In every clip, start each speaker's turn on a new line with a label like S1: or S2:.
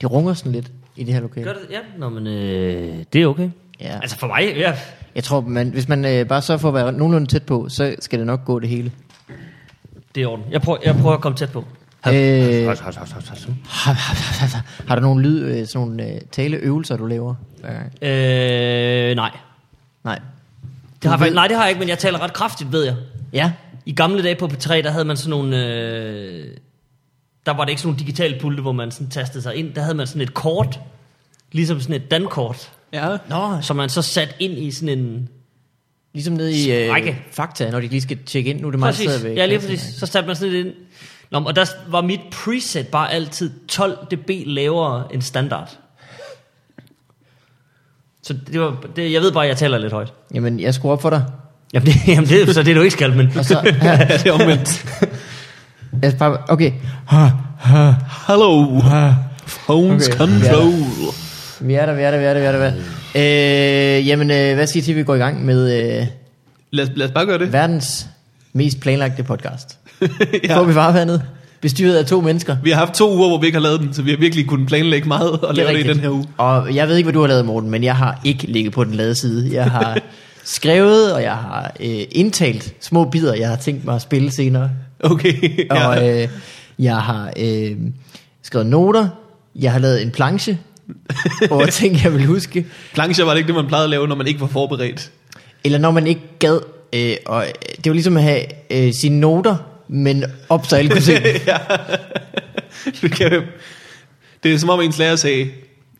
S1: Det runger sådan lidt i det her lokale.
S2: Gør det? Ja, Nå, men øh, det er okay.
S1: Ja.
S2: Altså for mig, ja.
S1: Jeg tror, man, hvis man øh, bare sørger for at være nogenlunde tæt på, så skal det nok gå det hele.
S2: Det er i orden. Jeg prøver, jeg prøver at komme tæt på.
S1: Øh.
S2: Hav, hav, hav, hav, hav, hav.
S1: Har du nogle lyd, øh, sådan nogle øh, taleøvelser, du laver? hver gang?
S2: Øh, nej.
S1: Nej.
S2: Det har
S1: Du
S2: jeg, faktisk-
S1: ved-
S2: nej, det har jeg ikke, men jeg taler ret kraftigt, ved jeg.
S1: Ja.
S2: I gamle dage på P3, der havde man sådan nogle... Øh, der var det ikke sådan nogle digitale pulte, hvor man sådan tastede sig ind. Der havde man sådan et kort, ligesom sådan et dankort,
S3: Ja.
S1: Nå,
S2: som man så satte ind i sådan en...
S1: ligesom nede i øh,
S2: Sprække.
S1: Fakta, når de lige skal tjekke ind. Nu er det meget
S2: Præcis,
S1: sidder ved.
S2: ja lige præcis. Så satte man sådan lidt ind. Nå, men- og der var mit preset bare altid 12 dB lavere end standard. Så det var, det, jeg ved bare, at jeg taler lidt højt.
S1: Jamen, jeg skruer op for dig.
S2: Jamen det, jamen det så det er du ikke skal, men...
S1: Og så, her,
S3: det er omvendt.
S1: jeg bare, okay,
S3: Hello. Phones
S1: Okay.
S3: control.
S1: vi er der, vi er der, vi er der, vi er der. Vi er der. Øh, jamen, øh, hvad siger til, at vi går i gang med øh,
S3: Lad, os, lad os bare gøre det.
S1: verdens mest planlagte podcast? Ja. Får
S3: ja.
S1: vi farvandet? Bestyret af to mennesker.
S3: Vi har haft to uger, hvor vi ikke har lavet den, så vi har virkelig kunnet planlægge meget og lave det, i
S1: rigtigt.
S3: den her uge.
S1: Og jeg ved ikke, hvad du har lavet, Morten, men jeg har ikke ligget på den lade side. Jeg har skrevet, og jeg har øh, indtalt små bidder, jeg har tænkt mig at spille senere.
S3: Okay.
S1: Og
S3: ja.
S1: øh, jeg har øh, skrevet noter. Jeg har lavet en planche over ting, jeg vil huske.
S3: Plancher var det ikke det, man plejede at lave, når man ikke var forberedt.
S1: Eller når man ikke gad. Øh, og øh, det var ligesom at have øh, sine noter, men op så alle kunne se.
S3: Du kan, det er som om ens lærer sagde,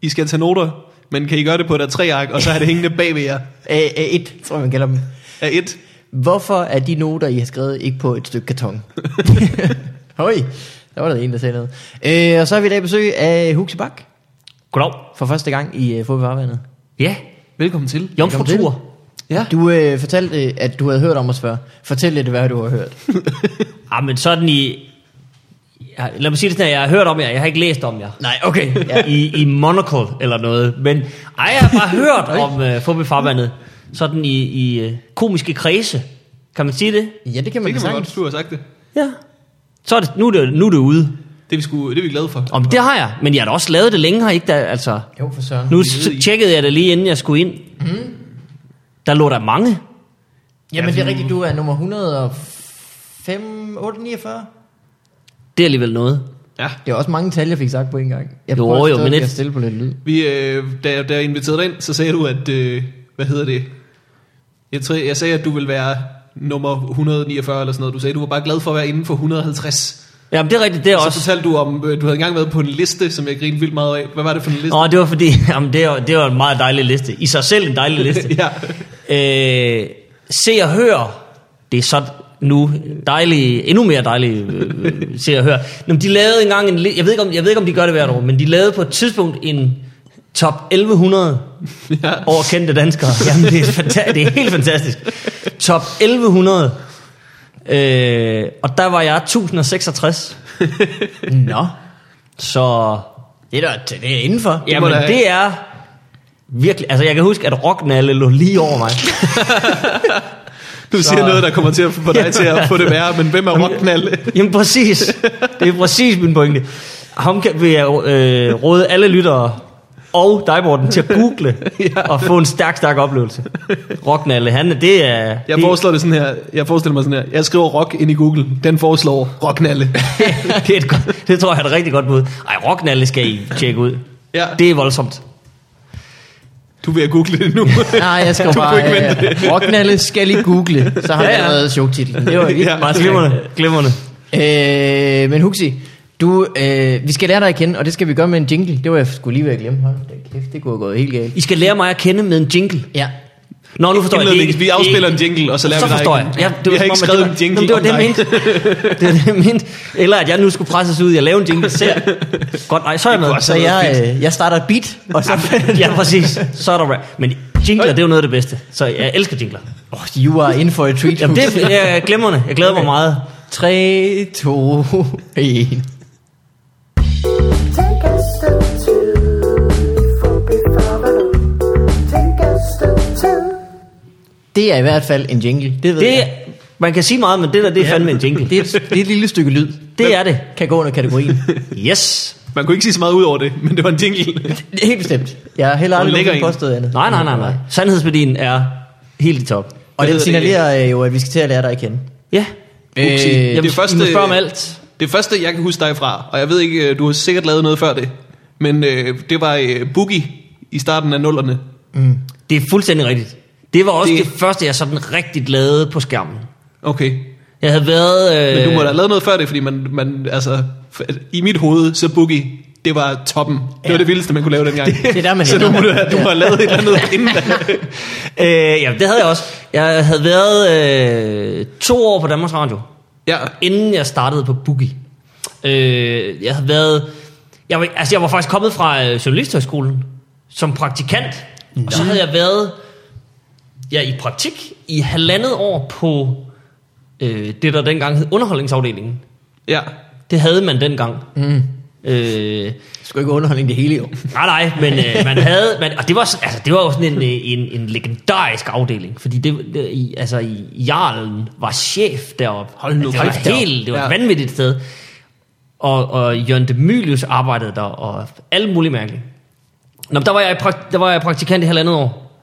S3: I skal tage noter, men kan I gøre det på et A3-ark, og så har det hængende bag ved jer
S1: Æ, Øh, et, tror jeg, man kalder dem.
S3: af et.
S1: Hvorfor er de noter, I har skrevet, ikke på et stykke karton? Høj, der var der en, der sagde noget. Øh, og så har vi i dag besøg af Huxi Bak
S2: Goddag.
S1: for første gang i øh, Fodboldvarvandet.
S2: Ja,
S3: Velkommen til.
S2: jomfrutur.
S3: Ja.
S1: Du øh, fortalte, øh, at du havde hørt om os før. Fortæl lidt, hvad du har hørt.
S2: Ah, men sådan i... Ja, lad mig sige det sådan, her, jeg har hørt om jer, jeg har ikke læst om jer. Nej, okay. Ja. I, I Monocle eller noget. Men ej, jeg har bare hørt om uh, Fubi Farvandet. Sådan i, i uh, komiske kredse. Kan man sige det?
S1: Ja, det kan man,
S3: Det kan man
S1: sagtens.
S3: godt, du har sagt det.
S2: Ja. Så er det, nu, er det, nu er det ude.
S3: Det er vi, sgu, det er vi glade for.
S2: Om det har jeg, men jeg har da også lavet det længe her, ikke? Der, altså,
S1: Jo, for søren.
S2: nu s- tjekkede jeg det lige inden jeg skulle ind. Mm. Der lå der mange.
S1: Jamen, det er rigtigt, du er nummer 105, 849.
S2: Det er alligevel noget.
S3: Ja.
S1: Det er også mange tal, jeg fik sagt på en gang. Jeg
S2: Jo,
S1: prøver
S2: jo,
S1: stadig
S2: men
S1: at
S2: et-
S1: stille på lidt lyd.
S3: Vi, øh, da, da jeg inviterede dig ind, så sagde du, at... Øh, hvad hedder det? Jeg, tror, jeg sagde, at du ville være nummer 149 eller sådan noget. Du sagde, at du var bare glad for at være inden for 150.
S2: Jamen, det er rigtigt, det er
S3: Og
S2: også.
S3: så fortalte du om, øh, du havde engang været på en liste, som jeg grinede vildt meget af. Hvad var det for en liste?
S2: Nå, det var fordi, jamen, det, var, det var en meget dejlig liste. I sig selv en dejlig liste.
S3: ja.
S2: øh, se og hør, det er så nu dejlige, endnu mere dejlige øh, øh, se og hør. Nå, men de lavede engang en, li- jeg ved, ikke om, jeg ved ikke om de gør det hvert år, men de lavede på et tidspunkt en top 1100
S3: ja.
S2: over kendte danskere. Jamen, det er, fanta- det er helt fantastisk. Top 1100. Øh, og der var jeg 1066.
S1: Nå,
S2: Så
S1: det er, da, det er indenfor.
S3: må
S2: Jamen,
S3: da-
S2: det er virkelig... Altså, jeg kan huske, at Rocknalle lå lige over mig.
S3: Du så... siger noget, der kommer til at få dig til at få det værre, men hvem er rocknalle?
S2: Jamen, præcis. Det er præcis min pointe. Ham kan, vil jeg øh, råde alle lyttere og dig, Morten, til at google ja. og få en stærk, stærk oplevelse. Rocknalle, han er- det er...
S3: Jeg
S2: det,
S3: foreslår det sådan her. Jeg forestiller mig sådan her. Jeg skriver rock ind i Google. Den foreslår rocknalle.
S2: det, er et godt, det tror jeg er et rigtig godt bud. Ej, Rocknalle skal I tjekke ud.
S3: Ja.
S2: Det er voldsomt.
S3: Du vil google det nu.
S1: Nej, jeg skal
S3: Du
S1: bare...
S3: kunne ikke vente
S1: Øh, Rocknalle skal lige google, så har
S2: Ja,
S1: ja,
S2: ja.
S1: ja. jeg allerede showtitlen. Det var virkelig
S3: Ja.
S1: ja. meget skægt.
S2: Glimrende, glimrende.
S1: øh, Men Huxi, du, øh, vi skal lære dig at kende, og det skal vi gøre med en jingle. Det var jeg skulle lige ved at glemme. Hold da kæft, det kunne have gået helt galt.
S2: I skal lære mig at kende med en jingle.
S1: Ja,
S2: Nå, nu forstår jeg. det er
S3: Indlednings,
S2: ikke-
S3: vi
S2: det er
S3: afspiller
S2: ikke-
S3: en jingle, og så laver
S2: så
S3: vi dig
S2: forstår
S3: igen.
S2: jeg. Ja,
S3: vi har ikke
S2: som om, at
S3: skrevet en
S2: det var-
S3: jingle
S2: Nå, men det var
S3: om
S2: det, jeg mente. Det var det, jeg mente. Eller at jeg nu skulle presses ud i at lave en jingle selv. Godt, nej, så er jeg med.
S3: kunne også
S1: så jeg, øh, jeg starter et beat, og så...
S2: Ja, præcis. Så er der rap. Men jingler, det er jo noget af det bedste. Så jeg elsker jingler.
S1: oh, you are in for a treat.
S2: Jamen, det er jeg er glimrende. Jeg glæder mig meget.
S1: 3, 2, 1.
S4: Take us to Phoebe Favaro. Take us to two.
S1: Det er i hvert fald en jingle, det ved
S2: Det,
S1: jeg.
S2: man kan sige meget, men det der, det er fandme en jingle.
S1: Det er, et, det er et lille stykke lyd.
S2: Det er det.
S1: Kan gå under kategorien.
S2: Yes.
S3: Man kunne ikke sige så meget ud over det, men det var en jingle.
S1: Helt bestemt. Jeg har heller
S3: Hvor
S1: aldrig
S3: ligger
S1: nogensinde
S3: en?
S1: påstået andet.
S2: Nej, nej, nej, nej. Sandhedsværdien er helt i top.
S1: Og
S3: Hvad
S1: den
S3: hedder det?
S1: signalerer øh, jo, at vi skal til at lære dig at kende.
S2: Ja.
S3: Upsi.
S1: Øh,
S2: Jamen, det første...
S3: første-
S2: I må spørge om alt.
S3: Det første, jeg kan huske dig fra, og jeg ved ikke, øh, du har sikkert lavet noget før det, men øh, det var øh, Boogie i starten af nullerne.
S2: Det er fuldstændig rigtigt. Det var også det,
S3: Det-
S2: det første, jeg sådan rigtigt lavede på skærmen.
S3: Okay.
S2: Jeg havde været... Øh,
S3: Men du må da have lavet noget før det, fordi man, man altså, for- i mit hoved, så Boogie, det var toppen. Det var det vildeste, man kunne lave dengang.
S1: det er der, man
S3: så du
S1: hænger.
S3: må da, du må have lavet et eller andet inden da.
S2: øh, ja, det havde jeg også. Jeg havde været øh, to år på Danmarks Radio,
S3: Ja,
S2: inden jeg startede på Boogie. Øh, jeg havde været... Jeg var, altså, jeg var faktisk kommet fra øh, Journalisthøjskolen som praktikant. Og så havde jeg været ja, i praktik i halvandet år på øh, det, der dengang hed underholdningsafdelingen.
S3: ja.
S2: Det havde man dengang.
S1: Mm.
S2: Øh,
S1: Det skulle ikke underholdning det hele jo.
S2: nej, nej, men øh, man havde... Man, og det var, sådan- altså, det var jo sådan en, øh, en, en legendarisk afdeling, fordi det, det i, altså, i, Jarlen var chef deroppe. Hold
S3: nu
S2: det var
S3: kæft deroppe.
S2: helt, det var
S3: Ja.
S2: et vanvittigt sted. Og, og Jørgen Demilius arbejdede der, og alle mulige mærkelige. Nå, men der var, jeg i prak- der var jeg praktikant i halvandet år.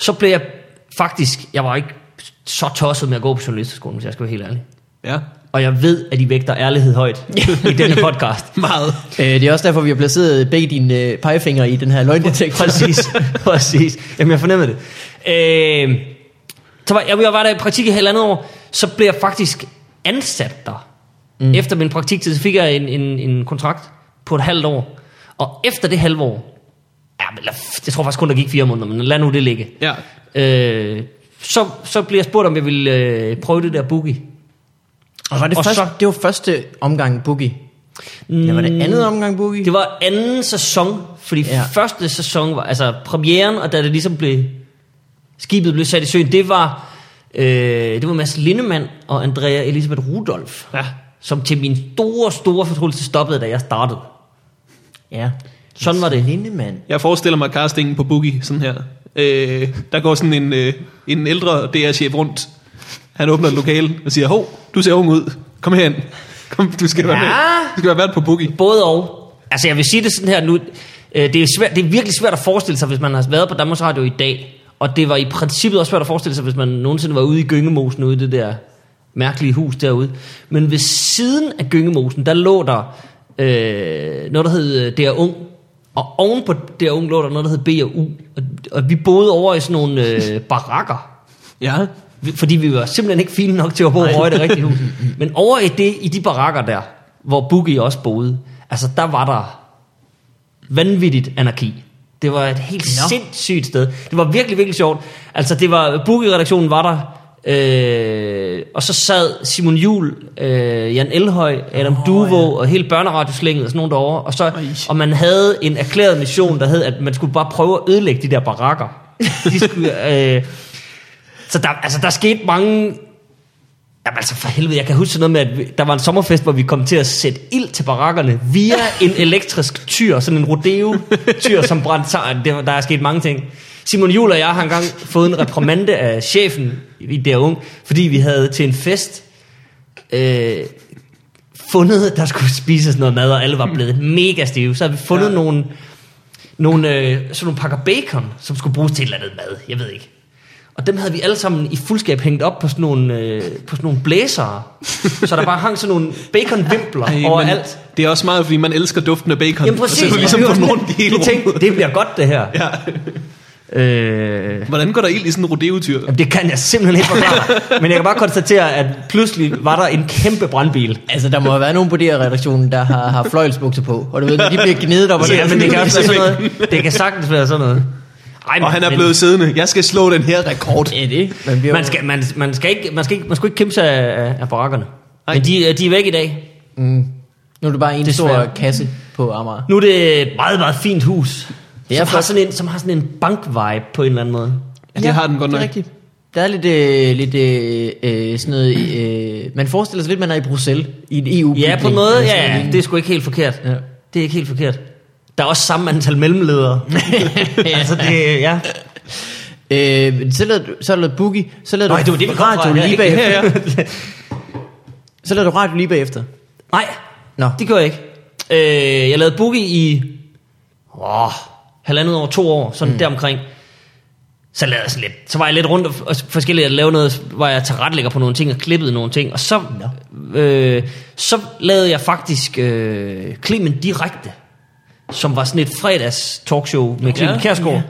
S2: Så blev jeg faktisk... Jeg var ikke så tosset med at gå på journalisterskolen, hvis jeg skal være helt ærlig.
S3: Ja.
S2: Og jeg ved, at I vægter ærlighed højt i denne podcast.
S3: Meget.
S1: Øh, det er også derfor, vi har placeret begge dine øh, pegefingre i den her løgndetektor.
S2: Præcis, præcis. Jamen, jeg fornemmede det. Øh, så var, jeg, jeg var der i praktik i halvandet år, så blev jeg faktisk ansat der. Mm. Efter min praktiktid så fik jeg en, en, en kontrakt på et halvt år. Og efter det halve år, ja, men lad- jeg tror faktisk kun, der gik fire måneder, men lad nu det ligge.
S3: Ja.
S2: Øh, så, så blev jeg spurgt, om jeg ville øh, prøve det der boogie.
S1: Og var det,
S2: Og
S1: første,
S2: så-
S1: det var første omgang Boogie? Eller var det andet omgang Boogie?
S2: Det var anden sæson, fordi
S1: Ja.
S2: ja. første sæson var, altså premieren, og da det ligesom blev, skibet blev sat i søen, det var, øh, det var Mads Lindemann og Andrea Elisabeth Rudolf, ja. som til min store, store fortryllelse stoppede, da jeg startede.
S1: Ja.
S2: Sådan var det.
S1: Lindemann.
S3: Jeg forestiller mig castingen på Boogie sådan her. Øh, der går sådan en, øh, en ældre DR-chef rundt. Han åbner et lokale og siger, hov, du ser ung ud. Kom herhen. Kom, du skal være
S2: Ja.
S3: med. Du skal være vært på Boogie.
S2: Både og. Altså jeg vil sige det sådan her nu, øh, det er, svært, det er virkelig svært at forestille sig, hvis man har været på Danmarks Radio i dag, og det var i princippet også svært at forestille sig, hvis man nogensinde var ude i Gyngemosen, ude i det der mærkelige hus derude. Men ved siden af Gyngemosen, der lå der øh, noget, der hed øh, DR Ung, og ovenpå DR Ung lå der noget, der hed BRU, og, og vi boede over i sådan nogle øh, barakker,
S3: Ja.
S2: vi- fordi vi var simpelthen ikke fine nok til at bo over i det rigtige hus. Men over i, det, i de barakker der, hvor Boogie også boede, altså der var der vanvittigt anarki. Det var et helt
S1: Nå.
S2: no. sindssygt sted. Det var virkelig, virkelig sjovt. Altså det var, Boogie-redaktionen var der, øh, og så sad Simon Jul, øh, Jan Elhøj, Adam oh, Duvo ja. og hele børneradioslænget og sådan nogen derovre. Og, så, og man havde en erklæret mission, der hed, at man skulle bare prøve at ødelægge de der barakker. De skulle, øh, så der, altså, der skete mange... Jamen altså for helvede, jeg kan huske sådan noget med, at vi- der var en sommerfest, hvor vi kom til at sætte ild til barakkerne via en elektrisk tyr, sådan en rodeo-tyr, som brændte sig. Det var- Der er sket mange ting. Simon Jul og jeg har engang fået en reprimande af chefen i der ung, fordi vi havde til en fest øh, fundet, der skulle spises noget mad, og alle var blevet mega stive. Så havde vi fundet ja. nogle, nogle, øh, sådan nogle pakker bacon, som skulle bruges til et eller andet mad. Jeg ved ikke. Og dem havde vi alle sammen i fuldskab hængt op på sådan nogle, øh, på sådan nogle blæsere. så der bare hang sådan nogle baconvimpler
S3: Ej,
S2: overalt.
S3: Men det er også meget, fordi man elsker duften af bacon.
S2: Jamen
S3: Og så
S2: præcis.
S3: kan du ligesom
S2: og
S3: få
S2: vi var
S3: nogen i
S2: sådan-
S3: hele
S2: vi tænkte,
S3: rummet.
S2: det bliver godt det her.
S3: Ja.
S2: Øh,
S3: Hvordan går der ild i sådan en rodeotyr?
S2: Jamen, det kan jeg simpelthen ikke forklare. Men jeg kan bare konstatere, at pludselig var der en kæmpe brandbil.
S1: Altså, der må have været nogen på DR-redaktionen, der har, har fløjlsbukser på. Og du ved, når de bliver gnedet op og
S2: Ja,
S1: ned,
S2: men det kan
S1: så-
S2: også være sådan noget. Det kan sagtens være sådan noget. Ej,
S3: Og han er
S2: men-
S3: blevet siddende. Jeg skal slå den her rekord.
S1: Ja, det. Man, bliver,
S2: Man skal, man, man skal ikke, man skal ikke, man skal ikke kæmpe sig af, af- af barakkerne.
S3: Ej.
S2: Men de, øh, de er væk i dag.
S1: Mm. Nu er det bare en
S2: Desværre.
S1: stor kasse på Amager.
S2: Nu er det et meget, meget fint hus.
S1: Det
S2: Det
S1: er
S2: er som, har
S1: flot.
S2: sådan en, som har sådan en bank-vibe på en eller anden måde.
S3: Ja, det har den godt
S1: det er
S3: nok.
S1: rigtigt. Der er lidt, øh, lidt øh, øh, sådan noget, øh, man forestiller sig lidt, man er i Bruxelles, i en E Altså, eu
S2: Ja, på en måde, ja, ja, det er sgu ikke helt forkert.
S1: Ja.
S2: Ja. Det er ikke helt forkert. Der er også samme antal mellemledere. altså det, ja.
S1: Øh, men så lavede, du- så lavede Boogie, så lavede
S2: Nej,
S1: du
S2: det var det, vi kom
S1: radio
S2: fra. Ah, Ja,
S1: lige
S2: ikke-
S1: bagefter. så lavede du radio lige bagefter.
S2: Nej,
S1: Nå,
S2: det gjorde jeg ikke. Øh, jeg lavede boogie i åh, halvandet år, to år, sådan mm. deromkring. Så, lavede jeg sådan lidt, så var jeg lidt rundt og- og forskellige, jeg lavede noget, hvor jeg tilrettelægger på nogle ting og klippede nogle ting. Og så, øh, så lavede jeg faktisk øh, Clemen Direkte, som var sådan et fredags talkshow med Clemen ja, Kærsgaard, ja.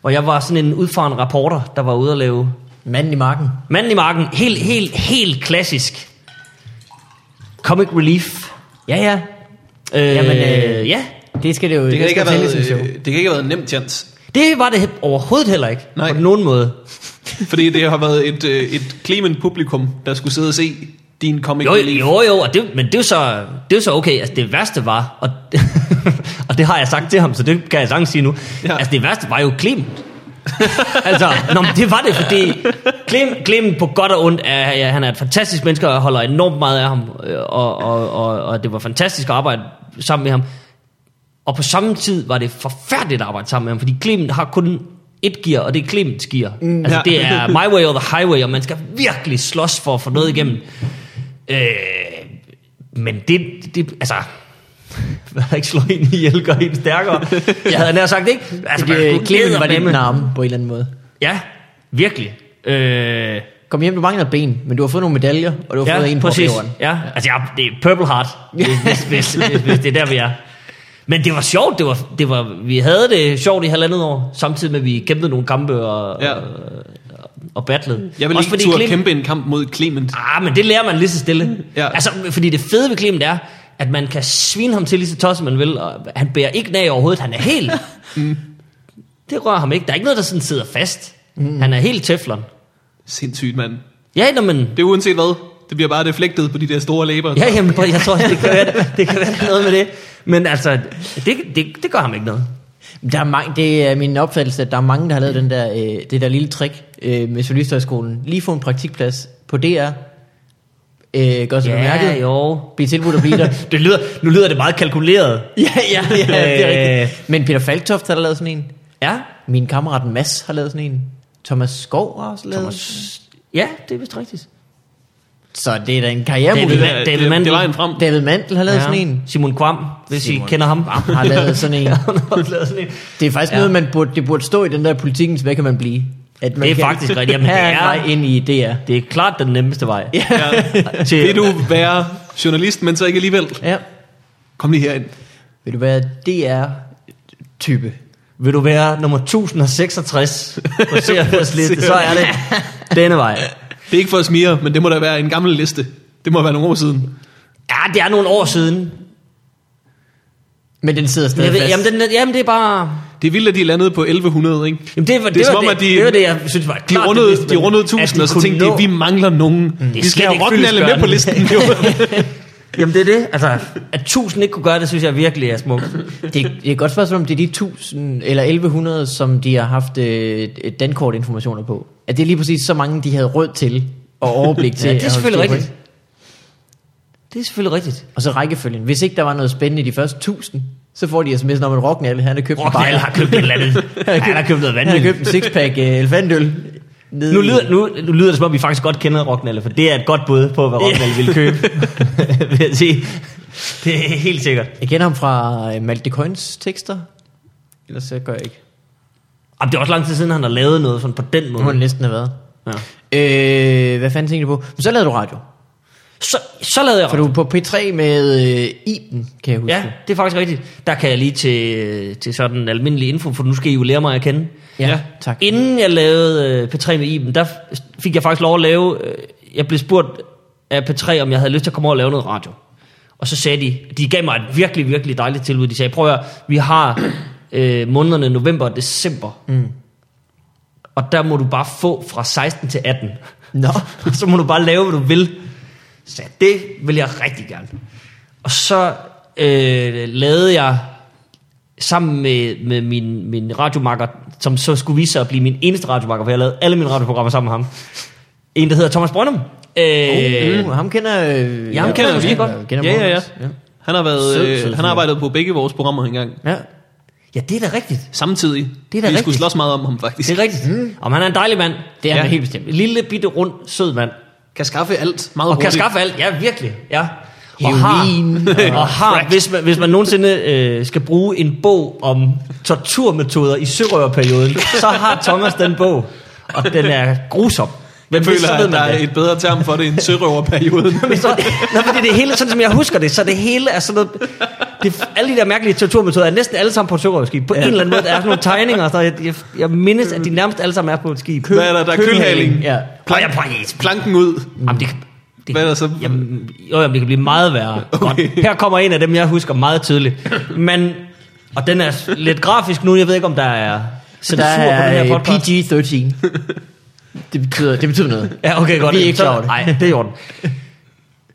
S2: hvor jeg var sådan en udfaren reporter, der var ude at lave
S1: Manden i marken.
S2: Manden i marken, helt, helt, helt klassisk. Comic relief. Ja, ja. Øh,
S1: Jamen, øh,
S2: ja.
S1: Det skal det jo
S3: Det kan,
S1: det
S3: ikke
S1: skal
S3: have været,
S1: tælle som
S3: øh,
S1: show.
S3: det kan ikke have været en nem chance.
S2: Det var det he- overhovedet heller ikke.
S3: Nej.
S2: På nogen måde.
S3: Fordi det har været et, øh, et clement publikum, der skulle sidde og se din comic
S2: Jo,
S3: relief.
S2: jo, jo, og det, men det er jo så, det er jo så okay. Altså, det værste var, og, og det har jeg sagt til ham, så det kan jeg sagtens sige nu.
S3: Ja.
S2: Ja. Altså, det værste var jo Clement. altså, nå, men det var det, fordi Clement, Clement på godt og ondt, er, ja, han er et fantastisk menneske, og jeg holder enormt meget af ham, øh, og, og, og, og det var fantastisk at arbejde sammen med ham. Og på samme tid var det forfærdeligt at arbejde sammen med ham, fordi Clement har kun et gear, og det er Clements gear. Mm, altså,
S3: ja.
S2: det er my way or the highway, og man skal virkelig slås for at få noget igennem. Øh, men det, det, altså... Hvad ikke slå en ihjel, gør en stærkere. Jeg havde nær sagt, ikke? Altså,
S1: Det,
S2: man skulle
S1: øh, Clemen var lidt
S2: eddermame-
S1: en arme på en eller anden måde.
S2: Ja, virkelig. Øh,
S1: Kom hjem, du mangler et ben, men du har fået nogle medaljer, og du har fået
S2: ja,
S1: en på
S2: præcis.
S1: øveren.
S2: Ja. Altså, jeg, det er Purple Heart, hvis, hvis, hvis, hvis, hvis det er der, vi er. Men det var sjovt, det var, det var, vi havde det sjovt i halvandet år, samtidig med, at vi kæmpede nogle kampe og,
S3: Ja.
S2: og, og battlede.
S3: Jeg vil
S2: Også
S3: ikke
S2: fordi
S3: turde
S2: Clem-
S3: kæmpe en kamp mod Clement.
S2: Ah, men det lærer man lige så stille.
S3: Ja.
S2: Ja. Altså, fordi det fede ved Clement er, at man kan svine ham til lige så tosset man vil, og han bærer ikke nag overhovedet, han er helt... mm. Det rører ham ikke. Der er ikke noget, der sådan sidder fast. Mm. Han er helt teflon.
S3: Sindssygt, mand.
S2: Ja, nå, men...
S3: Det er uanset hvad. Det bliver bare deflektet på de der store læber.
S2: Ja, jamen, prøv, jeg tror, det kan være, det kan være der er noget med det. Men altså, det, det, det gør ham ikke noget.
S1: Der er mange, det er min opfattelse, at der er mange, der har lavet den der, øh, det der lille trick øh, med Solisthøjskolen. Lige få en praktikplads på DR. Øh, gør sig ja, bemærket. Jo.
S2: jo.
S1: Blive tilbudt at blive der.
S2: Det lyder, nu lyder det meget kalkuleret.
S1: ja, ja, ja, det er
S2: Øh.
S1: rigtigt. Men Peter Falktoft har da lavet sådan en.
S2: Ja.
S1: Min kammerat Mads har lavet sådan en. Thomas Skov har også lavet Thomas.
S2: Thomas. Ja, det er vist rigtigt.
S1: Så det er da en karrieremulighed.
S2: David Mand-
S3: det, er,
S2: David
S3: det, er, det
S2: Mandel.
S3: er vejen frem.
S1: David Mandel har lavet ja. sådan en.
S2: Simon Kvam, hvis
S1: Simon
S2: I kender ham.
S1: Har lavet sådan en.
S2: Ja, han har også lavet sådan en.
S1: Det er faktisk ja.
S2: Ja.
S1: noget, man burde, det burde stå i den der politikken, hvad kan man blive? At man
S2: Det er
S1: kan,
S2: faktisk rigtigt. Jamen,
S1: her
S2: det
S1: er en
S2: er-
S1: vej ind i DR.
S2: Det er klart den nemmeste vej. Ja.
S3: Ja.
S2: Til,
S3: Vil du være journalist, men så ikke alligevel?
S1: Ja.
S3: Kom lige herind.
S1: Vil du være DR-type?
S2: vil du være nummer 1066 på CFS liste, så er det denne vej.
S3: Det er ikke for at smire, men det må da være en gammel liste. Det må være nogle år siden.
S2: Ja, det er nogle år siden.
S1: Men den sidder stadig
S2: Jeg ved,
S1: fast.
S2: jamen, den, jamen, det er bare...
S3: Det er vildt, at de landede på 1100, ikke?
S2: Jamen det, var, det,
S3: Det er
S2: det, var
S3: som om,
S2: det,
S3: at de-
S2: det var det, jeg synes var
S3: De
S2: klart
S3: rundede,
S2: det bedste,
S3: de
S2: men
S3: rundede
S2: at
S3: 1000,
S2: de
S3: og så
S2: kunne
S3: tænkte de,
S2: nå- Mm,
S3: vi mangler nogen. Vi
S2: slet
S3: skal have
S2: ikke
S3: Rottnalle med på listen.
S2: fyldestgørende.
S3: Jo.
S2: Jamen det er det, altså at 1000 ikke kunne gøre det, synes jeg virkelig er smukt.
S1: Det, det er et godt spørgsmål, om det er de 1000 eller 1100, som de har haft øh, dankort informationer på. At det er lige præcis så mange, de havde råd til og overblik til.
S2: Ja,
S1: at
S2: det er
S1: holde
S2: selvfølgelig
S1: styr på,
S2: rigtigt. Det er selvfølgelig rigtigt.
S1: ikke? Og så rækkefølgen. Hvis ikke der var noget spændende i de første 1000, så får de sms'en om, at Rocknalle, han har købt en
S2: Rockdale
S1: bajer.
S2: har købt et eller andet. Han har købt noget
S1: Han har købt en
S2: vanvittigt.
S1: sixpack øh, elefantøl. nede
S2: Nu
S1: i-
S2: lyder, nu, nu lyder det som om, vi faktisk godt kender Rocknalle, for det er et godt bud på, hvad Rocknalle ville købe. vil jeg sige. Det er helt sikkert.
S1: Jeg kender ham fra øh, Malte Coins tekster. Ellers så gør jeg ikke.
S2: Jamen, det er også lang tid siden, han har lavet noget sådan på den
S1: Nu må det
S2: måde.
S1: næsten have været.
S2: Ja.
S1: Øh, hvad fanden tænkte du på? Men så lavede du radio.
S2: Så, så lavede jeg
S1: For du er på P3 med øh, Iben, kan jeg huske.
S2: Ja, det er faktisk rigtigt. Der kan jeg lige til, til sådan almindelig info, for nu skal I jo lære mig at kende.
S1: ja
S3: Ja.
S1: tak.
S2: Inden jeg lavede øh, P3 med Iben, der f- fik jeg faktisk lov at lave... øh, Jeg blev spurgt af P3, om jeg havde lyst til at komme over og lave noget radio. Og så sagde de... De gav mig et virkelig, virkelig dejligt tilbud. De sagde, prøv at høre, vi har øh, månederne november og december. Mm. Og der må du bare få fra 16 til 18.
S1: Nå.
S2: Og så må du bare lave, hvad du vil. Så sagde jeg, det vil jeg rigtig gerne. Og så øh, lavede jeg sammen med, med min, min radiomakker, som så skulle vise sig at blive min eneste radiomakker, for jeg lavede alle mine radioprogrammer sammen med ham. En, der hedder Thomas Brøndum. Øh,
S1: Uh, ham kender... Øh,
S2: ham kender jeg
S1: måske
S2: virkelig
S1: godt.
S2: godt.
S1: Jeg
S3: Ja, ja, ja.
S1: Mogens. ja.
S3: Han har, været,
S1: Sød, sød
S3: øh, han
S1: fyr.
S3: har arbejdet på begge vores programmer engang.
S1: Ja.
S2: ja, det er da rigtigt.
S3: Samtidig.
S2: da
S3: Vi skulle
S2: rigtigt.
S3: slås meget om ham, faktisk.
S2: Det er rigtigt. Mm. Og han er en dejlig mand.
S1: Det er han
S3: Oh, Ja.
S1: helt bestemt.
S2: Lille, bitte, rund, sød mand.
S3: Kan skaffe alt meget
S2: Og kan
S3: hurtigt.
S2: skaffe alt. Ja, virkelig. Ja. og har, og har hvis, man, hvis man nogensinde øh, skal bruge en bog om torturmetoder i sørøverperioden, så har Thomas den bog, og den er grusom.
S3: Jeg
S2: Men hvis- så
S3: føler,
S2: ved
S3: at der
S2: man
S3: er
S2: det.
S3: et bedre term for det end sørøverperioden.
S2: Men så, Nå, fordi det hele, sådan som jeg husker det, så det hele er sådan noget... Det, alle de der mærkelige torturmetoder er næsten alle sammen på et sørøverskib. På ja. en eller anden måde, der er sådan nogle tegninger, og så jeg, jeg, jeg mindes, at de nærmest alle sammen er på et skib.
S3: Hvad er der? Der er kølhaling.
S1: Ja.
S2: Og jeg, præcis.
S3: Planken ud.
S1: Mm.
S2: Jamen, det, kan- det,
S3: Hvad er der så?
S2: Jamen, jo, jamen, det kan blive meget værre. Okay. Her kommer en af dem, jeg husker meget tydeligt. Men, og den er lidt grafisk nu, jeg ved ikke, om der er
S1: Så
S2: censur
S1: der
S2: på den
S1: er
S2: her
S1: øh,
S2: podcast.
S1: PG-13. Det betyder, det betyder noget.
S2: Ja, okay, godt.
S1: Vi er ikke
S2: Så-
S1: klar over det.
S2: Nej, det er i orden.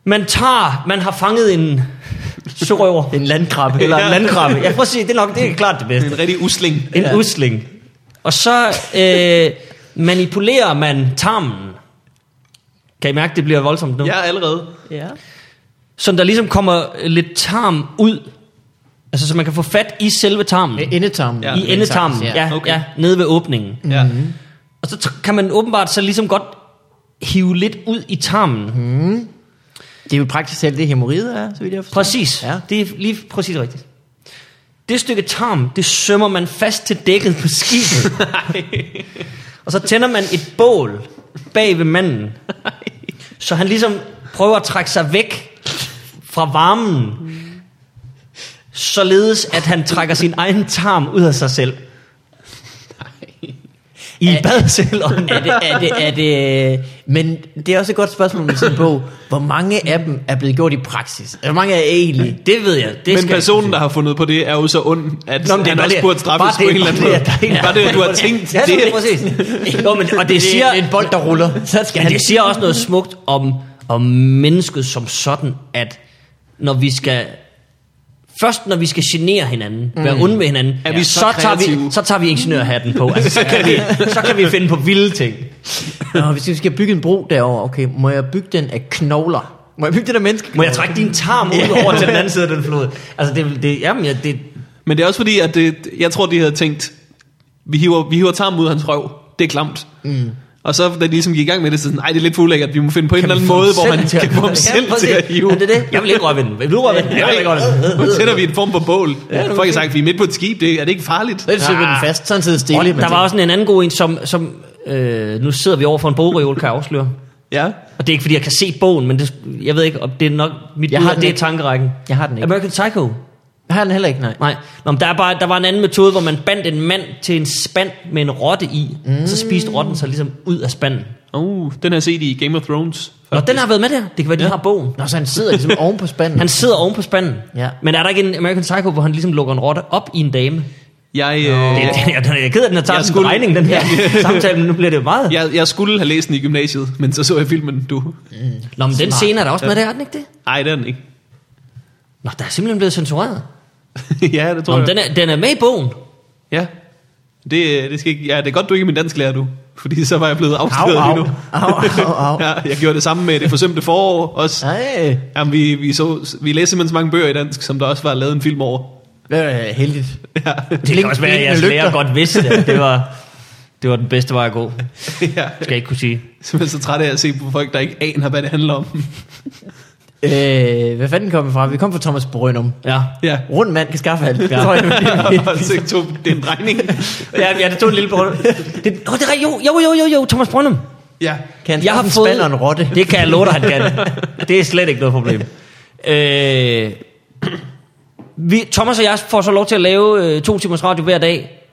S2: Man tager, man har fanget en sørøver,
S1: En landkrabbe.
S2: eller en landkrabbe. Ja, prøv at se, det er nok det er klart det bedste.
S3: En rigtig usling.
S2: En
S1: Ja.
S2: usling. Og så øh, manipulerer man tarmen. Kan I mærke, det bliver voldsomt nu?
S3: Jeg er allerede.
S2: Mhm.
S1: Ja.
S2: Så der ligesom kommer lidt tarm ud. Altså, så man kan få fat i selve tarmen.
S1: Med endetarmen.
S3: Ja.
S2: I endetarmen, ja,
S3: Okay.
S2: ja, nede ved åbningen.
S3: Ja.
S2: Og så t- kan man åbenbart så ligesom godt hive lidt ud i tarmen.
S1: Det er jo praktisk selv det, hemorrider er, så vidt jeg forstår.
S2: Præcis.
S1: Ja.
S2: Ja. Det er lige præcis rigtigt. Det stykke tarm, det sømmer man fast til dækket på skibet. og så tænder man et bål bag ved manden. så han ligesom prøver at trække sig væk fra varmen. Således at han trækker sin egen tarm ud af sig selv. I
S1: Er-
S2: badcellerne.
S1: er det, er det, er det, men det er også et godt spørgsmål med sådan en bog. Hvor mange af dem er blevet gjort i praksis? Altså, Hvor mange er egentlig?
S2: Det ved jeg. Det
S3: Men personen, der har fundet på det, er jo så ond, at Nå,
S2: men
S3: det
S2: det er
S3: han
S2: bare
S3: også
S2: det.
S3: burde straffes
S2: Bare
S3: på
S2: det,
S3: en eller anden
S2: bare
S3: måde.
S2: det, at der ikke-
S3: Bare det, at du har tænkt
S2: Ja, så
S3: det.
S2: det er præcis. Jo, men, og det siger,
S1: en bold, der ruller. Så skal
S2: men
S1: han...
S2: det siger også noget smukt om, om mennesket som sådan, at når vi skal Først når vi skal genere hinanden, mm. være onde med hinanden,
S3: Er vi så
S2: så, tager vi,
S3: kreative?
S2: så tager vi ingeniørhatten på. Altså, så, kan vi, så kan vi finde på vilde ting.
S1: Nå, hvis vi skal bygge en bro derover, okay, må jeg bygge den af knogler? Må jeg bygge den af menneske?
S2: Må jeg trække din tarm ud over til den anden side af den flod? Altså, det, det, jamen, ja, det,
S3: Men det er også fordi, at det, jeg tror, de havde tænkt, vi hiver, vi hiver tarmen ud af hans røv. Det er klamt. Mm. Og så da de ligesom gik i gang med det, så sådan, nej, det er lidt for ulækkert, vi må finde på en eller anden måde, hvor man kan få ham selv til at hive.
S2: Ja, det er det. Jeg vil ikke røre ved den. Vil du røre ved den? Jeg vil ikke røre ved den.
S3: Nu tænder vi en form for bål. Ja, Folk har sagt, vi er midt på et skib, det, er det ikke farligt?
S1: Så sætter vi den fast, sådan sidder stille.
S2: Og
S1: men
S2: Ah. der var
S1: så-
S2: også en anden god en, som, som øh, nu sidder vi over for en bogreol, kan jeg afsløre.
S3: Ja.
S2: Og det er ikke, fordi jeg kan se bogen, men det, jeg ved ikke, om det er nok mit
S1: Jeg
S2: bud,
S1: har
S2: at
S1: den
S2: det er
S1: ikke.
S2: tankerækken.
S1: Jeg har den ikke.
S2: American Psycho?
S1: Jeg har den heller ikke, nej.
S2: Nej. Nå, men der, er bare, der var en anden metode, hvor man bandt en mand til en spand med en rotte i, mm. og så spiste rotten sig ligesom ud af spanden.
S3: Uh, den har jeg set i Game of Thrones.
S2: Nå, den har været med der. Det kan være, de har bogen.
S1: Nå, så han sidder ligesom oven på spanden.
S2: Han sidder oven på spanden.
S1: Ja.
S2: Men er der ikke en American Psycho, hvor han ligesom lukker en rotte op i en dame?
S3: Jeg, øh,
S2: Det, det, jeg, jeg er ked af, den har taget sådan
S3: Jeg skulle-
S2: en regning, den her samtale, men nu bliver det jo meget.
S3: jeg, jeg skulle have læst den i gymnasiet, men så så jeg filmen, du.
S2: Nå, men den scene er der også med der, er den ikke det?
S3: Ej, det er den ikke.
S2: Nå, der er simpelthen blevet censureret.
S3: ja, det tror
S2: Nå, men
S3: jeg.
S2: den er, den er med i bogen.
S3: Ja. Det, øh, det, skal ikke, ja, det er godt, du ikke er min dansklærer, du. Fordi så var jeg blevet afsløret
S1: au. Ah,
S3: lige nu.
S1: Au, au, au.
S3: ja, jeg gjorde det samme med det forsømte forår også.
S1: Nej,
S3: Jamen, vi, vi, så, vi læste simpelthen så mange bøger i dansk, som der også var lavet en film over.
S1: det er heldigt.
S3: Ja,
S2: Det kan også være, at jeres
S1: blinkende
S2: lærer
S1: lygter.
S2: godt vidste, at det var, det var den bedste vej at gå. Det
S3: ja.
S2: skal jeg ikke kunne sige.
S3: Simpelthen så træt af at se på folk, der ikke aner, hvad det handler om.
S1: Øh, hvad fanden kom vi fra? Vi kom fra Thomas Brønum.
S2: Ja.
S3: ja.
S1: Rund mand kan skaffe alt.
S2: Ja.
S1: Ja. Tror jeg, det er.
S3: Altså, to, det er en regning.
S2: Ja, ja, det tog en lille brønum. Det, oh, det er, rigtigt. jo, jo, jo, jo, jo, Thomas Brønum.
S3: Ja.
S1: kan han jeg har fået... en rotte?
S2: Det kan jeg love dig, han kan. Det er slet ikke noget problem. Øh, vi, Thomas og jeg får så lov til at lave øh, to timers radio hver dag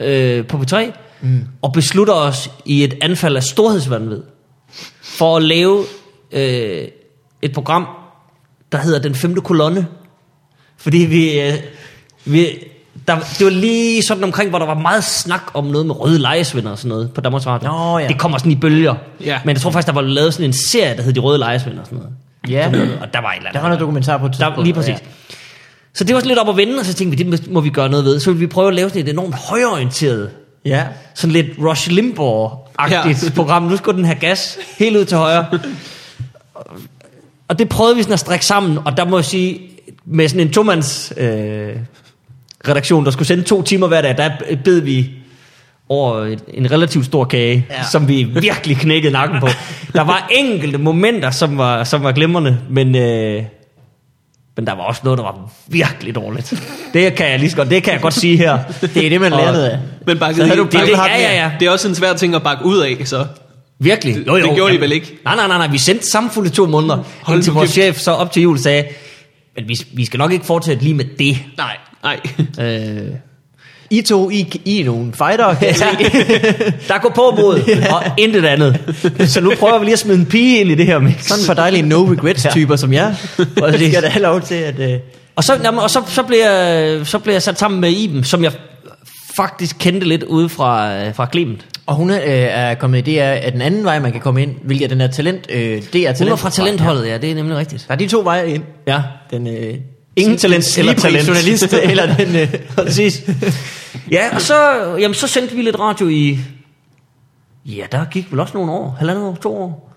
S2: øh, på P3, mm. og beslutter os i et anfald af storhedsvandvid for at lave øh, et program, der hedder Den Femte Kolonne. Fordi vi... Øh, vi der, det var lige sådan omkring, hvor der var meget snak om noget med røde lejesvinder og sådan noget på Danmarks Radio.
S1: Nå, ja.
S2: Det kommer sådan i bølger.
S3: Ja.
S2: Men jeg tror faktisk, der var lavet sådan en serie, der hed De Røde Lejesvind og sådan noget.
S1: Ja,
S2: Og der var et eller
S1: der
S2: andet.
S1: var noget dokumentar på et
S2: Der, lige præcis.
S1: Ja.
S2: Så det var sådan lidt op at vende, og så tænkte vi, det må vi gøre noget ved. Så ville vi prøve at lave sådan et enormt højorienteret,
S1: ja.
S2: sådan lidt Rush Limbaugh-agtigt
S3: Ja.
S2: ja. program. Nu skulle den have gas helt ud til højre. Og det prøvede vi sådan at strikke sammen, og der må jeg sige, med sådan en tomands øh, redaktion, der skulle sende to timer hver dag, der bed vi over et- en relativt stor kage,
S1: Ja.
S2: ja. som vi virkelig knækkede nakken på. Der var enkelte momenter, som var, som var glimrende, men øh, Men der var også noget, der var virkelig dårligt. Det kan jeg lige så godt, det kan jeg godt sige her.
S1: Det er det, man
S2: Og-
S1: lærer noget af.
S3: Men bakket
S2: Så havde
S3: helt-
S2: du bakket
S3: det-
S2: ham mere.
S3: Det er også en svær ting at bakke ud af, så.
S2: Virkelig?
S3: Det- det gjorde de vel ikke?
S2: Nej, nej, nej, nej. Vi sendte samfundet i to måneder, Hold indtil
S3: nu
S2: vores
S3: kæft.
S2: chef så op til jul sagde, men vi, vi skal nok ikke fortsætte lige med det.
S3: Nej, nej.
S2: Øh,
S1: I to, I, I er nogle fighter. Kan jeg se.
S2: der går på mod, og intet andet. Så nu prøver vi lige at smide en pige ind i det her mix.
S1: Sådan for dejlige no-regrets-typer som jeg. Og det skal da have lov til, at... Øh,
S2: Og, så, jamen, og så, så, blev jeg, så blev jeg sat sammen med Iben, som jeg faktisk kendte lidt ude fra, øh, fra Clement.
S1: og hun er, øh, er kommet i DR af den anden vej, man kan komme ind, hvilket er den her talent... Øh, DR talent
S2: Hun var fra talentholdet, ja, det er nemlig rigtigt.
S1: Der er de to veje ind.
S2: Ja.
S1: Den, øh,
S2: Ingen talent
S1: slibri
S2: eller talent.
S1: journalist, eller den... Øh,
S2: Præcis. Ja, og så, jamen, så sendte vi lidt radio i... Ja, der gik vel også nogle år. Halvandet år, to år.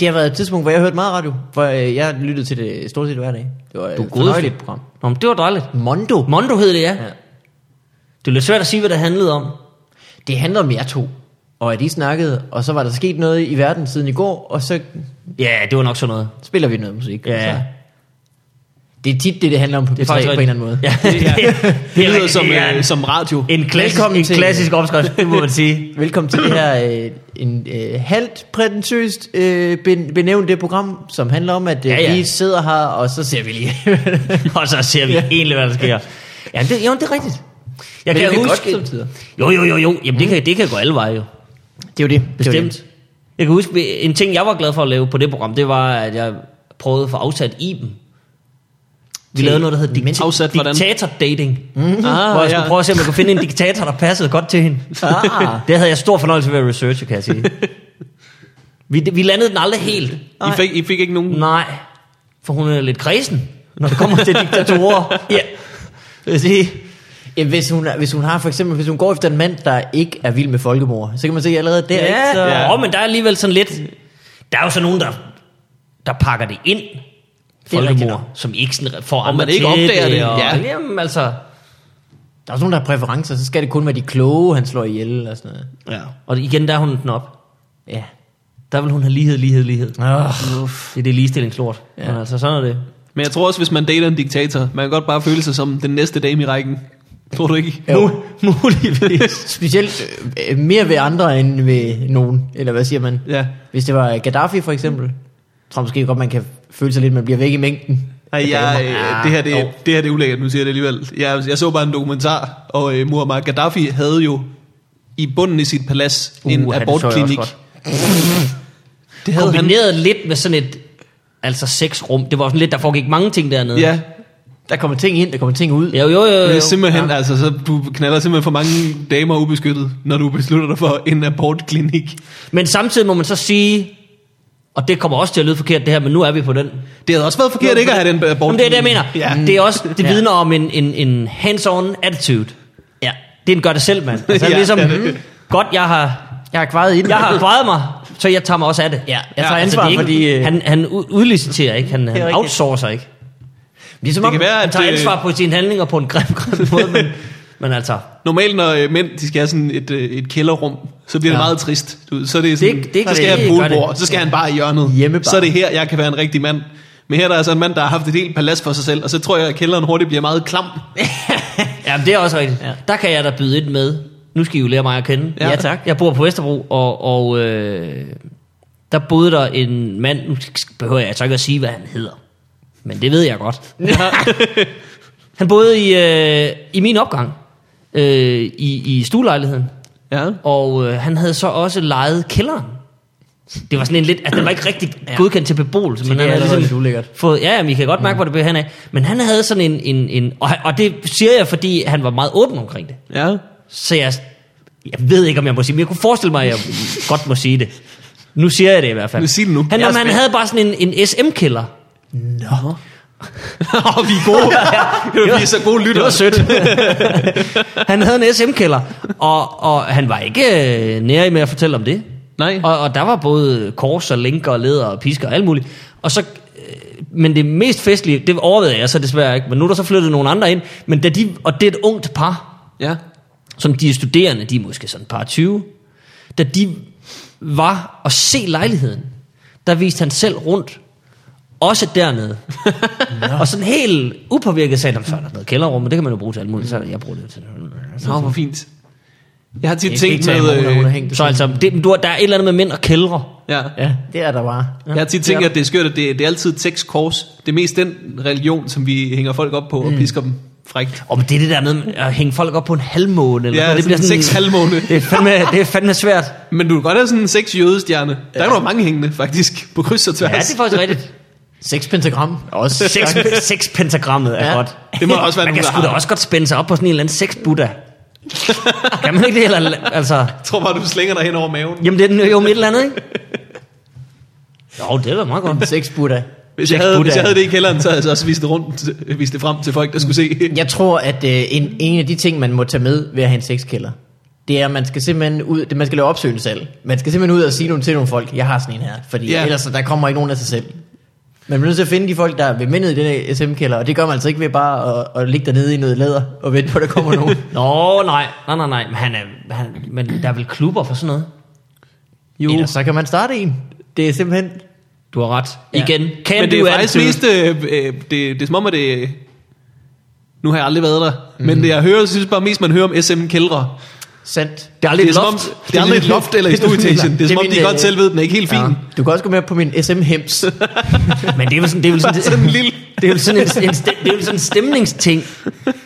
S1: det har været et tidspunkt, hvor jeg hørte meget radio, for øh, jeg lyttede til det stort set hver dag. Det var et
S2: godeste.
S1: fornøjeligt program.
S2: Nå, men det var dejligt.
S1: Mondo.
S2: Mondo hed det, ja. ja.
S1: Ja.
S2: Det er lidt svært at sige, hvad det handlede om.
S1: Det handler om jer to, og at I snakkede, og så var der sket noget i verden siden i går, og så
S2: Ja, det var nok sådan noget.
S1: spiller vi noget musik.
S2: Ja.
S1: og Så. Det er tit det, det handler om på P3 på en
S2: faktisk
S1: eller anden måde.
S2: Ja, det,
S3: Ja. Det lyder
S2: rigtigt,
S3: som,
S2: det er
S3: øh, som radio.
S2: en, klassisk,
S1: Velkommen
S2: en
S1: til-
S2: klassisk opskrift, det må man sige.
S1: Velkommen til det her øh, en, øh, halvt prætentiøst øh, ben- benævnte program, som handler om, at øh,
S2: Ja,
S1: ja,
S2: ja.
S1: ja. vi sidder her, og så ser vi lige.
S2: Og så ser vi egentlig, hvad der sker. Ja, det, jo, det er rigtigt. Jeg
S1: Men
S2: kan
S1: det er
S2: huske...
S1: godt samtidig.
S2: jo, jo, jo, jo. Jamen, det, kan, det kan gå alle veje, jo.
S1: det er jo det.
S2: Bestemt. Jeg kan huske, en ting, jeg var glad for at lave på det program, det var, at jeg prøvede at få afsat Iben. Vi
S1: Til-
S2: lavede noget, der hed dikta-
S3: Afsat hvordan?
S2: diktator-dating.
S3: Mm. Ah,
S2: hvor jeg skulle
S3: ja.
S2: prøve at se, om jeg kunne finde en diktator, der passede godt til hende.
S1: Ah.
S2: Det havde jeg stor fornøjelse ved at researche, kan jeg sige. Vi, vi landede den aldrig helt.
S3: I fik, I fik ikke nogen...
S2: Nej, for hun er lidt kredsen, når det kommer til diktatorer. Ja, vil jeg sige.
S1: Ja, hvis, hun, er- hvis hun har for eksempel, hvis hun går efter en mand, der ikke er vild med folkemord, så kan man se allerede der, ikke? Så,
S2: ja. Oh, men der er alligevel sådan lidt... Der er jo sådan nogen, der, der pakker det ind.
S1: er rigtigt
S2: Folkemord,
S1: nok.
S2: som ikke sådan får andre
S3: man ikke
S2: til
S3: opdager det,
S2: Og,
S3: ja.
S2: Jamen, altså...
S1: Der er også nogen, der har præferencer, så skal det kun være de kloge, han slår ihjel og sådan noget.
S2: Ja. Og igen, der er hun den op.
S1: Ja.
S2: Der vil hun have lighed, lighed, lighed.
S3: Ah.
S1: Oh.
S2: Uff, det er det ligestillingslort. Ja. Men altså, sådan er det.
S3: Men jeg tror også, hvis man dater en diktator, man kan godt bare føle sig som den næste dame i rækken. Tror du ikke?
S1: Jo.
S2: Mu- muligvis.
S1: Specielt øh, mere ved andre end ved nogen, eller hvad siger man?
S3: Ja.
S1: Hvis det var Gaddafi for eksempel, jeg tror måske godt, man kan føle sig lidt, man bliver væk i mængden. Uh,
S3: Ej, jeg, øh, det, her, det, det her det er ulækkert, nu siger jeg det alligevel. Jeg, jeg så bare en dokumentar, og øh, Muammar Gaddafi havde jo i bunden i sit palads uh, en
S2: Uha, det så jeg også
S3: abortklinik.
S2: godt.
S3: Det havde han.
S2: Kombineret lidt med sådan et... Altså sexrum. Det var sådan lidt, der foregik mange ting dernede.
S3: Ja,
S1: Der kommer ting ind, der kommer ting ud.
S2: Jo, jo, jo, jo.
S3: det er simpelthen, ja. altså, så du knaller simpelthen for mange damer ubeskyttet, når du beslutter dig for en abortklinik.
S2: Men samtidig må man så sige, og det kommer også til at lyde forkert det her, men nu er vi på den.
S3: Det havde også været forkert ikke at have den øh,
S2: Jamen, det er det, jeg
S3: abortklinik.
S2: mener. Ja. Det, er også, det
S1: Ja.
S2: vidner om en, en, en hands-on attitude. Ja. Det er en gør det selv, mand. Altså, ja,
S3: Ja,
S2: ligesom,
S3: det er
S2: det.
S3: det.
S2: godt, jeg har,
S1: Jeg har kvaret i den.
S2: jeg har drejet mig, så jeg tager mig også af det. altså,
S1: Ja, jeg tager ansvar,
S2: det er ikke,
S1: fordi, øh,
S2: Han, han u- udliciterer ikke, han, han
S1: rigtigt.
S2: outsourcer ikke.
S1: Det er som
S2: Ligesom
S3: Det
S1: om,
S3: kan være,
S2: Han
S3: at
S2: tager
S3: øh,
S2: ansvar på sine handlinger på en grim, grim måde, men, men altså,
S3: normalt når øh, mænd de skal have sådan et, øh, et kælderrum, så bliver ja.
S2: Ja.
S3: det meget trist. Du, så er det er sådan,
S2: Det- det
S3: det, det,
S2: kan
S3: så skal
S2: det
S3: jeg have
S2: ikke gøre
S3: et hovedbord,
S2: det.
S3: så skal han bare i hjørnet.
S1: Hjemmebar.
S3: Så er det her, jeg kan være en rigtig mand. Men her der er altså en mand, der har haft et helt palads for sig selv, og så tror jeg, at kælderen hurtigt bliver meget klam.
S2: jamen, det er også rigtigt. Ja. Der kan jeg da byde ind med, nu skal I jo lære mig at kende.
S3: Ja. Ja,
S1: tak.
S2: Jeg bor på Vesterbro, og, og øh, der boede der en mand, nu behøver jeg altså ikke at sige, hvad han hedder. Men det ved jeg godt. han boede i, øh, i min opgang, øh, i, i stuelejligheden.
S3: Ja.
S2: Og øh, han havde så også lejet kælderen. Det var sådan en lidt, altså den var ikke rigtig godkendt til beboelse, men
S1: det
S2: han
S1: er
S2: havde
S1: allerede
S2: ligesom
S1: lidt ulækkert.
S2: fået, ja, men I kan godt mærke, hvor det blev han af. Men han havde sådan en, en, en og, han- og det siger jeg, fordi han var meget åben omkring det.
S3: Ja.
S2: Så jeg, jeg ved ikke, om jeg må sige, men jeg kunne forestille mig, at jeg godt må sige det. Nu siger jeg det i hvert fald.
S3: Nu sig det nu.
S2: Han,
S3: Jeg er
S2: jamen, han
S3: spændt.
S2: havde bare sådan en, en SM-kælder.
S1: Nå.
S3: og vi er gode.
S2: Det var-
S3: vi er så gode
S2: Det var
S3: lyttere.
S2: sødt. han havde en SM-kælder, og, og han var ikke øh, nære med at fortælle om det.
S3: Nej.
S2: Og, og der var både kors og lænker og leder og pisker og alt muligt. Og så, øh, men det mest festlige, det overvejede jeg så desværre ikke, men nu er der så flyttet nogle andre ind. Men da de, og det er et ungt par,
S3: Ja.
S2: som de er studerende, de er måske sådan par 20. Da de var og se lejligheden, der viste han selv rundt Også dernede. og sådan helt upåvirket sagde han, så er der noget kælderrum, og det kan man jo bruge til alt muligt. Så jeg bruger det til
S3: Nå, hvor fint. Jeg har tit
S1: Det er
S3: tænkt
S1: ikke
S3: med...
S1: tabu, når hun er
S3: Øh,
S1: hængt.
S2: Så altså, det, du, har- der er et eller andet med mænd og kældre.
S3: ja.
S1: Ja, det er der bare.
S3: Jeg har tit tænkt, at det er skørt, at det, det er altid tekst kors. Det er mest den religion, som vi hænger folk op på og pisker dem frækt.
S2: Og men det er det der med at hænge folk op på en halvmåne. Eller
S3: Ja,
S2: sådan,
S3: det bliver sådan seks halvmåne.
S2: Det er fandme, det er fandme svært.
S3: Men du kan godt have sådan en seks jødestjerne. Der er jo mange hængende, faktisk, på kryds og
S2: Ja,
S3: tværs.
S2: det er faktisk rigtigt.
S1: Seks pentagram. Også.
S2: Seks, seks pentagrammet er ja. godt.
S3: Det må der også være
S2: Man kan
S3: nogen, der
S2: sgu da
S3: har.
S2: også godt spænde sig op på sådan en eller anden seks Buddha. kan man ikke det? Eller, altså,
S3: Jeg tror bare, du slænger dig hen over maven.
S2: jamen det er den- jo med et eller andet, ikke? Jo, det er da meget godt.
S1: Seks Buddha.
S3: Hvis jeg,
S2: Seks
S3: havde, hvis
S2: Buddhaer.
S3: jeg havde det i kælderen, så havde jeg så også vist det, rundt, vist det frem til folk, der skulle se.
S1: Jeg tror, at øh, en, en af de ting, man må tage med ved at have en sexkælder, det er, at man skal simpelthen ud, det, man skal lave opsøgende salg. Man skal simpelthen ud og sige nogle, til nogle folk, jeg har sådan en her, fordi
S3: Ja.
S1: yeah. ellers så der kommer ikke nogen af sig selv. Man bliver nødt til at finde de folk, der vil med ned i den her SM-kælder, og det gør man altså ikke ved bare at, at ligge dernede i noget læder og vente på, at der kommer nogen.
S2: Nå, nej, nej, nej, nej. Men, han er, han, men der er vel klubber for sådan noget?
S1: Jo. Ellers så kan man starte en. Det er simpelthen...
S2: Du har ret.
S1: Ja.
S2: Igen. Can
S3: Men det
S2: do
S3: er faktisk
S2: attitude.
S3: mest, øh, øh, det, det er som om, at det, nu har jeg aldrig været der, mm. men det jeg hører, synes bare mest, man hører om SM-kældre.
S1: Sandt.
S2: Det er aldrig
S3: Det er,
S2: et
S3: som om,
S2: loft.
S3: det er aldrig et loft eller i stueetagen. Det er som om,
S1: min,
S3: de
S1: øh,
S3: godt selv ved, den er ikke helt fin.
S1: Ja. Du kan også gå med på min SM-hems.
S2: Men det er vel sådan, det er vel sådan,
S3: Bare sådan en lille...
S2: Det er jo sådan en, en, stem- det er jo sådan en stemningsting.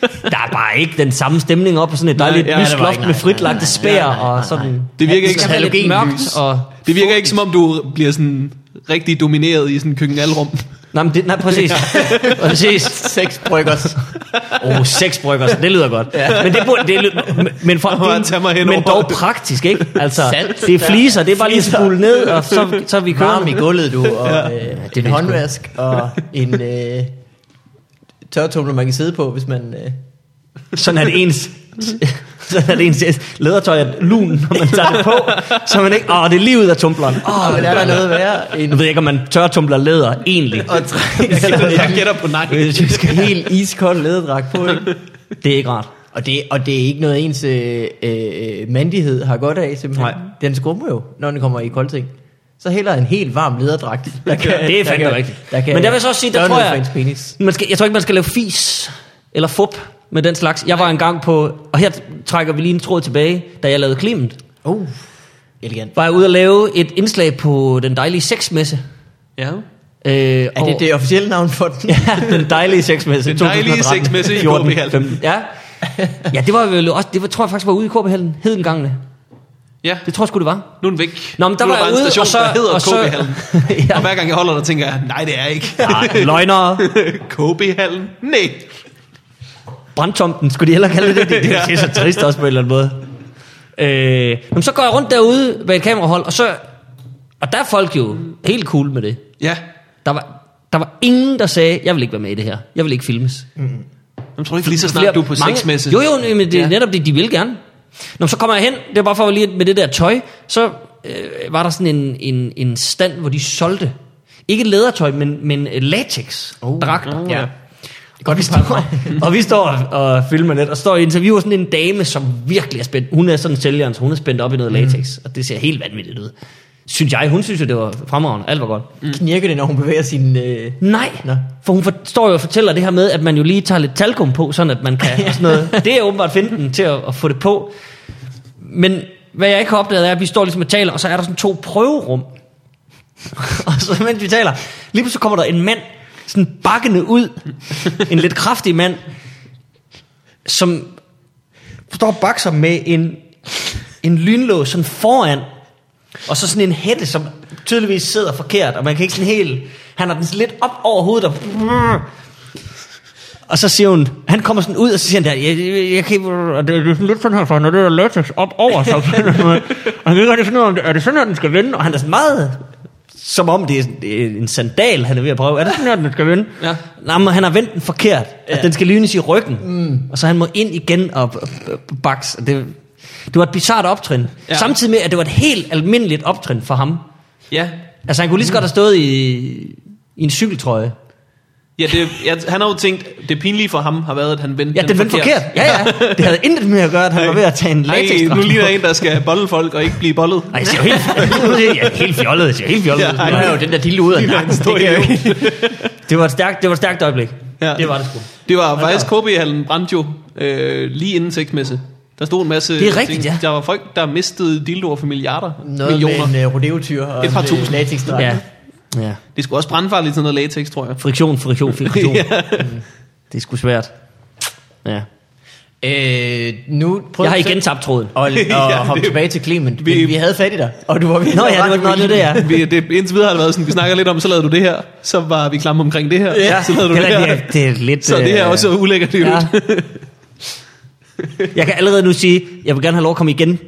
S2: Der er bare ikke den samme stemning op på sådan et dejligt
S3: Nej, ja,
S2: ja,
S1: det
S2: lysloft
S1: var
S2: loft
S1: ikke, nej,
S2: med
S1: nej,
S2: fritlagte
S1: nej,
S2: spær
S1: nej, nej, nej.
S2: og sådan.
S3: Det virker
S2: Ja,
S3: ikke
S2: skal være lidt
S1: halogenlys.
S2: mørkt. Og,
S3: Det virker ikke, som om du bliver sådan rigtig domineret i sådan en køkkenalrum.
S2: nej, men det, nej, præcis. præcis.
S1: Seks bryggers.
S2: Åh, oh, seks brygger, så det lyder godt. Ja. Men det burde, det lyder, men- men, fra,
S3: Bare
S2: det,
S3: tag mig hen
S2: men
S3: over
S2: dog
S3: det.
S2: praktisk, ikke? Altså,
S1: Sandt.
S2: det er fliser, det er bare lige at
S1: Fliser.
S2: spule ned, og så, så er vi
S1: varm
S2: kører.
S1: i gulvet, du, og ja. øh,
S2: det
S1: det
S2: er
S1: en håndvask, og en øh, tørretumbler, man kan sidde på, hvis man... Øh,
S2: Sådan at ens sådan at ens lædertøj er lun, når man tager det på, så man ikke, åh, det er lige ud af tumbleren.
S1: åh, men er der noget værre
S2: Nu
S1: end
S2: ved jeg ikke, om man tørretumbler læder egentlig.
S1: at trække
S3: Jeg gætter, jeg
S1: sådan
S3: gætter på nej.
S1: en helt iskold læderdragt på, ikke?
S2: Det er ikke rart.
S1: Og det, og det er ikke noget, ens øh, øh, mandighed har godt af, simpelthen.
S2: Nej.
S1: Den skrummer jo, når den kommer i koldting. Så heller en helt varm læderdragt. Der kan,
S2: Det er
S1: der
S2: fandme
S1: kan-
S2: rigtigt. Men der vil jeg så også sige, der
S1: gøre
S2: tror
S1: noget
S2: jeg-
S1: For ens penis.
S2: Man skal, jeg tror ikke, man skal lave fis eller fup med den slags. Jeg var engang på, og her trækker vi lige en tråd tilbage, da jeg lavede klimt.
S1: Uh, elegant.
S2: Var jeg ude at lave et indslag på den dejlige sexmesse.
S3: Ja.
S2: Øh,
S1: Er det det officielle navn for den?
S2: Ja, den dejlige sexmesse.
S3: Den dejlige
S2: 2013,
S3: sexmesse i
S2: 14,
S3: KB Hallen.
S2: 15. Ja. ja, det var vel også, det var, tror jeg faktisk var ude i KB Hallen, Hedengangene.
S3: Ja,
S2: Det tror jeg sgu, det var.
S3: nu er den væk.
S2: Nå, men der
S3: nu
S2: var
S3: er
S2: jeg
S3: bare en
S2: ude,
S3: station,
S2: og så...
S3: der hedder
S2: og så,
S3: KB-hallen. Og hver gang jeg holder der, tænker jeg, nej, det er ikke.
S2: ja, løgnere.
S3: KB-hallen? Nej.
S2: Brandtomten, skulle de heller kalde det det. Det, det er så trist også på en eller anden måde. Øh, jamen, så går jeg rundt derude med et kamerahold, og så... Og der er folk jo helt cool med det.
S3: Ja.
S2: Der var, der var ingen, der sagde, jeg vil ikke være med i det her. Jeg vil ikke filmes.
S3: Jeg tror du ikke lige så snart, du er på sexmesse.
S2: Jo, jo, men det er
S3: Ja.
S2: ja. netop det, de vil gerne. Nå, så kommer jeg hen, det er bare for lige med det der tøj, så øh, var der sådan en, en, en stand, hvor de solgte, ikke lædertøj, men, men øh, latex dragter.
S3: oh, ja.
S2: Godt, vi står, og vi står og, og filmer lidt, og står og interviewer sådan en dame, som virkelig er spændt. Hun er sådan sælgeren, så hun er spændt op i noget
S3: Mm.
S2: latex, og det ser helt vanvittigt ud. Synes jeg, hun synes jo, det var fremragende. Alt var godt.
S3: Mm.
S1: Knirker det, når hun bevæger sin... Øh,
S2: Nej,
S1: Nå.
S2: for hun forstår jo og fortæller det her med, at man jo lige tager lidt talkum på, sådan at man kan og sådan noget. Det er åbenbart finden til at, at få det på. Men hvad jeg ikke har opdaget er, at vi står ligesom og taler, og så er der sådan to prøverum. og så mens vi taler, lige pludselig kommer der en mand, sådan bakkende ud, en lidt kraftig mand, som står og bakser med en, en lynlås sådan foran, og så sådan en hætte, som tydeligvis sidder forkert, og man kan ikke sådan helt... Han har den sådan lidt op over hovedet, og... Og så siger hun, han kommer sådan ud, og så siger han der, jeg, jeg, jeg kan ikke, og det, det er sådan lidt sådan her, for når det er latex op over, så, og han kan ikke rigtig finde ud af, om det- er det sådan her, den skal vende? Og han er sådan meget, som om det er sådan- det er en sandal, han er ved at prøve. Er det sådan her, den skal vende?
S3: Ja.
S2: Nej, men han har vendt den forkert. Ja. Altså, den skal lynes i ryggen. Mm. Og så han må ind igen og b- b- baks. Og Det, det var et bizart optrin.
S3: Ja.
S2: Ja. Samtidig med, at det var et helt almindeligt optrin for ham.
S3: Ja.
S2: Altså, han kunne lige så godt have stået i, i en cykeltrøje.
S3: Ja, det, jeg, han har jo tænkt, det pinlige for ham har været, at han vendte
S1: Ja, den vendte forkert. Ja, ja. Det havde intet med at gøre, at han var ved at tage en latex
S3: Nej, nu ligner jeg en, der skal bolle folk og ikke blive bollet.
S2: Ej, jeg ser jo helt, jeg er helt fjollet. Jeg ser helt fjollet.
S3: Ja,
S2: ud.
S3: ej,
S1: Nu er jo den der dildo ud af
S3: Ligner en
S1: nakken. Det
S3: stor
S1: kan jeg jo
S3: idiot.
S1: ikke.
S2: Det var et stærkt, det var et stærkt øjeblik.
S3: Ja.
S2: Det var det sgu.
S3: Det var faktisk KB-hallen brændte jo øh, lige inden sexmesse. Der stod en masse
S1: Det er rigtigt, ja.
S3: Der var folk, der mistede dildoer for milliarder Noget
S1: Noget
S3: millioner.
S1: med en uh, rodeo-tyr og
S3: Et par
S1: en, øh,
S3: tusind.
S1: latexdragt.
S2: Ja. ja.
S3: Det skulle også brandfarligt sådan noget latex, tror jeg.
S2: Friktion, friktion, friktion.
S3: Ja.
S2: Mm. Det er sgu svært. Ja.
S1: Øh, nu prøver
S2: Jeg har igen tabt tråden.
S1: og, og
S3: Ja,
S1: hoppe
S3: det-
S1: tilbage til Clement.
S3: vi-
S1: Vi, vi havde fat i dig, og du var ved
S2: Nå ja, det var noget det, det er.
S3: Vi, det, indtil videre har det været sådan, vi snakker lidt om, så lavede du det her, så var vi klamme omkring det her,
S2: Ja,
S3: så lavede du
S2: det
S3: det
S2: er
S3: her.
S2: rigtigt. Det er lidt,
S3: så det her er
S2: øh,
S3: også ulækkert det ja.
S2: ja. Jeg kan allerede nu sige, jeg vil gerne have lov at komme igen.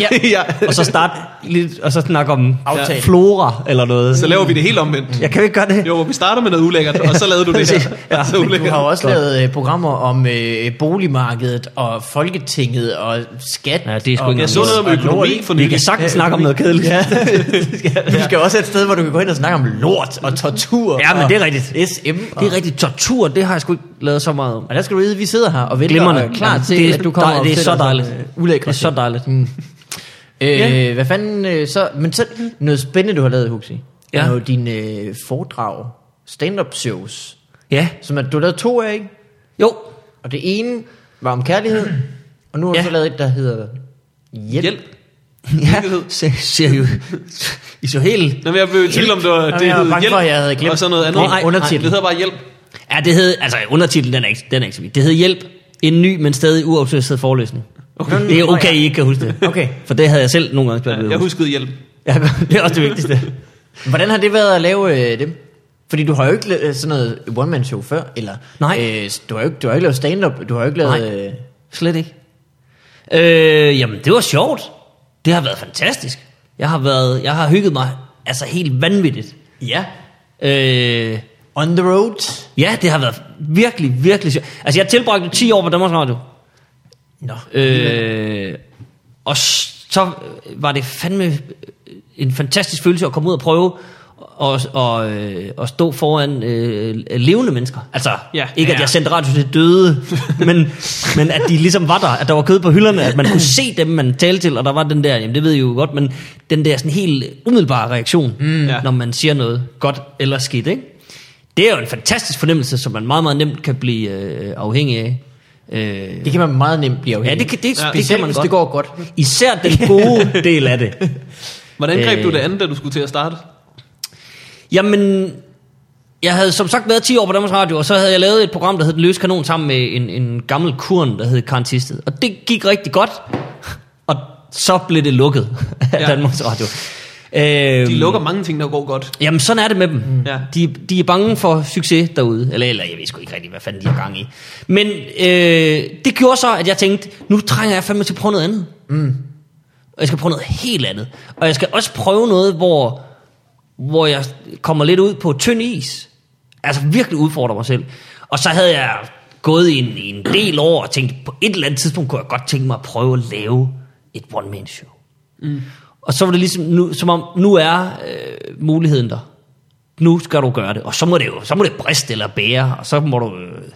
S1: Ja.
S3: ja.
S2: Og så starte lidt, og så snakke om
S1: Aftale.
S2: flora eller noget.
S3: Så laver vi det helt omvendt.
S2: Jeg kan jo ikke gøre det.
S3: Jo, hvor vi starter med noget ulækkert, og så lavede du det her.
S2: Ja,
S3: ja, så
S2: men du
S1: Du
S3: ulækkert.
S1: har jo også
S2: Godt.
S1: lavet øh, programmer om øh, boligmarkedet og Folketinget og skat.
S2: Ja, det er sgu
S1: og-
S2: ikke
S3: Jeg så noget om
S1: og lort.
S3: økonomi for
S2: Vi
S3: nylig.
S2: kan sagtens snakke om noget kedeligt. Ja,
S1: Du skal også et sted, hvor du kan gå hen og snakke om lort og tortur.
S2: ja men
S1: og
S2: det er rigtigt.
S1: SM. Og,
S2: Det er rigtigt. Tortur, det har jeg sgu ikke lavet så meget om.
S1: og der skal du vide, at vi sidder her og venter
S2: Glimrende.
S1: og er klar
S2: Jamen,
S1: til,
S2: det er
S1: at du kommer
S2: dej-
S1: og
S2: det er
S1: fortæller
S2: så
S1: os om,
S2: dejligt.
S1: øh, Ulækre
S2: Det er så
S1: ting.
S2: dejligt.
S1: Mm. Øh,
S2: Ja.
S1: Hvad fanden øh, så... Men så noget spændende, du har lavet, Huxi.
S2: Ja.
S1: Ja. Er jo dine øh, foredrag, stand-up shows,
S2: Ja.
S1: som at, du har lavet to af, ikke?
S2: Jo.
S1: Og det ene var om kærlighed, og nu har du
S2: Ja.
S1: ja. så lavet et, der hedder Hjælp.
S3: Hjælp.
S2: Ja, se- ser jo... I så helt...
S3: Nå, men jeg blev i tvivl om, det var,
S1: Jamen,
S3: det
S1: jeg var
S3: hed
S1: bange
S3: hjælp,
S1: for, at jeg havde glemt
S3: og så noget andet.
S1: din undertitel.
S3: det hedder bare hjælp.
S2: Ja, det hed... Altså, undertitlen, den er ikke, den er ikke så vild. Det hed Hjælp. En ny, men stadig uautoriseret foreløsning. Okay. Det er okay, I ikke kan huske det.
S1: Okay.
S2: For det havde jeg selv nogle gange svært ved. at
S3: Jeg
S2: huske.
S3: huskede hjælp.
S2: Ja, det er også det vigtigste.
S1: Hvordan har det været at lave øh, dem? Fordi du har jo ikke lavet sådan noget one-man-show før, eller...
S2: Nej.
S1: Øh, du, har jo ikke, du har ikke lavet stand-up, du har jo ikke lavet...
S2: Nej.
S1: Øh,
S2: Slet ikke. Øh, jamen, det var sjovt. Det har været fantastisk. Jeg har været... Jeg har hygget mig altså helt vanvittigt.
S1: ja.
S2: Øh,
S1: On the road.
S2: ja, det har været virkelig, virkelig sjovt. Altså, jeg tilbragte 10 år på Danmarks Radio.
S1: Nå.
S2: Øh, og s- så var det fandme øh, en fantastisk følelse at komme ud og prøve og, og, øh, og stå foran øh, levende mennesker. Altså,
S3: Ja.
S2: ja, ikke at
S3: Ja.
S2: jeg sendte radio til døde, men, men at de ligesom var der, at der var kød på hylderne, at man kunne se dem, man talte til, og der var den der, jamen det ved I jo godt, men den der sådan helt umiddelbare reaktion, mm.
S3: Ja.
S2: når man siger noget godt eller skidt, ikke? Det er jo en fantastisk fornemmelse, som man meget, meget nemt kan blive øh, afhængig af. Øh,
S1: Det kan man meget nemt blive afhængig.
S2: Ja, det kan- det-
S1: ja,
S2: det
S1: Specielt,
S2: kan man
S1: hvis
S2: godt.
S1: det går godt.
S2: Især den gode del af det.
S3: Hvordan greb
S2: Øh.
S3: du det andet, da du skulle til at starte?
S2: Jamen, jeg havde som sagt været 10 år på Danmarks Radio, og så havde jeg lavet et program, der hed Den Løse Kanon, sammen med en, en gammel kurn, der hed Karen Tisted. Og det gik rigtig godt, og så blev det lukket af
S3: Ja.
S2: ja. Danmarks Radio. Øhm,
S3: De lukker mange ting, der går godt.
S2: Jamen, sådan er det med dem.
S3: Ja.
S2: De, de er bange for succes derude. Eller, eller jeg ved sgu ikke rigtig, hvad fanden de har gang i. Men øh, det gjorde så, at jeg tænkte, nu trænger jeg fandme til at prøve noget andet. Mm. Og jeg skal prøve noget helt andet. Og jeg skal også prøve noget, hvor, hvor jeg kommer lidt ud på tynd is. Altså virkelig udfordrer mig selv. Og så havde jeg gået i en, i en del år og tænkt, på et eller andet tidspunkt kunne jeg godt tænke mig at prøve at lave et one-man-show. Og så var det ligesom, nu, som om, nu er øh, muligheden der. Nu skal du gøre det. Og så må det jo, så må det briste eller bære, og så må du øh,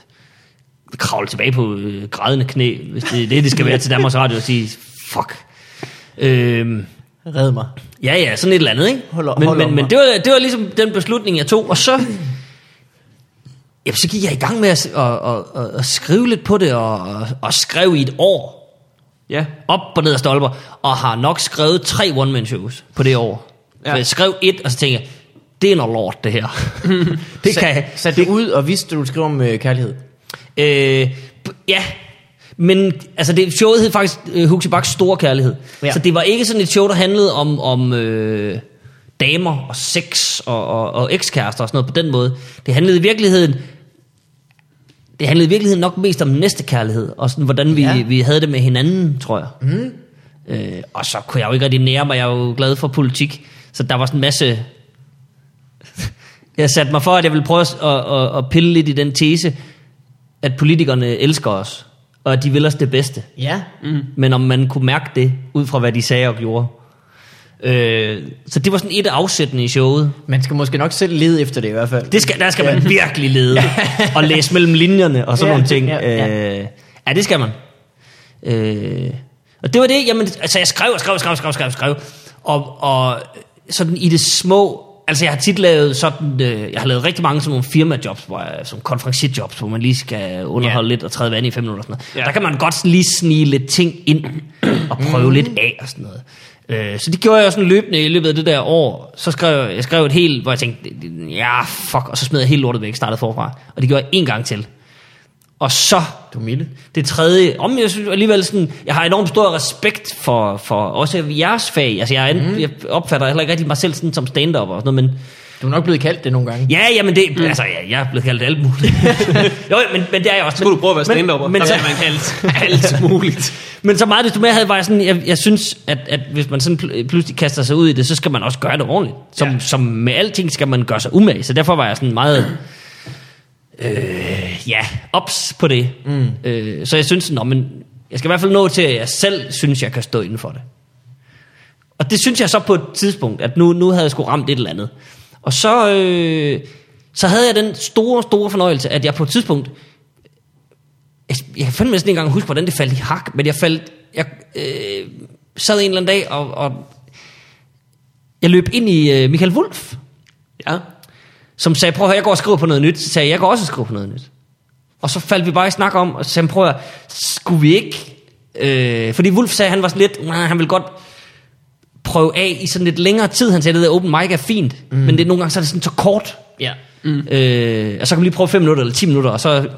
S2: kravle tilbage på øh, grædende knæ, hvis det er det, det skal være til Danmarks Radio, og sige, fuck. Øhm,
S1: Red mig.
S2: ja, ja, sådan et eller andet, ikke?
S1: Hold- hold
S2: men
S1: om
S2: men,
S1: mig.
S2: men det, var, det var ligesom den beslutning, jeg tog, og så... Jamen, så gik jeg i gang med at, at, at, at, at skrive lidt på det, og, og, og skrev i et år
S3: Ja.
S2: op og ned af stolper, og har nok skrevet tre one-man-shows på det år.
S3: Ja.
S2: Ja. Jeg skrev et, og så tænkte jeg, det er noget lort, det her. det kan jeg.
S1: Sat det ud og vidste, at du skrev om øh, kærlighed.
S2: Øh, b- ja, men altså det, showet hed faktisk øh, Huxi Baks Store Kærlighed.
S1: Ja.
S2: Ja. Så det var ikke sådan et show, der handlede om, om øh, damer og sex og, og, og ekskærester og sådan noget på den måde. Det handlede i virkeligheden det handlede i virkeligheden nok mest om næstekærlighed, og sådan, hvordan vi,
S1: Ja.
S2: ja. vi havde det med hinanden, tror jeg. Mm. Øh, og så kunne jeg jo ikke rigtig nære mig, jeg er jo glad for politik, så der var sådan en masse jeg satte mig for, at jeg ville prøve at, at, at pille lidt i den tese, at politikerne elsker os, og at de vil os det bedste.
S1: Ja.
S2: Mm. Men om man kunne mærke det, ud fra hvad de sagde og gjorde. Øh, så det var sådan et af afsættene i showet.
S1: Man skal måske nok selv lede efter det i hvert fald.
S2: Det skal, der skal man virkelig lede og læse mellem linjerne og sådan
S1: Ja,
S2: nogle ting.
S1: ja, ja.
S2: Øh, ja, det skal man. Øh, og det var det, jamen, altså jeg skrev og skrev og skrev og skrev, og skrev, og skrev. Og, og sådan i det små, altså jeg har tit lavet sådan, øh, jeg har lavet rigtig mange sådan nogle firmajobs, hvor jeg, som konferencierjobs, hvor man lige skal underholde lidt og træde vand i fem minutter og sådan noget.
S3: Ja.
S2: Ja. Der kan man godt lige snige lidt ting ind og prøve mm. lidt af og sådan noget. Øh, Så det gjorde jeg sådan løbende i løbet af det der år. Så skrev jeg, jeg skrev et helt, hvor jeg tænkte, ja fuck, og så smed jeg helt lortet væk, startede forfra. Og det gjorde jeg en gang til. Og så
S1: Du er milde.
S2: det tredje, om jeg synes alligevel sådan, jeg har enormt stor respekt for, for også jeres fag. Altså jeg, er, mm. jeg opfatter heller ikke rigtig mig selv sådan som stand-up og sådan noget, men
S1: Du er nok blevet kaldt det nogle gange.
S2: ja, ja, men det, mm. altså ja, jeg er blevet kaldt alt muligt. jo, men, men det er jeg også.
S3: Så kunne du prøve at være
S2: men-
S3: stand-upper.
S2: Men,
S3: Men,
S2: men,
S3: der
S2: så,
S3: bliver man kaldt alt muligt.
S2: men så meget desto mere havde var jeg sådan, jeg, jeg synes, at, at hvis man sådan pl- pludselig kaster sig ud i det, så skal man også gøre det ordentligt. Som,
S3: Ja.
S2: ja. som med alting skal man gøre sig umage, så derfor var jeg sådan meget... Øh, ja, ops på det. Mm. Øh, så jeg synes, sådan, nå, men jeg skal i hvert fald nå til, at jeg selv synes, jeg kan stå inden for det. Og det synes jeg så på et tidspunkt, at nu, nu havde jeg sgu ramt et eller andet. Og så, øh, så havde jeg den store, store fornøjelse, at jeg på et tidspunkt, jeg, jeg kan fandme næsten ikke engang huske, hvordan det faldt i hak, men jeg faldt, jeg øh, sad en eller anden dag, og, og jeg løb ind i øh, Michael Wolf,
S3: Ja.
S2: som sagde, prøv at høre, jeg går og skriver på noget nyt. Så sagde jeg, jeg går også og skriver på noget nyt. Og så faldt vi bare i snak om, og så sagde han, prøv at høre, skulle vi ikke... Øh, fordi Wolf sagde, han var sådan lidt, "Nej, han ville godt prøve af i sådan lidt længere tid. Han sagde, det der open mic er fint, mm. men det, nogle gange så er det sådan så kort.
S1: Ja.
S2: Mm. Øh, og så kan man lige prøve 5 minutter eller 10 minutter, og så...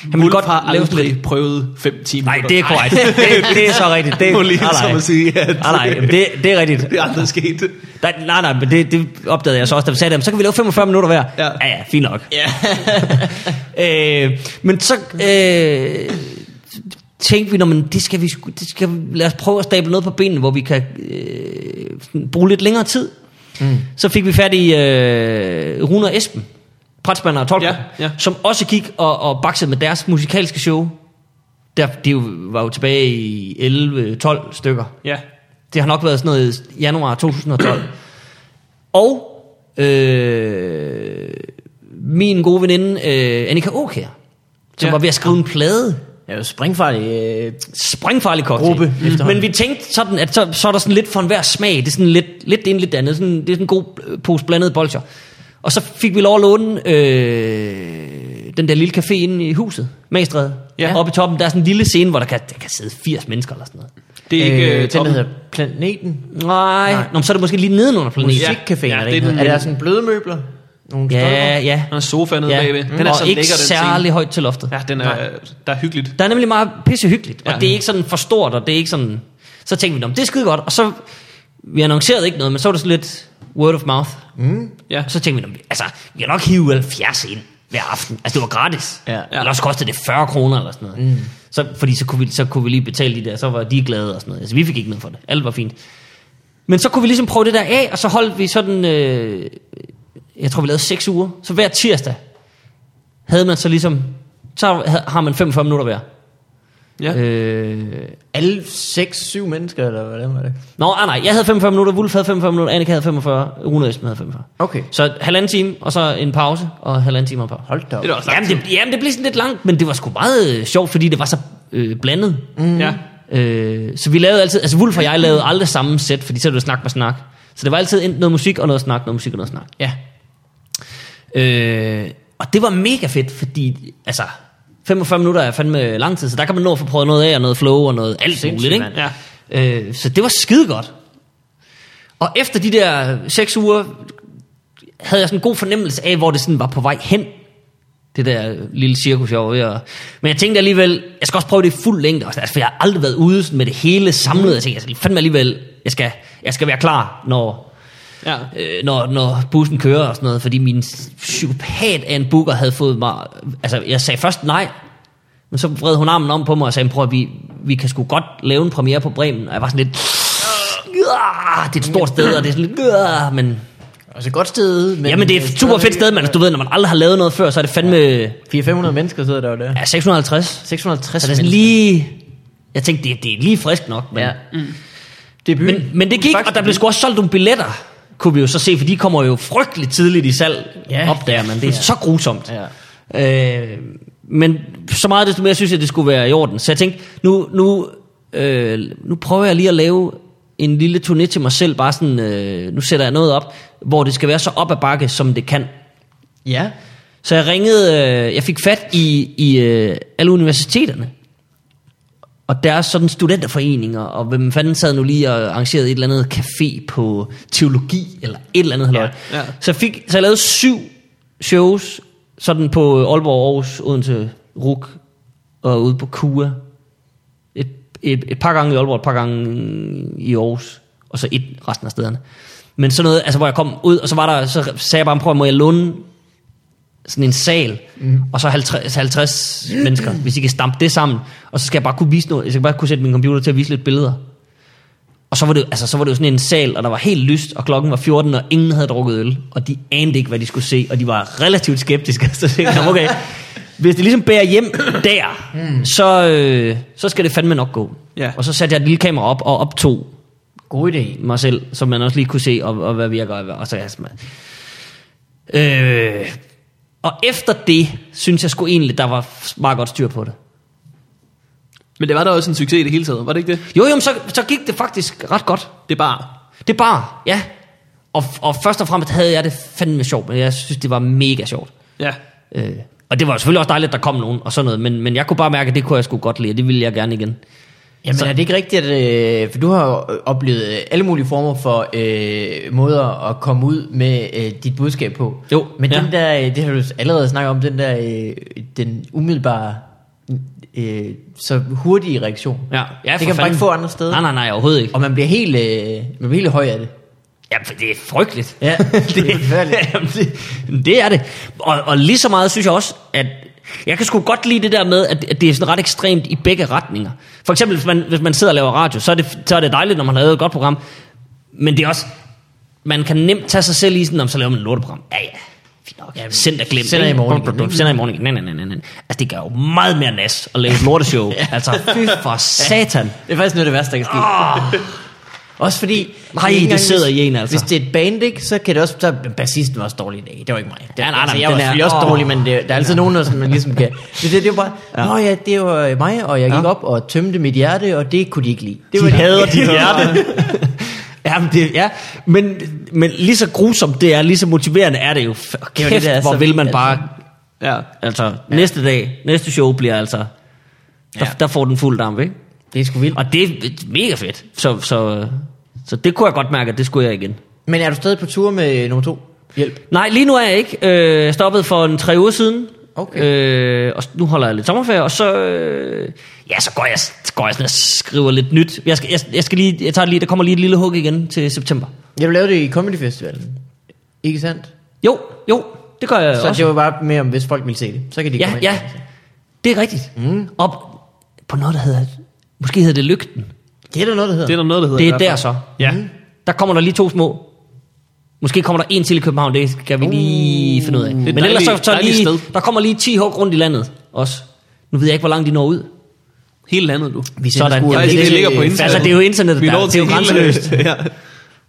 S2: Han ville
S3: Wolf har
S2: lave sådan lidt-
S3: aldrig prøvet fem timer.
S2: Nej, det er korrekt. Det, det er så rigtigt. Det,
S3: Må lige
S2: nej, nej.
S3: som at sige, at-
S2: nej, nej, jamen, det, det er rigtigt.
S3: det er aldrig sket.
S2: Der, nej, nej, men det, det opdagede jeg så også, da vi sagde det. Så kan vi lave 45 minutter hver.
S3: Ja.
S2: ja, ja fint nok. Ja. øh, men så øh, tænkte vi, når man, det skal vi, sgu- det skal, vi- lad os prøve at stable noget på benene, hvor vi kan øh, sådan bruge lidt længere tid. Mm. Så fik vi fat i øh, Rune og Esben, prætsmander og tolker,
S3: Ja, ja.
S2: som også gik og, og baksede med deres musikalske show. Der, de jo- var jo tilbage i 11-12 stykker.
S3: Ja.
S2: Det har nok været sådan noget i januar 2012. Og øh, min gode veninde, øh, Annika Aukær, som
S3: Ja.
S2: ja. var ved at skrive en plade.
S1: Jeg er jo springfarlig. Øh,
S2: Sprængfarlig cocktail. Mhm.
S1: Gruppe efterhånden.
S2: Men vi tænkte sådan, at så, så er der sådan lidt for enhver smag. Det er sådan lidt, lidt det ene, lidt det andet. Sådan, det er sådan en god øh, pose blandet bolcher. Og så fik vi lov at låne øh, den der lille café inde i huset, Magstræde.
S3: Ja.
S2: Ja. Oppe i toppen, der er sådan en lille scene, hvor der kan, der kan sidde 80 mennesker eller sådan noget.
S3: Det er ikke øh,
S1: den, der
S3: toppen.
S1: hedder Planeten.
S2: Nej. Nå, men så er det måske lige nedenunder planeten.
S1: Musikcaféen.
S3: Ja,
S1: Ja,
S3: det er
S1: er,
S3: den-
S1: er der sådan bløde møbler? Nogle
S2: Ja, ja.
S3: Der er en sofa nede
S2: ja.
S3: bagved. Den er
S2: og
S3: så
S2: ikke
S3: lækker, den
S2: særlig
S3: scene.
S2: højt til loftet.
S3: Ja, den er, der er hyggeligt.
S2: Der er nemlig meget pissehyggeligt, og
S3: Ja.
S2: det er ikke sådan for stort, og det er ikke sådan... Så tænkte vi, "Nå, men det er skide godt, og så... Vi annoncerede ikke noget, men så var det sådan lidt word of mouth.
S3: Ja.
S2: Og så tænkte vi, "Nå, men altså, vi kan nok hive 70 ind hver aften. Altså, det var gratis.
S1: Ja.
S2: Eller også kostede det 40 kroner eller sådan noget. Mm. Så, fordi så kunne, vi, så kunne vi lige betale de der, så var de glade og sådan noget. Altså, vi fik ikke noget for det. Alt var fint. Men så kunne vi ligesom prøve det der af, og så holdt vi sådan, øh, jeg tror vi lavede 6 uger. Så hver tirsdag havde man så ligesom, så havde- har man 45 minutter hver.
S3: Ja.
S2: Øh,
S1: Alle 6-7 mennesker, eller hvordan var det?
S2: nå, ah, nej, jeg havde 45 minutter, Wulf havde 45 minutter, Annika havde 45, Rune Esben havde 45.
S1: Okay.
S2: Så halvanden time, og så en pause, og halvanden time og en pause.
S1: Hold da op.
S3: Det er da også
S2: Jamen
S3: langt.
S2: det, jamen, det blev sådan lidt langt, men det var sgu meget øh, sjovt, fordi det var så øh, blandet. Mm.
S3: Ja.
S2: Øh, så vi lavede altid, altså Wulf og jeg lavede aldrig samme sæt, fordi så er det jo snak med snak. Så det var altid enten noget musik og noget snak, noget musik og noget snak.
S1: Ja.
S2: Øh, og det var mega fedt, fordi altså, 45 minutter er fandme lang tid, så der kan man nå at få prøvet noget af, og noget flow, og noget alt
S1: Sindssygt,
S2: muligt, ikke?
S1: mand.
S2: Ja. Øh, så det var skide godt. Og efter de der 6 uger, havde jeg sådan en god fornemmelse af, hvor det sådan var på vej hen, det der lille cirkus, jeg var ved at... Men jeg tænkte alligevel, jeg skal også prøve det i fuld længde også, altså, for jeg har aldrig været ude sådan med det hele samlet. Jeg tænkte, jeg skal fandme alligevel, jeg skal, jeg skal være klar, når,
S3: Ja.
S2: øh, når, når bussen kører og sådan noget, fordi min psykopat af en booker havde fået mig... Altså, jeg sagde først nej, men så vred hun armen om på mig og sagde, prøv at vi, vi kan sgu godt lave en premiere på Bremen. Og jeg var sådan lidt... "Ah, Det er et stort sted, og det er sådan lidt... "Ah," Men,
S1: Og så godt sted. Men øh,
S2: jamen, det er et super fedt sted, men du ved, når man aldrig har lavet noget før, så er det fandme...
S1: 400-500 mennesker sidder der jo der.
S2: Ja, 650.
S1: 650
S2: Så det er sådan
S1: mennesker.
S2: lige... Jeg tænkte, det, det er lige frisk nok, men...
S1: Ja.
S2: Ja.
S1: Mm. Det er byen.
S2: Men, men det gik,
S1: Faktisk
S2: og der blev sgu også solgt nogle billetter, kunne vi jo så se, for de kommer jo frygteligt tidligt i salg,
S1: Ja.
S2: ja. opdager man. Det er
S1: Ja.
S2: ja. så grusomt. Ja. Øh, men så meget desto mere synes jeg, det skulle være i orden. Så jeg tænkte, nu, nu, øh, nu prøver jeg lige at lave en lille turné til mig selv, bare sådan, øh, nu sætter jeg noget op, hvor det skal være så op ad bakke, som det kan.
S1: Ja.
S2: Så jeg ringede, øh, jeg fik fat i, i øh, alle universiteterne. Og der er sådan studenterforeninger, og hvem fanden sad nu lige og arrangerede et eller andet café på teologi, eller et eller andet halløj.
S3: Ja, ja.
S2: Så, jeg fik, så jeg lavede syv shows, sådan på Aalborg, Aarhus, Odense, RUK, og ude på KUA. Et, et, et par gange i Aalborg, et par gange i Aarhus, og så et resten af stederne. Men sådan noget, altså hvor jeg kom ud, og så var der, så sagde jeg bare, prøv at må jeg låne sådan en sal,
S1: Mhm.
S2: mm. og så 50, 50 mennesker, hvis I kan stampe det sammen, og så skal jeg bare kunne vise noget, jeg skal bare kunne sætte min computer til at vise lidt billeder. Og så var, det, jo- altså, så var det jo sådan en sal, og der var helt lyst, og klokken var 14, og ingen havde drukket øl, og de anede ikke, hvad de skulle se, og de var relativt skeptiske. Så tænkte jeg, okay, hvis det ligesom bærer hjem der,
S1: Mm.
S2: så, øh, så skal det fandme nok gå.
S3: Ja.
S2: Og så satte jeg et lille kamera op og optog
S1: God idé.
S2: mig selv, som man også lige kunne se, og, og hvad virker, og, hvad- og så er jeg sådan, øh, og efter det, synes jeg sgu egentlig, der var meget godt styr på det.
S3: Men det var da også en succes i det hele taget, var det ikke det?
S2: Jo, jo, men så, så gik det faktisk ret godt.
S3: Det er bare...
S2: Det er bare, ja. Og, og først og fremmest havde jeg det fandme sjovt, men jeg synes, det var mega sjovt.
S3: Ja.
S2: Øh, og det var selvfølgelig også dejligt, at der kom nogen og sådan noget, men, men jeg kunne bare mærke, at det kunne jeg sgu godt lide, og det ville jeg gerne igen.
S1: Jamen så. er det ikke rigtigt, at, øh, for du har jo oplevet øh, alle mulige former for øh, måder at komme ud med øh, dit budskab på.
S2: Jo,
S1: Men
S2: ja.
S1: den der, øh, det har du allerede snakket om, den der, øh, den umiddelbare, øh, så hurtige reaktion.
S2: Ja, ja, for
S1: det kan man bare
S2: fanden.
S1: ikke få andre steder.
S2: Nej, nej, nej, overhovedet ikke.
S1: Og man bliver helt, øh, man bliver helt høj af det.
S2: Ja, for det er frygteligt.
S1: Ja, det er forfærdeligt.
S2: Jamen, det, det er det. Og, og lige så meget synes jeg også, at jeg kan sgu godt lide det der med, at, at det er sådan ret ekstremt i begge retninger. For eksempel, hvis man, hvis man sidder og laver radio, så er, det, så er det dejligt, når man har lavet et godt program. Men det er også, man kan nemt tage sig selv i sådan, om så laver man et lorteprogram. Ja, ja. Fint nok. Jamen, send dig glemt.
S1: sender
S2: ikke?
S1: i morgen
S2: Dum,
S1: igen.
S2: dum, dum. Sender i morgen. igen. Nej, nej, nej, nej, nej. Altså, det gør jo meget mere nas at lave et lorteshow. Altså, fy for satan.
S1: Det er faktisk noget af det værste, der kan ske. Også fordi...
S2: Nej,
S1: ikke
S2: det
S1: engang,
S2: sidder
S1: hvis-
S2: i en, altså.
S1: Hvis det er et band, ikke, så kan det også... Så, men bassisten var også dårlig i dag. Det var ikke mig. Det, altså,
S2: Ja, nej, nej,
S1: jeg
S2: den
S1: var
S2: er-
S1: selvfølgelig også
S2: åh.
S1: dårlig, men det, der er altid nogen, der som man ligesom kan... Det, det, det var bare... Nå ja, det var øh, mig, og jeg gik
S2: Ja.
S1: op og tømte mit hjerte, og det kunne de ikke lide. Det
S2: Det
S1: var
S2: de hader dit hjerte. Jamen det, ja, men, men lige så grusomt det er, lige så motiverende er det jo. F-
S1: Det er
S2: Kæft,
S1: jo det, der er
S2: hvor
S1: så
S2: vil
S1: vildt,
S2: man
S1: altså.
S2: bare...
S3: Ja.
S2: Altså, ja. næste dag, næste show bliver altså... Der,
S1: Ja.
S2: ja. der får den fuld damp, ikke?
S1: Det er sgu vildt.
S2: Og det er mega fedt. Så, så, så det kunne jeg godt mærke, at det skulle jeg igen.
S1: Men er du stadig på tur med nummer to? Hjælp.
S2: Nej, lige nu er jeg ikke. Øh, jeg stoppede for en tre uger siden.
S1: Okay.
S2: Øh, og s- nu holder jeg lidt sommerferie, og så... Øh, ja, så går jeg, så går jeg sådan og skriver lidt nyt. Jeg skal, jeg, jeg skal lige, jeg tager lige, der kommer lige et lille hug igen til september.
S1: Ja, du lavede det i Comedy Festivalen. Ikke sandt?
S2: Jo, jo, det gør jeg
S1: Så
S2: også.
S1: det var bare mere om, hvis folk ville se det. Så kan de
S2: ja,
S1: komme ind.
S2: ja, det er rigtigt. Mm. Op på noget, der hedder... Måske hedder det Lygten.
S1: Det er der noget, der hedder.
S3: Det er der noget, der hedder.
S2: Det
S3: i
S2: er
S3: hvert fald.
S2: der så.
S3: Ja. Mm.
S2: Der kommer der lige to små. Måske kommer der en til i København, det skal vi
S3: Uh.
S2: lige finde ud af. Men
S3: dejligt-
S2: ellers så, så
S3: dejligt
S2: lige,
S3: sted.
S2: der kommer lige 10 hug rundt i landet også. Nu ved jeg ikke, hvor langt de når ud.
S3: Hele landet, du.
S1: Vi sender
S2: Sådan.
S1: sgu-
S2: Jamen,
S3: Faktisk, det,
S2: det-
S3: ligger på internettet.
S2: altså, det er jo internettet,
S3: Vi
S2: der-
S3: når
S2: det er jo
S3: til hele-
S2: grænseløst.
S3: ja.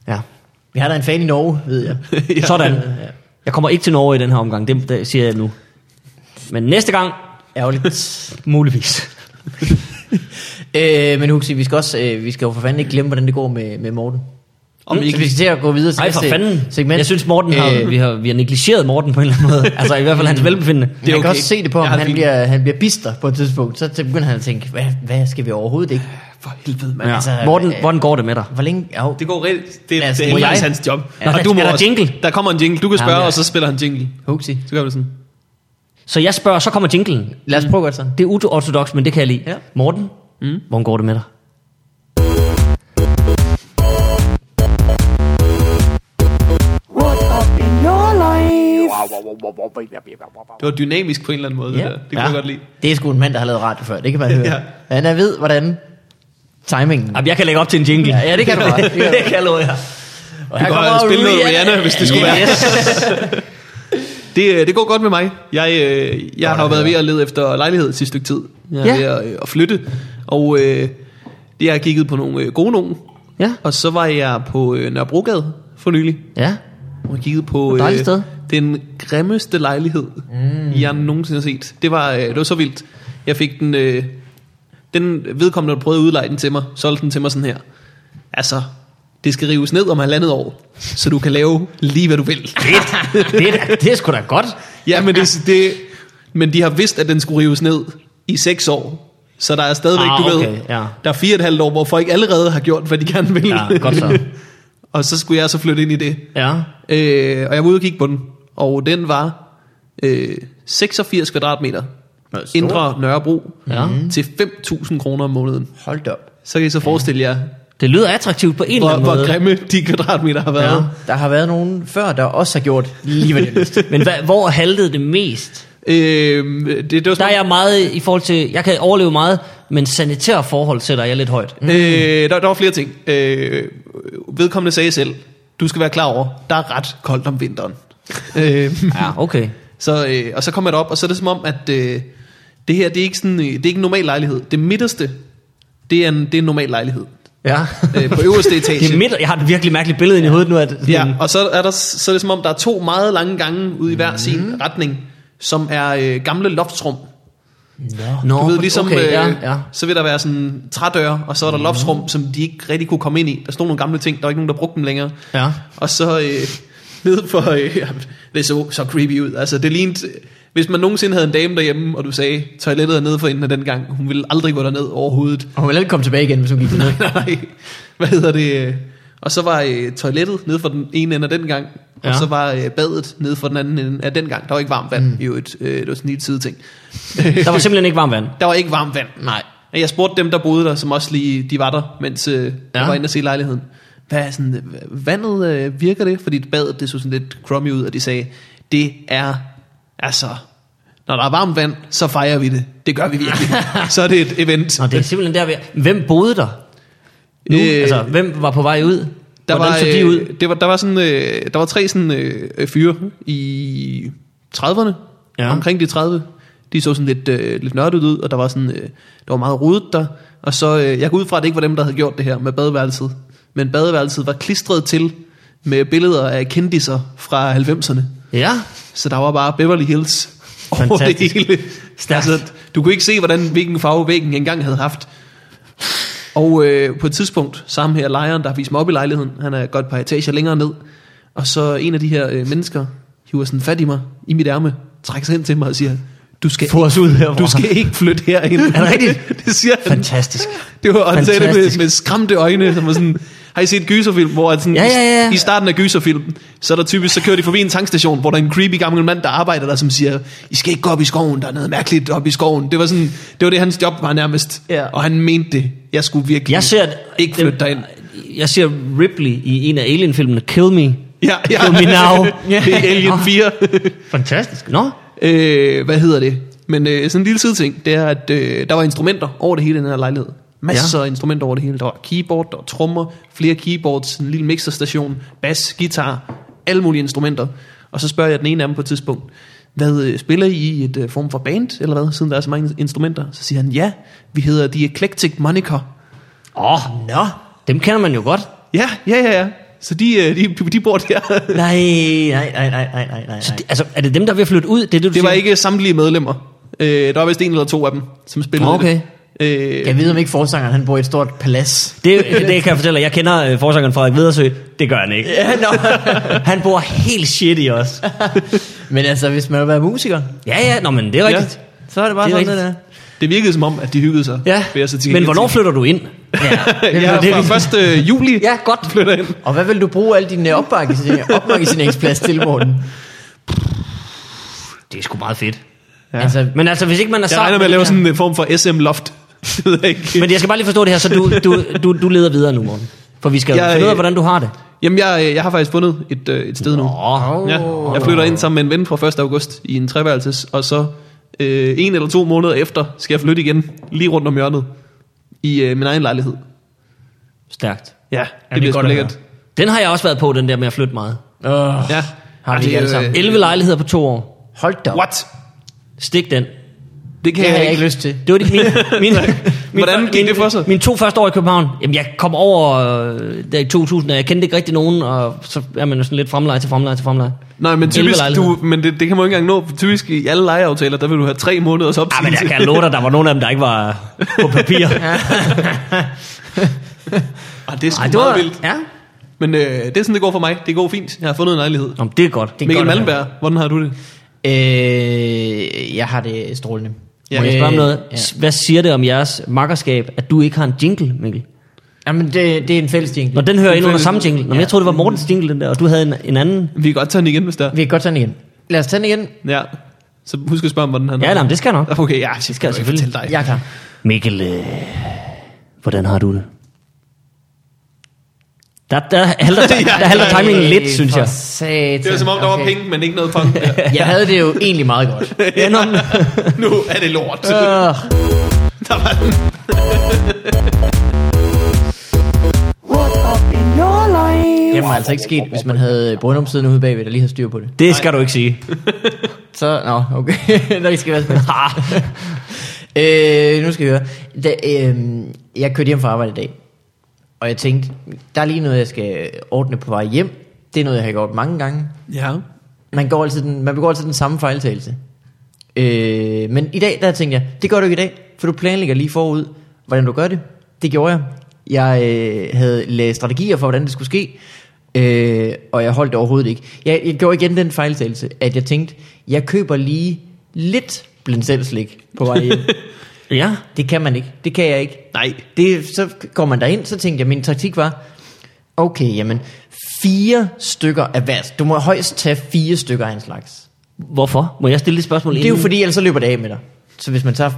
S1: Ja. Vi har da en fan i Norge, ved jeg.
S2: Ja. Sådan. Jeg kommer ikke til Norge i den her omgang, det, det siger jeg nu. Men næste gang,
S1: Ærgerligt.
S2: muligvis.
S1: Øh, men Huxi, vi skal, også, øh, vi skal jo for fanden ikke glemme, hvordan det går med, med Morten.
S3: Om
S1: Om
S3: vi
S1: vi,
S3: ikke-
S1: så vi skal til at gå videre til
S2: Nej, for
S1: næste
S2: fanden.
S1: segment.
S2: Jeg synes, Morten har, øh. vi, har, vi har negligeret Morten på en eller anden måde. Altså i hvert fald hans velbefindende.
S1: det er
S3: er
S1: man kan
S3: okay.
S1: også se det på, om
S3: Jeg har det
S1: han
S3: fint.
S1: bliver, han bliver bister på et tidspunkt. Så til- begynder han at tænke, hvad, hvad skal vi overhovedet ikke?
S3: For helvede, mand.
S2: Ja.
S1: altså,
S2: Morten,
S1: øh,
S2: hvordan går det med dig?
S1: Hvor længe? Ja,
S3: Det går rigtigt. Det,
S1: Lad os-
S3: det er
S1: må
S3: helt
S1: jeg?
S3: hans job.
S2: Ja.
S3: Og du må
S2: Er der
S3: også,
S2: jingle?
S3: Der kommer en jingle. Du kan spørge,
S2: Jamen, ja.
S3: og så spiller han jingle.
S1: Huxi.
S3: Så gør vi sådan.
S2: Så jeg spørger, så kommer jinglen.
S1: Lad os prøve godt sådan.
S2: Det er uortodox, men det kan jeg lide.
S1: Ja.
S2: Morten, mm. hvordan går det med dig?
S4: What up in your life?
S3: Det var dynamisk på en eller anden måde.
S1: Ja.
S3: Det, der. det kunne jeg godt lide.
S1: Det er sgu en mand, der har lavet radio før. Det kan man høre.
S3: Ja.
S1: Han er ved, hvordan timingen.
S2: Jamen, jeg kan lægge op til en jingle.
S1: Ja, ja, det kan du godt. Det kan du
S2: det kan du, ja.
S1: Og
S3: Du
S1: her
S3: kan
S1: kommer
S3: godt spille noget Rihanna, hvis det skulle være. Det, øh, det går godt med mig. Jeg, øh, jeg har været ved at lede efter lejlighed det sidste stykke tid. Jeg er
S2: Ja.
S3: ved at, øh, at flytte, og øh, det har jeg kigget på nogle øh, gode nogen.
S1: Ja.
S3: Og så var jeg på øh, Nørrebrogade for nylig,
S1: Ja.
S3: og kiggede på øh,
S1: dejligt sted.
S3: den grimmeste lejlighed, mm. jeg nogensinde har set. Det var, øh, det var så vildt. Jeg fik den, øh, den vedkommende, der prøvede at udleje den til mig, solgte den til mig sådan her. Altså, det skal rives ned om halvandet år, så du kan lave lige, hvad du vil.
S2: Det, er da- det er sgu da godt.
S3: Ja, men, det, det, men de har vidst, at den skulle rives ned i 6 år. Så der er stadigvæk,
S2: Ah,
S3: du
S2: okay,
S3: ved,
S2: ja.
S3: der er fire og et halvt år, hvor folk allerede har gjort, hvad de gerne vil.
S2: Ja, godt så.
S3: og så skulle jeg så flytte ind i det.
S2: Ja.
S3: Øh, og jeg var ude og kigge på den, og den var øh, 86 kvadratmeter. Indre Nørrebro
S2: Ja.
S3: til 5.000 kroner om måneden.
S1: Mhm. Hold da op.
S3: Så kan I så forestille jer,
S2: Det lyder attraktivt på en eller
S3: hvor,
S2: anden
S3: hvor
S2: måde.
S3: grimme de kvadratmeter har været.
S1: Der har været nogen før, der også har gjort lige hvad de har lyst til.
S2: Men hvad, hvor haltede det mest?
S3: Øh, det, det var
S2: Der
S3: sådan,
S2: er jeg meget i forhold til, jeg kan overleve meget, men sanitære forhold sætter jeg lidt højt.
S3: Øh, der, der var flere ting. Øh, vedkommende sagde selv, du skal være klar over, der er ret koldt om vinteren. øh,
S2: Ja, Ah, okay.
S3: så, øh, og så kom jeg derop, og så er det som om, at øh, det her, det er ikke sådan, øh, det er ikke en normal lejlighed. Det midterste, det er en, det er en normal lejlighed.
S2: Ja.
S3: Øh, på øverste
S2: Det
S3: etage.
S2: er midt, jeg har et virkelig mærkeligt billede ind i hovedet nu. At,
S3: ja, og så er, der, så er det som om, der er to meget lange gange ude i
S2: Mm.
S3: hver sin retning, som er øh, gamle loftsrum.
S2: Nå,
S3: Du ved, ligesom,
S2: okay,
S3: øh,
S2: ja, ja. Mhm.
S3: så vil der være sådan trædøre, og så er der loftsrum, som de ikke rigtig kunne komme ind i. Der stod nogle gamle ting, der var ikke nogen, der brugte dem længere.
S2: Ja.
S3: Og så øh, ned for, øh, det så så creepy ud. Altså, det lignede, hvis man nogensinde havde en dame derhjemme, og du sagde, toilettet er nede for enden af den gang, hun ville aldrig gå derned overhovedet.
S1: Og hun vil ikke komme tilbage igen, hvis hun gik ned.
S3: Nej, hvad hedder det? øh, Og så var øh, toilettet nede for den ene ende af den gang, ja. og
S2: Ja.
S3: så var øh, badet nede for den anden ende af den gang. Der var ikke varmt vand, mm. jo et, øh, det var sådan en lille side ting.
S2: Der var simpelthen ikke varmt vand.
S3: Der var ikke varmt vand.
S1: Nej.
S3: Og Jeg spurgte dem, der boede der, som også lige de var der, mens øh, ja. jeg
S2: Ja.
S3: var inde og se lejligheden. Hvad er sådan, øh, vandet øh, virker det? Fordi badet, det så sådan lidt crummy ud, og de sagde, det er, altså, når der er varmt vand, så fejrer vi det. Det gør vi virkelig. så er det et event.
S2: Nå, det er simpelthen der, vi- hvem boede der? Nu,
S3: Øh,
S2: øh, altså, hvem var på vej ud?
S3: der
S2: Der Hvordan
S3: var,
S2: var, så de
S3: øh,
S2: ud?
S3: Det var, der, var sådan, øh, der var tre sådan, øh, øh, fyre i 30'erne, ja.
S2: Ja.
S3: omkring de 30. De så sådan lidt, øh, lidt nørdet ud, og der var, sådan, øh, der var meget rodet der. Og så, øh, jeg går ud fra, at det ikke var dem, der havde gjort det her med badeværelset. Men badeværelset var klistret til med billeder af kendiser fra 90'erne.
S2: Ja,
S3: Så der var bare Beverly Hills over det
S2: Fantastisk.
S3: hele. Altså,
S2: Stærkt.
S3: du kunne ikke se, hvordan, hvilken farve væggen engang havde haft. Og øh, på et tidspunkt, sammen her lejeren, der har vist mig op i lejligheden, han er godt et par etager længere ned, og så en af de her øh, mennesker hiver sådan fat i mig, i mit ærme, trækker sig hen til mig og siger, du skal,
S2: få os ud herfra.
S3: du skal ikke flytte herind.
S2: Er det rigtigt?
S3: det siger han.
S2: Fantastisk.
S3: Det var, og han sagde det med,
S2: Fantastisk.
S3: med skræmte øjne, som var sådan, har I set gyserfilm, hvor at sådan,
S2: Ja, ja, ja.
S3: i starten af gyserfilmen, så er der typisk, så kører de forbi en tankstation, hvor der er en creepy gammel mand, der arbejder der, som siger, I skal ikke gå op i skoven, der er noget mærkeligt op i skoven. Det var sådan, det var det, hans job var nærmest,
S1: Ja.
S3: og han mente det. Jeg skulle virkelig
S2: Jeg ser,
S3: ikke
S2: dem-
S3: flytte derind.
S2: Jeg ser Ripley i en af Alien-filmene, Kill Me.
S3: Ja, ja.
S2: Kill Me Now.
S3: det er Alien 4.
S2: Fantastisk. Nå,
S3: Øh, hvad hedder det? Men øh, sådan en lille side ting, det er, at øh, der var instrumenter over det hele i den her lejlighed. Masser ja. af instrumenter over det hele. Der var keyboard, der var trommer, flere keyboards, en lille mixerstation, bas, guitar, alle mulige instrumenter. Og så spørger jeg den ene af dem på et tidspunkt, hvad øh, spiller I i et øh, form for band, eller hvad, siden der er så mange instrumenter? Så siger han, ja, vi hedder The Eclectic Moniker.
S2: Åh, oh, nå. Dem kender man jo godt.
S3: Ja, ja, ja, ja. Så de, øh, de, de bor der.
S1: Nej, nej, nej, nej, nej, nej, nej.
S2: Så det, altså, er det dem, der er ved at flytte ud? Det, er det, du
S3: Det var
S2: siger?
S3: ikke samtlige medlemmer. Øh, der var vist en eller to af dem, som spillede
S2: Okay.
S3: det. Øh,
S1: Jeg ved, om ikke forsangeren han bor i et stort palads.
S2: Det, det kan jeg fortælle dig. Jeg kender øh, forsangeren Frederik Vedersø. Det gør han ikke. Ja, no. han bor helt shit i os.
S1: Men altså, hvis man vil være musiker,
S2: Ja, ja. Nå, men det er rigtigt.
S1: så er det bare
S2: Det er
S1: det sådan, det er.
S2: rigtigt.
S3: Det virkede som om, at de hyggede sig.
S2: Ja.
S3: vil jeg så til
S2: men
S3: gengæld
S2: hvornår flytter du ind?
S3: sige. ja,
S2: det er
S3: fra 1. juli
S2: Ja, godt.
S3: flytter ind.
S1: Og hvad vil du bruge al din øh, opmagasinering- opmagasineringsplads til, Morten?
S2: Det er sgu meget fedt.
S1: Ja. Altså,
S2: Men altså, hvis ikke man er
S3: Jeg
S2: sammen...
S3: regner med at lave
S2: det her-
S3: sådan en øh, form for SM Loft. Det ved jeg ikke.
S2: Men jeg skal bare lige forstå det her, så du, du, du, du leder videre nu, Morten. For vi skal jo
S3: Jeg-
S2: finde ud af, hvordan du har det.
S3: Jamen, jeg, øh, jeg har faktisk fundet et, øh, et sted nu.
S2: Åh,
S3: Ja, jeg flytter ind sammen med en ven fra 1. august i en treværelses, og så øh, en eller to måneder efter skal jeg flytte igen, lige rundt om hjørnet, i øh, min egen lejlighed.
S2: stærkt.
S3: Ja, det,
S1: er
S3: bliver sgu
S1: godt at
S3: lækkert.
S2: Den har jeg også været på, den der med at flytte meget.
S1: oh,
S3: Ja. Altså, øh,
S1: Har vi
S3: det,
S1: ikke alle sammen?
S2: 11 lejligheder på to år.
S1: hold da op.
S3: What?
S2: Stik den.
S3: Det kan
S1: Det har
S3: jeg,
S1: jeg
S3: ikke.
S1: ikke lyst til.
S2: Det var det, min, min,
S3: Hvordan
S2: fir-
S3: gik det for sig?
S2: Mine to første år i København. Jamen, jeg kom over øh, der i 2000, og jeg kendte ikke rigtig nogen, og så er man jo sådan lidt fremleje til fremleje til fremleje.
S3: Nej, men typisk,
S2: Elvelejlighed.
S3: du, men det, det kan man jo ikke engang nå. Typisk i alle lejeaftaler, der vil du have tre måneders
S2: Ah, men
S3: opsigelse.
S2: jeg kan love dig, der var nogen af dem, der ikke var på papir. Ej,
S3: Ah, det er sgu meget vildt.
S2: Ja.
S3: Men øh, det er sådan, det går for mig. Det går fint. Jeg har fundet en lejlighed.
S2: Nå, men det er godt. Det er
S3: Mikkel
S2: godt at høre.
S3: Malmberg, hvordan har du det?
S1: Øh, jeg har det strålende. Øh,
S2: Ja, Må jeg spørge om noget?
S1: Ja.
S2: Ja. Hvad siger det om jeres makkerskab, at du ikke har en jingle, Mikkel?
S1: Jamen, det, det er en fælles jingle.
S2: Når den hører ind under
S3: fælles-
S2: samme jingle. Nå, ja. jeg troede, det var Mortens jingle, den der, og du havde en, en anden.
S3: Vi kan godt tage den igen, hvis der.
S1: Vi kan godt tage den igen. Lad os tage den igen.
S3: Ja. Så husk at spørge om, hvordan han
S2: Ja,
S3: har
S2: nej, men det skal jeg nok.
S3: Okay, ja, det skal jeg
S2: selvfølgelig.
S3: fortælle dig.
S1: Jeg er klar.
S2: Mikkel, øh, hvordan har du det? Der, der, halter, der halter timingen lidt, synes jeg.
S1: Øh, Satan.
S3: Det var som om, der var penge, men ikke noget punk. Der.
S1: Jeg havde det jo egentlig meget godt.
S2: Ja, nå, men-
S3: nu er det lort.
S1: Øh,
S3: Der var den.
S4: What up in your life?
S1: det var altså ikke sket, hvis man havde Brøndum siden ude bagved, der lige havde styr på det.
S2: det skal du ikke sige.
S1: Så, nå, okay. Nå, I skal være spændt. øh, nu skal jeg høre. Da, øh, jeg kørte hjem fra arbejde i dag, og jeg tænkte, der er lige noget, jeg skal ordne på vej hjem. Det er noget, jeg har gjort mange gange.
S3: Ja.
S1: Man, går altid den, man begår altid den samme fejltagelse. Øh, men i dag, der tænkte jeg, det gør du ikke i dag, for du planlægger lige forud, hvordan du gør det. Det gjorde jeg. Jeg øh, havde lavet strategier for, hvordan det skulle ske, øh, og jeg holdt det overhovedet ikke. Jeg, jeg gjorde igen den fejltagelse, at jeg tænkte, jeg køber lige lidt blandt selv slik på vej hjem.
S2: Ja.
S1: det kan man ikke. Det kan jeg ikke.
S3: Nej.
S1: Det, så går man derind, så tænkte jeg, min taktik var, okay, jamen, fire stykker af hver. Du må højst tage fire stykker af en slags.
S2: Hvorfor? Må jeg stille et spørgsmål
S1: Det er jo fordi, ellers så løber det af med dig. Så hvis man tager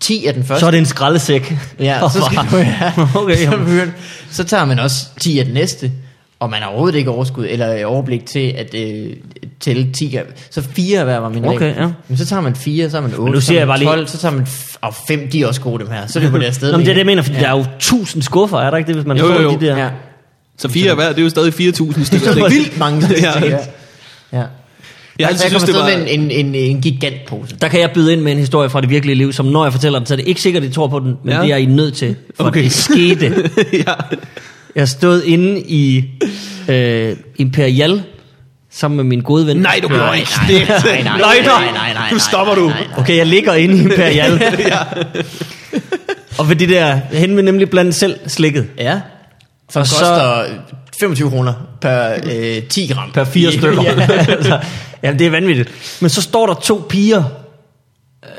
S1: 10 af den første,
S2: Så er det en skraldesæk.
S1: ja, så, skal du, ja.
S2: Okay,
S1: så,
S2: jamen.
S1: begynder, så tager man også 10 af den næste, og man har overhovedet ikke overskud eller overblik til at øh, tælle 10 af, Så fire af hver var min regel.
S2: Okay, ja.
S1: Men så tager man 4, så har man 8,
S2: nu
S1: så
S2: siger
S1: har
S2: jeg
S1: man
S2: bare
S1: 12,
S2: lige-
S1: så tager man... f- Og 5, de er også gode dem her. Så løber det afsted.
S2: Nå, men
S1: med
S2: det er
S1: en.
S2: det, jeg mener, fordi ja. der er jo tusind skuffer, er der ikke det, hvis man
S3: Jo,
S2: får
S3: jo, jo.
S2: de der...
S1: Ja.
S3: Så fire hver, det er jo stadig 4.000 stykker.
S1: Det er
S3: slik.
S1: vildt mange
S3: Ja.
S1: statistikker. Ja. ja.
S3: Jeg
S1: Jeg,
S3: altid
S1: jeg
S3: synes,
S1: kommer
S3: det
S1: afsted
S3: var...
S1: med en, en, en, en gigantpose.
S2: Der kan jeg byde ind med en historie fra det virkelige liv, som når jeg fortæller den, så er det ikke sikkert, at I tror på den, men
S3: Ja.
S2: ja. det er I nødt til, for
S3: Okay.
S2: okay. det skete.
S3: ja.
S2: Jeg stod inde i øh, Imperial sammen med min gode ven.
S3: Nej, du gør
S1: nej,
S3: ikke
S1: nej,
S3: det.
S1: nej, nej,
S2: Løgner.
S1: nej, nej, nej,
S3: Nu stopper du.
S1: nej, nej, nej.
S2: Okay, jeg ligger inde i Imperial.
S3: Ja.
S2: og ved det der, hende vil nemlig blandt selv slikket.
S1: Ja. Som
S2: Og så-
S1: koster 25 kroner per øh, 10 gram.
S2: Per fire
S1: Ja.
S2: stykker. altså, jamen, det er vanvittigt. Men så står der to piger øh,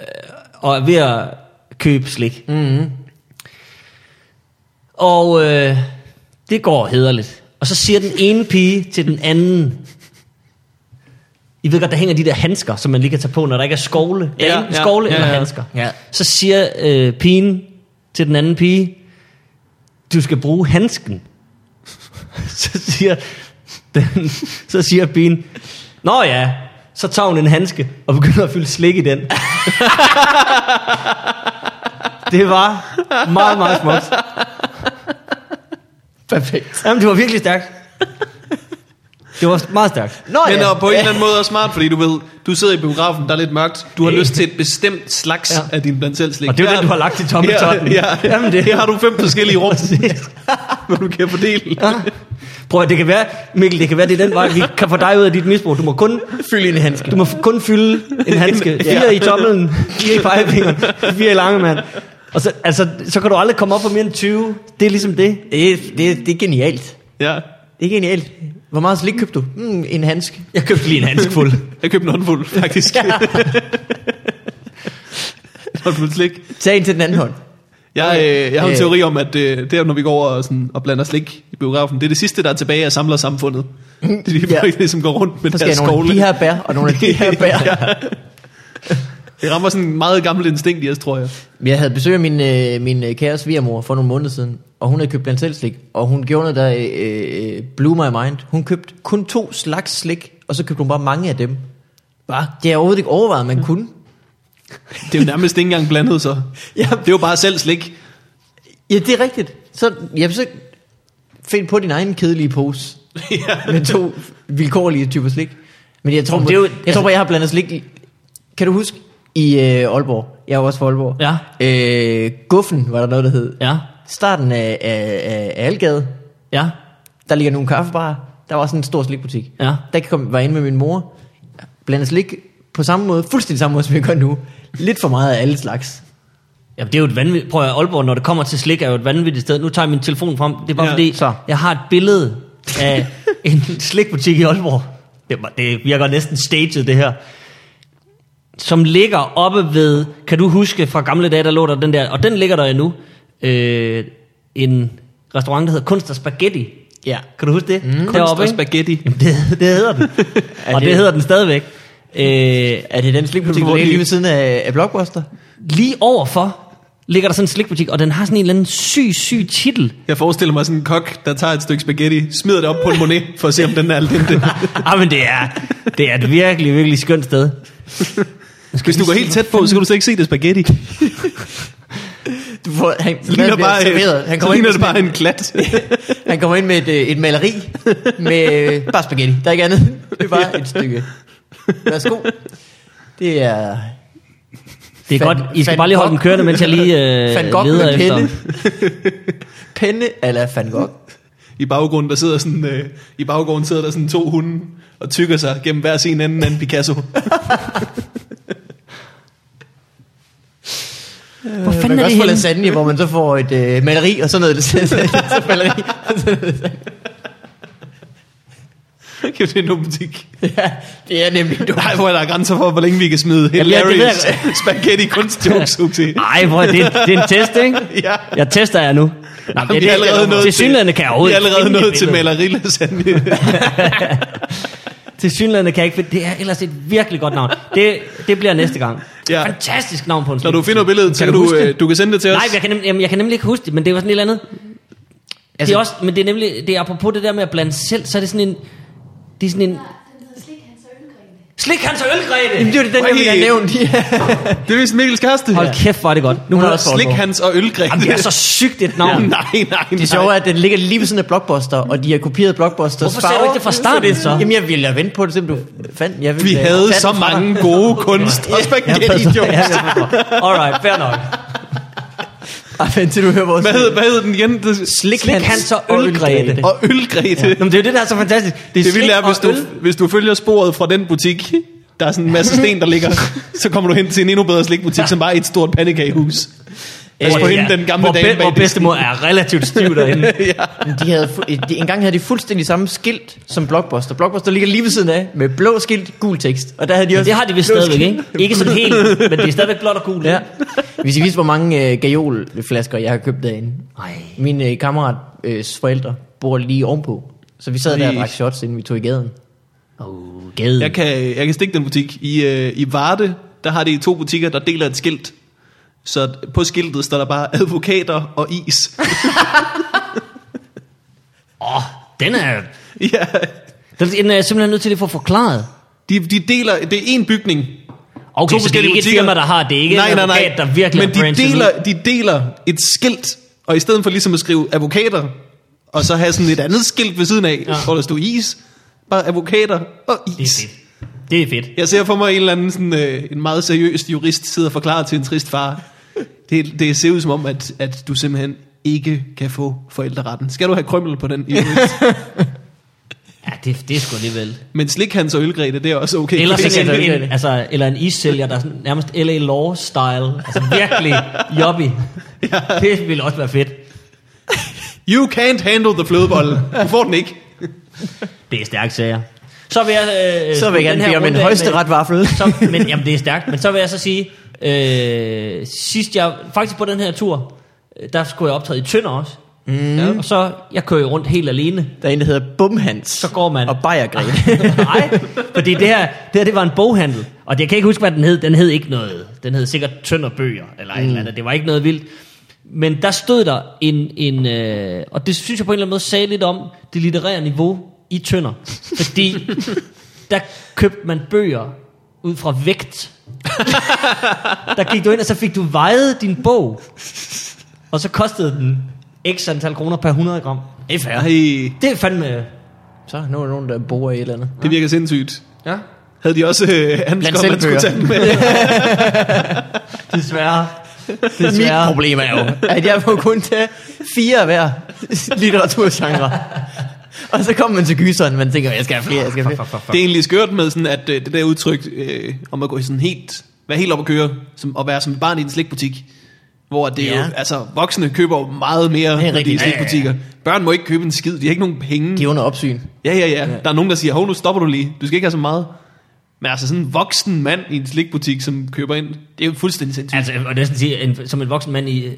S2: og er ved at købe slik. Mm-hmm. Og øh, det går hederligt. Og så siger den ene pige til den anden, I ved godt, der hænger de der handsker, som man lige kan tage på, når der ikke er skovle. Ja,
S3: Ja,
S2: enten
S3: ja,
S2: skovle
S3: ja,
S2: eller
S3: ja.
S2: handsker.
S1: Ja.
S2: Så siger øh, pigen til den anden pige, du skal bruge handsken. så siger den, så siger pigen, nå ja, så tager hun en handske og begynder at fylde slik i den. det var meget, meget smukt.
S1: Perfekt.
S2: Jamen, det var virkelig stærkt. Det var meget stærkt.
S1: Nå
S3: Men
S1: ja.
S3: og på en eller anden måde også smart, fordi du ved, du sidder i biografen, der er lidt mørkt. Du har lyst til et bestemt slags
S2: Ja.
S3: af din blandt selv slik.
S2: Og det er jo den, du har lagt i tommetotten.
S3: Ja, ja.
S2: Jamen, det,
S3: Her har du fem forskellige rum, hvor du kan fordele.
S2: Ja. Ah. Prøv at det kan være, Mikkel, det kan være, det er den vej, vi kan få dig ud af dit misbrug. Du må kun fylde en handske. Du må f- kun fylde en handske. Fire i tommelen, fire i pegefingeren, fire i langemand. Og så, altså, så kan du aldrig komme op på mere end 20. Det er ligesom det.
S1: Det, det, det er genialt.
S3: Ja.
S1: Det er genialt. Hvor meget slik købte du? Mm, en handske.
S2: Jeg købte lige en handske fuld.
S3: Jeg købte en håndfuld, faktisk. Ja. håndfuld slik.
S1: Tag en til den anden hånd.
S3: Jeg, øh, jeg har en
S1: Øh.
S3: teori om, at øh, der, når vi går over og, sådan, og blander slik i biografen, det er det sidste, der er tilbage af samlersamfundet. Det er de
S1: Ja.
S3: folk, som går rundt med
S1: Så skal
S3: deres
S1: jeg nogle
S3: skovle.
S1: af de her bær, og nogle af de her bær.
S3: Det rammer sådan en meget gammel instinkt i os, tror jeg.
S1: Jeg havde besøg af min, øh, min øh, kære svigermor for nogle måneder siden, og hun havde købt blandt selv slik, og hun gjorde noget, der øh, øh, blew my mind. Hun købte kun to slags slik, og så købte hun bare mange af dem. Hvad? Det har jeg overhovedet ikke overvejet, man kunne.
S3: Det er jo nærmest ikke engang blandet, så.
S1: Ja.
S3: Det er jo bare selv slik.
S1: Ja, det er rigtigt. Så, jamen, så find på din egen kedelige pose
S3: ja.
S1: med to vilkårlige typer slik. Men jeg tror,
S2: Jamen,
S1: det er jo, jeg, tror bare, jeg har blandet slik. i- Kan du huske, i i øh, Aalborg. Jeg er jo også fra Aalborg.
S2: Ja.
S1: Øh, Guffen var der noget, der hed.
S2: Ja.
S1: Starten af, af, af, af Algade,
S2: Ja.
S1: der ligger nogle kaffebarer. Der var sådan en stor slikbutik.
S2: Ja.
S1: Der kom, var jeg inde med min mor. Blandede slik på samme måde, fuldstændig samme måde, som jeg gør nu. Lidt for meget af alle slags.
S2: Jamen, det er jo et vanvittigt... Prøv at høre, Aalborg, når det kommer til slik, er jo et vanvittigt sted. Nu tager jeg min telefon frem. Det er bare
S3: Ja,
S2: ja, fordi,
S1: så.
S2: så. jeg har et billede af en slikbutik i Aalborg. Det, er bare- det virker næsten staged, det her. Som ligger oppe ved... Kan du huske fra gamle dage, der lå der den der... Og den ligger der endnu. Øh, en restaurant, der hedder Kunst og Spaghetti.
S1: Ja.
S2: Kan du huske det? Mm.
S3: Kunst og spaghetti.
S2: Jamen, det, det hedder den. og det,
S1: det-
S2: det hedder den stadigvæk. Øh,
S1: Er det den slikbutik, der
S3: Hvor
S1: ligger
S3: de-
S1: lige ved siden af, af Blockbuster?
S2: lige overfor ligger der sådan en slikbutik, og den har sådan en eller anden syg, syg titel.
S3: Jeg forestiller mig sådan en kok, der tager et stykke spaghetti, smider det op på en monet, for at se, om den er alene.
S2: ah, men det er, det er et virkelig, virkelig skønt sted.
S3: Hvis du går helt tæt på, så kan du slet ikke se det spaghetti. Det
S1: Du får, han, maden
S3: ligner
S1: bliver
S3: bare,
S1: serveret.
S3: øh,
S1: han,
S3: så
S1: kommer ind,
S3: ligner det bare en klat.
S1: han kommer ind med et, øh, et maleri med øh, bare spaghetti. Der er ikke andet. Det er bare et stykke. Værsgo. Det er...
S2: Det er
S1: Van-
S2: godt, I
S1: Van
S2: skal bare lige holde den
S1: Gogh.
S2: kørende, mens jeg lige øh,
S1: Van Gogh
S2: leder
S1: med
S2: efter.
S1: penne.
S3: Øh,
S1: Penne eller Van Gogh.
S3: I baggrunden, der sidder sådan, øh, I baggrunden sidder der sådan to hunde og tykker sig gennem hver sin ende af en Picasso.
S2: Hvor
S1: Man
S2: fanden
S1: kan
S2: er det
S1: også få
S2: henne?
S1: lasagne, hvor man så får et øh, maleri og sådan noget. så maleri og sådan noget. lasagne.
S3: Kæft, det er en åben butik.
S1: Ja, det er nemlig dumt.
S3: Nej, hvor er der grænser for, hvor længe vi kan smide
S2: ved jeg
S3: hilarious
S2: godt.
S3: spaghetti kunstjokes ud til.
S2: Ej, hvor er det, det er en test, ikke?
S3: Ja.
S2: Jeg tester jer nu. Nej,
S3: Vi er allerede nået
S2: til synlædende kan jeg overhovedet
S3: Vi er
S2: ikke
S3: allerede
S2: finde
S3: nået til
S2: billedet.
S3: malerilasagne.
S2: Til synlædende kan jeg ikke finde. Det er ellers et virkelig godt navn. Det, det bliver næste gang.
S3: Ja.
S2: Ja. Fantastisk navn på en
S3: Når du
S2: slik.
S3: finder billedet, så
S2: Kan du
S3: kan du,
S2: huske
S3: øh,
S2: det?
S3: du kan sende det til
S2: Nej,
S3: os.
S2: jeg kan, nem, jamen, jeg kan nemlig ikke huske det, men det var sådan et eller andet. Altså, det er også, men det er nemlig, det er apropos det der med at blande selv, så er det sådan en, det er sådan en,
S5: Den hedder Slik Hans og Ølgrene.
S2: slik Hans og Ølgrete!
S1: Det var det, den, jeg ville have nævnt. Ja.
S3: Det er vist Mikkels kæreste.
S2: Hold kæft, var det godt. Nu
S1: Hun
S2: kan
S1: er
S2: jeg
S1: også
S2: også
S3: Slik Hans og Ølgren.
S2: Jamen, det er så sygt et
S3: Nej,
S2: navn. Ja.
S3: nej, nej.
S1: Det sjove er, at den ligger lige ved siden af Blockbuster, og de har kopieret Blockbusters
S2: Hvorfor sagde du ikke det fra starten, så?
S1: Jamen, jeg ville have ventet på det, selvom du fandt... Jeg ville
S3: Vi
S1: have
S3: havde
S1: fandt
S3: så
S1: den fra dig.
S3: mange gode kunst og spaghetti jokes.
S2: Alright, fair nok.
S1: Ej, vent til du hører vores...
S3: Hvad hed, hvad hed den igen? Det-
S2: Slik, slik Hans og Ølgrete.
S1: Ølgrete.
S3: Og Ølgrete.
S2: Nå, men det er jo det, der er så fantastisk. Det er,
S3: Det vilde er, hvis
S2: slik og øl.
S3: du, hvis du følger sporet fra den butik, der er sådan en masse sten, der ligger, så kommer du hen til en endnu bedre slikbutik, som bare er et stort pandekagehus. Pas på
S2: Hvor-
S3: hende, den gamle
S2: Øh, hvor,
S3: dame
S2: be-
S3: bag
S2: Hvor
S3: disken.
S2: bedstemor er relativt stiv derinde.
S3: ja.
S1: Men De havde, fu- de, engang havde de fuldstændig samme skilt som Blockbuster. Blockbuster ligger lige ved siden af, med blå skilt, gul tekst. Og der havde de også...
S2: Det har de vist
S1: blå
S2: stadigvæk,
S1: skilt.
S2: ikke? Ikke sådan helt, men det er stadigvæk blåt og gult.
S1: Ja. Hvis I vidste, hvor mange øh, gajolflasker, jeg har købt derinde.
S2: Nej.
S1: Min øh, kammerats øh, forældre bor lige ovenpå. Så vi sad der og drak shots, inden vi tog i gaden.
S2: Oh, gade.
S3: jeg, kan, jeg kan stikke den butik. I, øh, I Varde, der har de to butikker, der deler et skilt. Så på skiltet står der bare advokater og is.
S2: Åh, oh, den er...
S3: ja.
S2: Den er jeg simpelthen nødt til lige at få forklaret.
S3: de, de deler, det er en bygning,
S2: Okay, så det er ikke et firma, der har det. Det er ikke nej, en advokat, nej, nej. der virkelig
S3: Men de deler, de deler et skilt, og i stedet for ligesom at skrive advokater, og så have sådan et andet skilt ved siden af, ja.
S2: Ja.
S3: hvor der stod is, bare advokater og
S2: Det er
S3: is.
S2: fedt. Det er fedt.
S3: Jeg ser for mig en eller anden sådan, øh, en meget seriøs jurist sidde og forklare til en trist far. Det, det ser ud som om, at, at du simpelthen ikke kan få forældreretten. Skal du have krømmel på den? i øvrigt?
S2: Ja, det, det er sgu alligevel.
S3: Men slik hans og ølgrete, det er også okay.
S2: Eller, sådan
S1: det er
S2: en,
S1: det.
S2: en, altså, eller en issælger, der er sådan, nærmest L.A. Law-style. Altså virkelig jobby. Det ville også være fedt.
S3: You can't handle the flødebolle. Du får den ikke.
S2: Det er stærkt, sagde jeg. Så vil jeg, øh,
S1: Så vil jeg
S2: den
S1: gerne bede
S2: her
S1: om en
S2: runde af med-
S1: højesteret vaffel.
S2: Så, men jamen, det er stærkt. Men så vil jeg så sige, øh, sidst jeg, faktisk på den her tur, øh, der skulle jeg optræde i Tønder også. Mm. Ja, og så, jeg kører jo rundt helt alene.
S1: Der er en, der hedder Bumhans.
S2: Så går man.
S1: Og Bajergren.
S2: Nej, fordi det her, det her, det var en boghandel. Og jeg kan ikke huske, hvad den hed. Den hed ikke noget. Den hed sikkert Tønderbøger, eller mm. et eller andet. Det var ikke noget vildt. Men der stod der en, en øh, og det synes jeg på en eller anden måde sagde lidt om det litterære niveau i Tønder. Fordi der købte man bøger ud fra vægt. Der gik du ind, og så fik du vejet din bog. Og så kostede den x antal kroner per 100 gram. Det er fair.
S3: Ej,
S2: Det er fandme...
S1: så nu er der nogen, der bor i et eller andet.
S3: det virker sindssygt.
S2: Ja.
S3: havde de også øh, anbefalet, at man
S1: selvbøger.
S3: skulle tage den med.
S2: Desværre.
S1: Mit
S2: Desværre.
S1: problem er jo, at jeg må kun tage fire af hver litteraturgenre. Og så kommer man til gyseren, man tænker, jeg skal have flere, jeg skal have flere.
S3: Det er egentlig skørt med sådan, at øh, det der udtryk øh, om at gå i sådan helt, være helt op at køre, som, og være som et barn i en slikbutik, hvor det
S1: Ja.
S3: ja. jo, altså voksne køber jo meget mere,
S1: er
S3: når de er i
S1: rigtigt. Ja, ja, ja.
S3: slikbutikker. Børn må ikke købe en skid, de har ikke nogen penge.
S1: De er under opsyn.
S3: Ja, ja, ja. Der er nogen, der siger, hov, nu stopper du lige. Du skal ikke have så meget. Men altså sådan en voksen mand i en slikbutik, som køber ind, det er jo fuldstændig sindssygt.
S2: Altså, og det er sådan at sige, en, som en voksen mand i øh,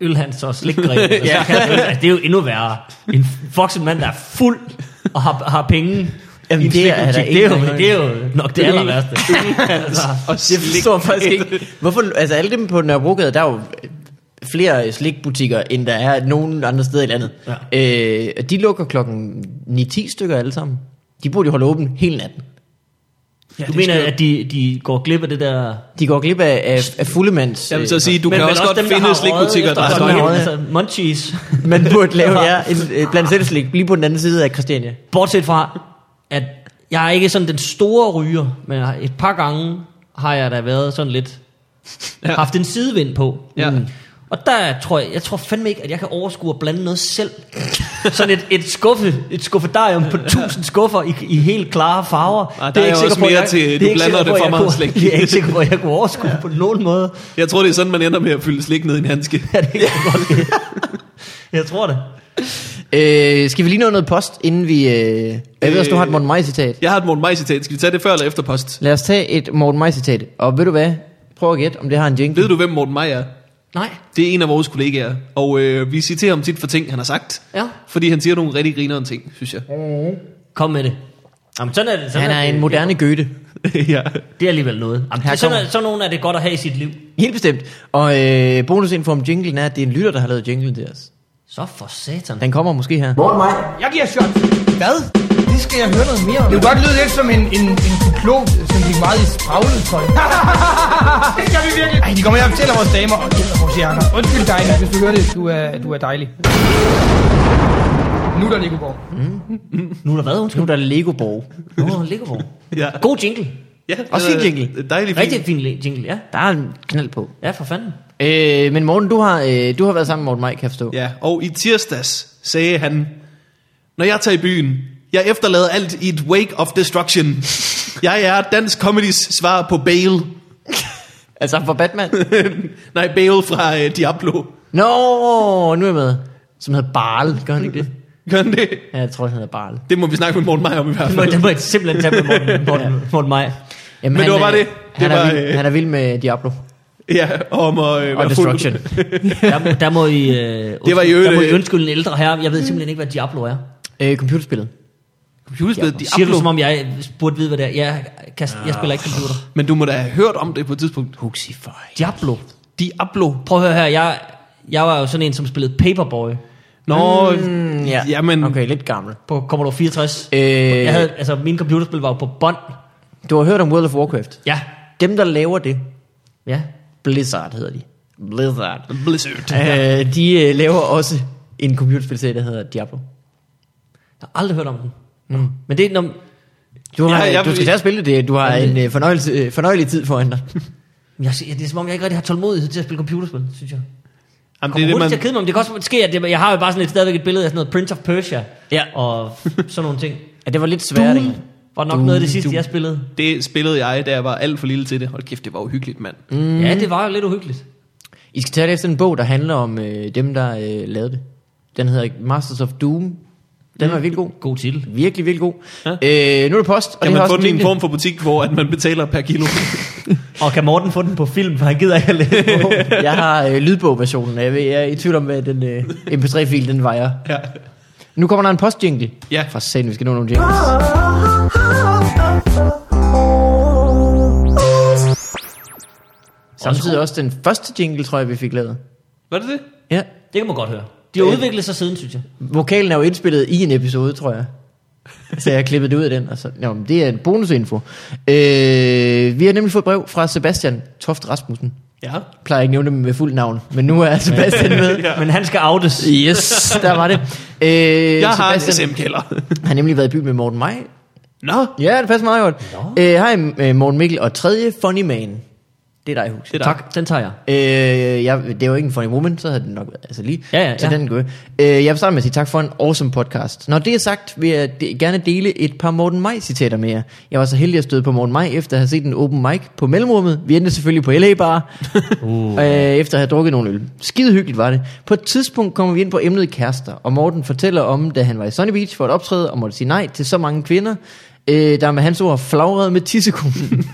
S2: ølhands og slikgren. ja. altså, det er jo endnu værre. En voksen mand, der er fuld og har, har penge.
S1: Jamen,
S2: i en
S1: det er der
S2: slikbutik.
S1: ingen,
S2: det,
S1: der kan-
S2: er jo, det er jo nok det
S1: Det er-
S2: aller værste. altså,
S3: Og
S1: Jeg forstår faktisk ikke, hvorfor, altså alle dem på Nørrebrogade, der er jo flere slikbutikker, end der er nogen andre steder i landet. Ja. Øh, de lukker klokken 9-10 stykker alle sammen. De burde jo holde åben hele natten.
S2: du mener, at de, de går glip af det der...
S1: De går glip af, af, af fuldemands...
S3: Jeg vil så
S1: øh,
S3: sige, du kan også, godt finde slikbutikker, der
S1: efter
S3: er
S1: klokken
S3: døgnet.
S1: halv-
S2: der Altså, munchies.
S1: Man burde lave ja, en, øh, blandt selv slik lige på den anden side af Christiania.
S2: Bortset fra, at jeg er ikke sådan den store ryger, men jeg har- et par gange har jeg da været sådan lidt... Ja. Haft en sidevind på. Mm.
S3: Ja.
S2: Og der tror jeg, jeg tror fandme ikke, at jeg kan overskue at blande noget selv. Sådan et, et skuffe, et skuffedarium på tusind skuffer i, i helt klare farver.
S3: Ah, der er jo også mere til,
S2: det er
S3: du
S2: ikke
S3: blander
S2: sikker
S3: det
S2: på,
S3: for
S2: jeg
S3: meget
S2: kunne-
S3: slik.
S2: Det er jeg ikke sikker på, at jeg kunne overskue på nogen måde.
S3: Jeg tror, det er sådan, man ender med at fylde slik ned i en handske.
S2: Ja, det kan jeg godt lide. Jeg tror det.
S1: Øh, skal vi lige nå noget post, inden vi... Øh, jeg ved også, du har et
S3: Øh,
S1: Morten Maj-citat.
S3: Jeg har et Morten Maj-citat. Skal vi tage det før eller efter post?
S1: Lad os tage et Morten Maj-citat. Og ved du hvad? Prøv at gætte, om det har en jingle.
S3: Ved du, hvem Morten Maj er?
S2: Nej.
S3: Det er en af vores kollegaer, og øh, vi citerer ham tit for ting, han har sagt.
S2: Ja.
S3: Fordi han siger nogle rigtig grinerende ting, synes jeg.
S2: Kom med det. Jamen, sådan er det. Sådan
S1: Han er
S2: det.
S1: en moderne Goethe.
S3: ja.
S2: Det er alligevel noget. Jamen,
S1: Her
S2: det, sådan,
S1: kommer-
S2: er, sådan nogen er det godt at have i sit liv.
S1: Helt bestemt. Og øh, bonusinfo om jinglen er, at det er en lytter, der har lavet jinglen til os.
S2: Så for satan.
S1: Han kommer måske her.
S6: Morten Maj.
S7: Jeg giver shot.
S6: Hvad? Det skal jeg høre noget mere om.
S7: Det kunne godt lyde lidt som en, en, en cyklop, som gik meget i spraglet tøj. det skal vi virkelig. Ej, de kommer her og fortæller vores damer og gælder vores hjerner. Undskyld dig, hvis du hører det. Du er, du er dejlig. Nu er der Legoborg.
S2: Nu er der hvad, undskyld?
S1: Nu er der Lego Borg.
S2: Nå, Liggerborg.
S3: ja.
S2: God jingle.
S3: ja
S1: Også
S3: det er
S1: fin jingle.
S3: et Dejligt fint.
S2: Rigtig fin le- jingle, ja.
S1: Der er en knald på.
S2: Ja, for fanden.
S1: Øh, men Morten, du har, øh, du har været sammen med Morten Maj, kan jeg forstå.
S3: Ja, og i tirsdags sagde han, når jeg tager i byen, jeg efterlader alt i et wake of destruction. Jeg er dansk comedies svar på Bale.
S1: Altså for Batman.
S3: Nej, Bale fra øh, Diablo.
S1: Nå, nu er jeg med. Som hedder Barl, gør han ikke det?
S3: Gør han det?
S1: Ja, jeg tror, han hedder Barl.
S3: Det må vi snakke med Morten Maj om i hvert
S2: Det må,
S3: fald.
S2: det må jeg simpelthen tage med Morten, Morten, Morten Maj.
S1: Jamen,
S3: Men det var
S1: er-
S3: bare det.
S1: Han,
S3: Det
S1: er
S3: var,
S1: vild,
S3: øh,
S1: han er vild med Diablo
S3: Ja, om at øh,
S1: og
S3: være
S1: Destruction.
S3: fuld.
S2: Der, der må I, øh, undskyld,
S3: var i øvrigt,
S2: der må I
S3: øh,
S2: undskylde en ældre herre. Jeg ved simpelthen ikke, hvad Diablo er.
S1: øh, computerspillet.
S3: Computerspillet
S2: Siger du,
S3: Diablo.
S2: som om jeg burde vide, hvad det er? Jeg, kan, jeg spiller ikke computer.
S3: Men du må da have hørt om det på et tidspunkt. Huxify.
S2: Diablo.
S3: Diablo.
S2: Prøv at høre her. Jeg, jeg var jo sådan en, som spillede Paperboy
S3: Nå,
S1: Mm, ja.
S3: jamen,
S1: Okay, lidt gammel.
S2: på Commodore 64.
S1: Øh,
S2: Jeg havde, altså, mine computerspil var jo på bånd.
S1: Du har hørt om World of Warcraft.
S2: Ja.
S1: Dem, der laver det,
S2: Ja.
S1: Blizzard hedder de. Blizzard.
S3: Blizzard.
S1: Øh, de øh, laver også en computerspilserie, der hedder Diablo.
S2: Jeg har aldrig hørt om den. Mm. Men det er, når,
S1: Du, har,
S3: Ja,
S1: ja,
S3: jeg-
S1: du skal tage at spille det. Du har
S2: Jamen,
S1: en øh, fornøjelse, øh, fornøjelig tid foran dig.
S2: Jeg, det er som om, jeg ikke rigtig har tålmodighed til at spille computerspil, synes jeg.
S3: Jamen,
S2: Det er det, man... til at kede mig, men det kan også ske, at det, jeg har jo bare sådan et, stadigvæk et billede af sådan noget Prince of Persia
S1: Ja.
S2: og sådan nogle ting.
S1: Ja, det var lidt svært, ikke?
S2: Var nok noget af det sidste, jeg spillede.
S3: Det spillede jeg, da jeg var alt for lille til det. Hold kæft, det var uhyggeligt, mand.
S2: Mm. Ja, det var jo lidt uhyggeligt.
S1: I skal tage det efter en bog, der handler om øh, dem, der øh, lavede det. Den hedder Masters of Doom. Den var virkelig god.
S2: God titel.
S1: Virkelig, virkelig god. Ja. Øh, nu er det post. Og
S3: Mm. Kan
S1: det har
S3: man
S1: også
S3: få den i en
S1: jingle.
S3: form for butik, hvor at man betaler per kilo?
S2: Og kan Morten få den på film, for han gider ikke at læse bogen.
S1: jeg har øh, lydbogversionen. Jeg, ved, jeg er i tvivl om, hvad den øh, mp3-fil den vejer.
S3: ja.
S1: Nu kommer der en postjingle.
S3: Ja.
S1: For satan, vi skal nå nogle
S4: Ah,
S1: jingles.
S4: oh.
S1: Samtidig også den første jingle, tror jeg, vi fik lavet.
S3: Var det det?
S1: Ja.
S2: Det kan man godt høre. De har udviklet sig siden, synes jeg.
S1: Vokalen er jo indspillet i en episode, tror jeg. Så jeg har klippet det ud af den. Og så, nå, men det er en bonusinfo. Øh, vi har nemlig fået et brev fra Sebastian Toft Rasmussen.
S3: Ja.
S1: Jeg plejer ikke at nævne dem med fuld navn, men nu er Sebastian med.
S2: Ja. Men han skal outes.
S1: Yes, der var det. Øh,
S3: Jeg har en
S1: Sebastian-
S3: SM-kælder.
S1: Han har nemlig været i by med Morten Maj
S3: Nå,
S1: Ja, det passer meget godt.
S2: Nå.
S1: Øh, Hej, øh, Morten Mikkel. Og tredje, Funny Man. Det er dig, Hus.
S3: det er
S2: Tak, den tager jeg.
S1: Øh, jeg, det var ikke en funny moment, så havde den nok været altså lige.
S2: Ja, ja,
S1: så
S2: ja.
S1: den går. Øh, jeg vil starte med at sige tak for en awesome podcast. Når det er sagt, vil jeg de- gerne dele et par Morten Maj citater med jer. Jeg var så heldig at støde på Morten Maj, efter at have set en open mic på mellemrummet. Vi endte selvfølgelig på LA Bar, uh. øh, efter at have drukket nogle øl. Skide hyggeligt var det. På et tidspunkt kommer vi ind på emnet kærester, og Morten fortæller om, da han var i Sunny Beach for et optræde, og måtte sige nej til så mange kvinder, øh, der med hans ord flagrede med tissekonen.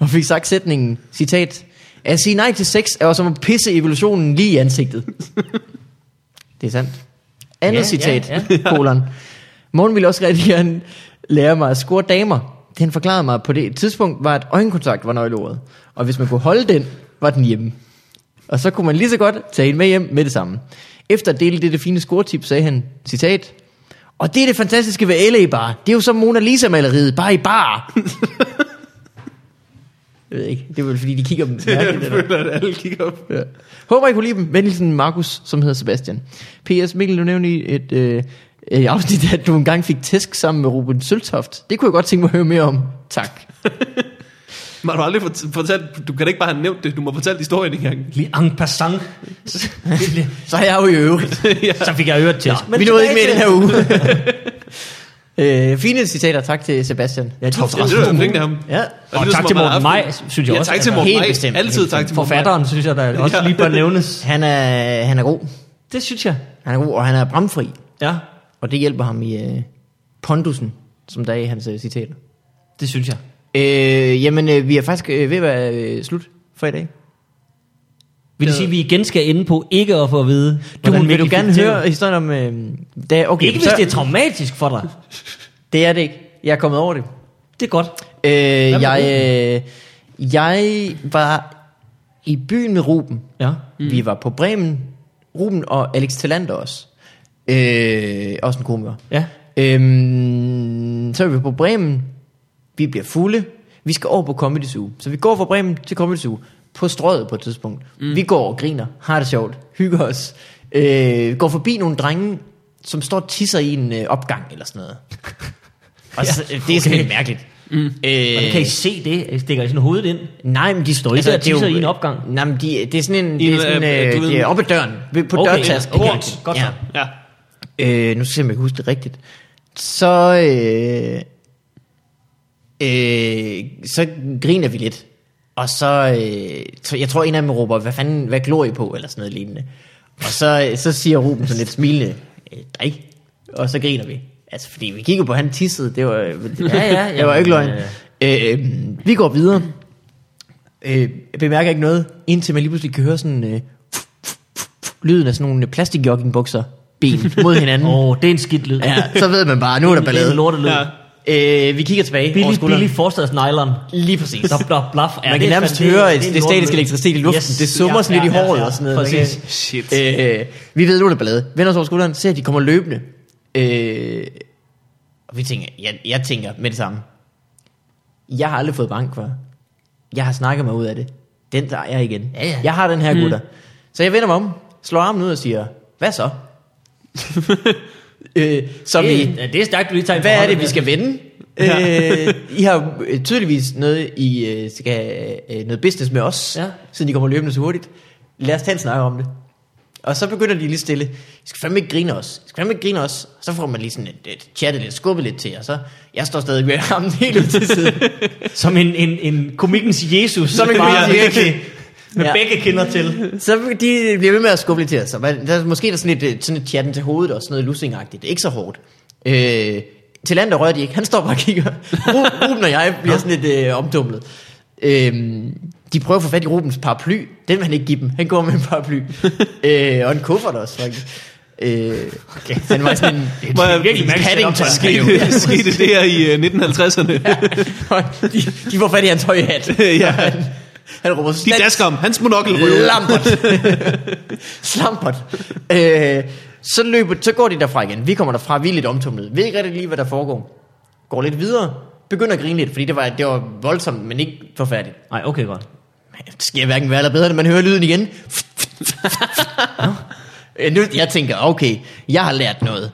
S1: og fik sagt sætningen, citat, at sige nej til sex er jo som at pisse evolutionen lige i ansigtet. det er sandt. Andet
S2: Ja,
S1: ja, citat,
S2: ja,
S1: ja, ja. kolon. Morgen ville også rigtig gerne lære mig at score damer. Det han forklarede mig på det tidspunkt var, at øjenkontakt var nøgleordet. Og hvis man kunne holde den, var den hjemme. Og så kunne man lige så godt tage hende med hjem med det samme. Efter at dele dette fine scoretip, sagde han, citat, og det er det fantastiske ved LA Bar. Det er jo som Mona Lisa-maleriet, bare i bar. Jeg ved ikke, det er vel fordi, de kigger dem mærkeligt. eller?
S3: jeg føler, at alle kigger op.
S1: Ja. Håber, I kunne lide dem. Vendelsen Markus, som hedder Sebastian. P.S. Mikkel, du nævnte i et øh, øh, afsnit, at du engang fik tæsk sammen med Ruben Søltoft. Det kunne jeg godt tænke mig at høre mere om. Tak.
S3: Man har du aldrig fort- fortalt, du kan da ikke bare have nævnt det, du må fortælle historien engang.
S2: Lige en passant. Så- det blev-
S1: Så er jeg jo i øvrigt.
S2: Så fik jeg øret til. Ja,
S1: Vi nåede ikke med i den her uge. øh, fine citater. Tak til Sebastian. Ja,
S3: Jeg synes, det er flink af ham.
S1: Ja.
S2: Og
S3: lyder,
S2: tak
S3: som
S2: til
S3: om, han
S2: Morten
S3: har
S2: Maj,
S3: haft en-
S2: synes jeg
S3: ja,
S2: også.
S3: tak til
S2: Altså,
S3: Morten
S1: helt
S3: Maj.
S1: bestemt,
S3: Altid
S1: helt
S3: tak til Morten Maj.
S2: Forfatteren, synes jeg, der også
S3: Ja.
S2: lige bør nævnes.
S1: Han er, han er god.
S2: Det synes jeg.
S1: Han er god, og han er bramfri.
S2: Ja,
S1: Og det hjælper ham i øh, pondusen, som der er i hans øh, citater.
S2: det synes jeg.
S1: Øh, jamen, øh, vi er faktisk øh, ved at være øh, slut for i dag.
S2: Vil det sige, at vi igen skal ende på ikke at få at vide,
S1: Du,
S2: hvordan
S1: vil
S2: Mikkel
S1: du gerne
S2: fik det?
S1: høre historien om... Øh, da, okay,
S2: Ikke hvis
S1: så-
S2: det er traumatisk for dig.
S1: det er det ikke. Jeg er kommet over det.
S2: Det er godt.
S1: Øh, jeg, øh, jeg var i byen med Ruben.
S2: Ja.
S1: Mm. Vi var på Bremen. Ruben og Alex Talander også. Øh, også en komiker.
S2: Ja.
S1: Øhm, så er vi på Bremen. Vi bliver fulde. Vi skal over på Comedy Zoo. Så vi går fra Bremen til Comedy Zoo. På strøget på et tidspunkt. Mm. Vi går og griner. Har det sjovt. Hygger os. Øh, går forbi nogle drenge, som står og tisser i en øh, opgang eller sådan noget. og så, det er okay. sådan lidt mærkeligt. Mm. Øh,
S2: Hvordan kan I se det? Stikker I sådan hovedet ind?
S1: Nej, men de står
S2: Altså,
S1: ikke
S2: der tisser i en opgang?
S1: Nej, men de, det er sådan en...
S3: I
S1: Det er
S3: en,
S1: sådan,
S3: øh,
S1: øh,
S3: du ved-
S1: det er oppe ad døren. Ved- På okay, dørtasken.
S2: Okay. Port. Godt så.
S1: Ja.
S3: Ja.
S1: Øh, nu skal jeg se, om jeg kan huske det rigtigt. Så, øh, øh, så griner vi lidt. Og så, øh, så- jeg tror en af dem råber, hvad fanden, hvad glor I på, eller sådan noget lignende. Og så, øh, så siger Ruben sådan lidt smilende, øh, dig. Og så griner vi. Altså, fordi vi kigger på, han tissede, det var, ja, ja, jeg var ikke løgn. Øh, øh, vi går videre. Øh, jeg bemærker ikke noget, indtil man lige pludselig kan høre sådan, øh, lyden af sådan nogle øh, plastikjoggingbukser ben mod hinanden.
S2: Åh, oh, det er en skidt lyd.
S1: Ja, så ved man bare, nu er der
S2: Det er
S1: ballade.
S2: en lortelyd.
S3: Ja.
S2: Ja.
S1: Øh, vi kigger tilbage over
S2: Billig,
S1: skulderen.
S2: billig forstadsnylon.
S1: Lige præcis.
S2: Der blaf, blaf. Ja,
S1: man
S2: det
S1: kan
S2: er
S1: nærmest
S2: fandme-
S1: høre
S2: er
S1: det, det,
S2: en
S1: det statisk
S2: lortelyd.
S1: elektricitet i luften.
S2: Yes.
S1: det summer
S2: Ja,
S1: sådan lidt
S2: ja,
S1: i
S2: ja,
S1: håret
S2: ja.
S1: og sådan noget.
S2: Præcis.
S1: man
S3: Shit.
S1: kan- Øh, vi ved, nu er der ballade. Vender os over skulderen, ser at de kommer løbende. Øh, og vi tænker, jeg, jeg tænker med det samme. Jeg har aldrig fået bank for. Jeg har snakket mig ud af det. Den tager jeg igen.
S2: Ja, Hmm. ja.
S1: Jeg har den her gutter. Så jeg vender mig om, slår armen ud og siger, hvad så? øh, så
S2: Det
S1: vi
S2: er- ja, Det er stærkt, du lige tager en
S1: hvad er
S2: forhånd.
S1: det, vi skal vende?
S3: Ja.
S1: Øh, I har øh, tydeligvis noget, I øh, skal øh, noget business med os,
S2: Ja.
S1: ja. siden I kommer løbende så hurtigt. Lad os tage en snak om det. Og så begynder de lige stille. I skal fandme ikke grine os. I skal fandme ikke grine os. Så får man lige sådan et, et chattet lidt, skubbet lidt til, og så... Jeg står stadig med ham helt ud til siden.
S2: Som en, en, en komikens Jesus.
S1: Som en
S2: Bare
S1: komikens Jesus.
S2: virkelig Med
S1: Ja.
S2: begge kinder til.
S1: så de bliver ved med at skubbe lidt til os. Og man- Der er måske der er sådan lidt, øh, sådan lidt chatten til hovedet og sådan noget lussingagtigt. Ikke så hårdt. Øh, til land, der rører de ikke. Han står bare og kigger. Ru- Ruben og jeg bliver sådan lidt øh, omtumlet. Øh, de prøver at få fat i Rubens paraply. Den vil han ikke give dem. Han går med en paraply. øh, og en kuffert også, faktisk. Øh, okay. Han var sådan en,
S3: Må jeg
S2: virkelig mærkeligt setup,
S1: Paddington.
S2: ja.
S1: Jo.
S3: skete det her i øh, 1950'erne?
S1: Og de, de får fat i hans høje hat.
S3: Ja.
S1: Han, han råber
S3: De
S1: "Slat-
S3: dasker om, hans monokkel ryger.
S1: Lampert. Slampert. Øh, så, løber, så går de derfra igen. Vi kommer derfra, vi er lidt omtumlet. Ved ikke rigtig lige, hvad der foregår. Går lidt videre. Begynder at grine lidt, fordi det var, det var voldsomt, men ikke forfærdeligt.
S2: Nej, okay, godt.
S1: Det sker hverken værre eller bedre, når man hører lyden igen. Nå. Øh, nu, jeg tænker, okay, jeg har lært noget.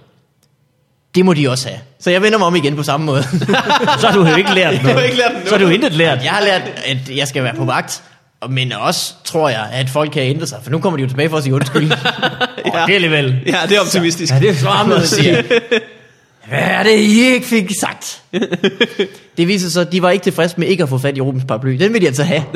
S1: det må de også have. Så jeg vender mig om igen på samme måde.
S2: Så har du jo ikke lært noget.
S3: ikke lært noget.
S2: så har du jo intet lært.
S1: jeg har lært, at jeg skal være på vagt, og- men også tror jeg, at folk kan ændre sig, for nu kommer de jo tilbage for at sige undskyld.
S2: Ja. Oh, det er alligevel.
S3: Ja, det er optimistisk.
S2: Ja, det er
S1: Fremmed
S2: fremmed.
S1: siger, hvad er det, I ikke fik sagt? Det viser sig, at de var ikke tilfredse med ikke at få fat i Rubens paraply. Den vil de altså have.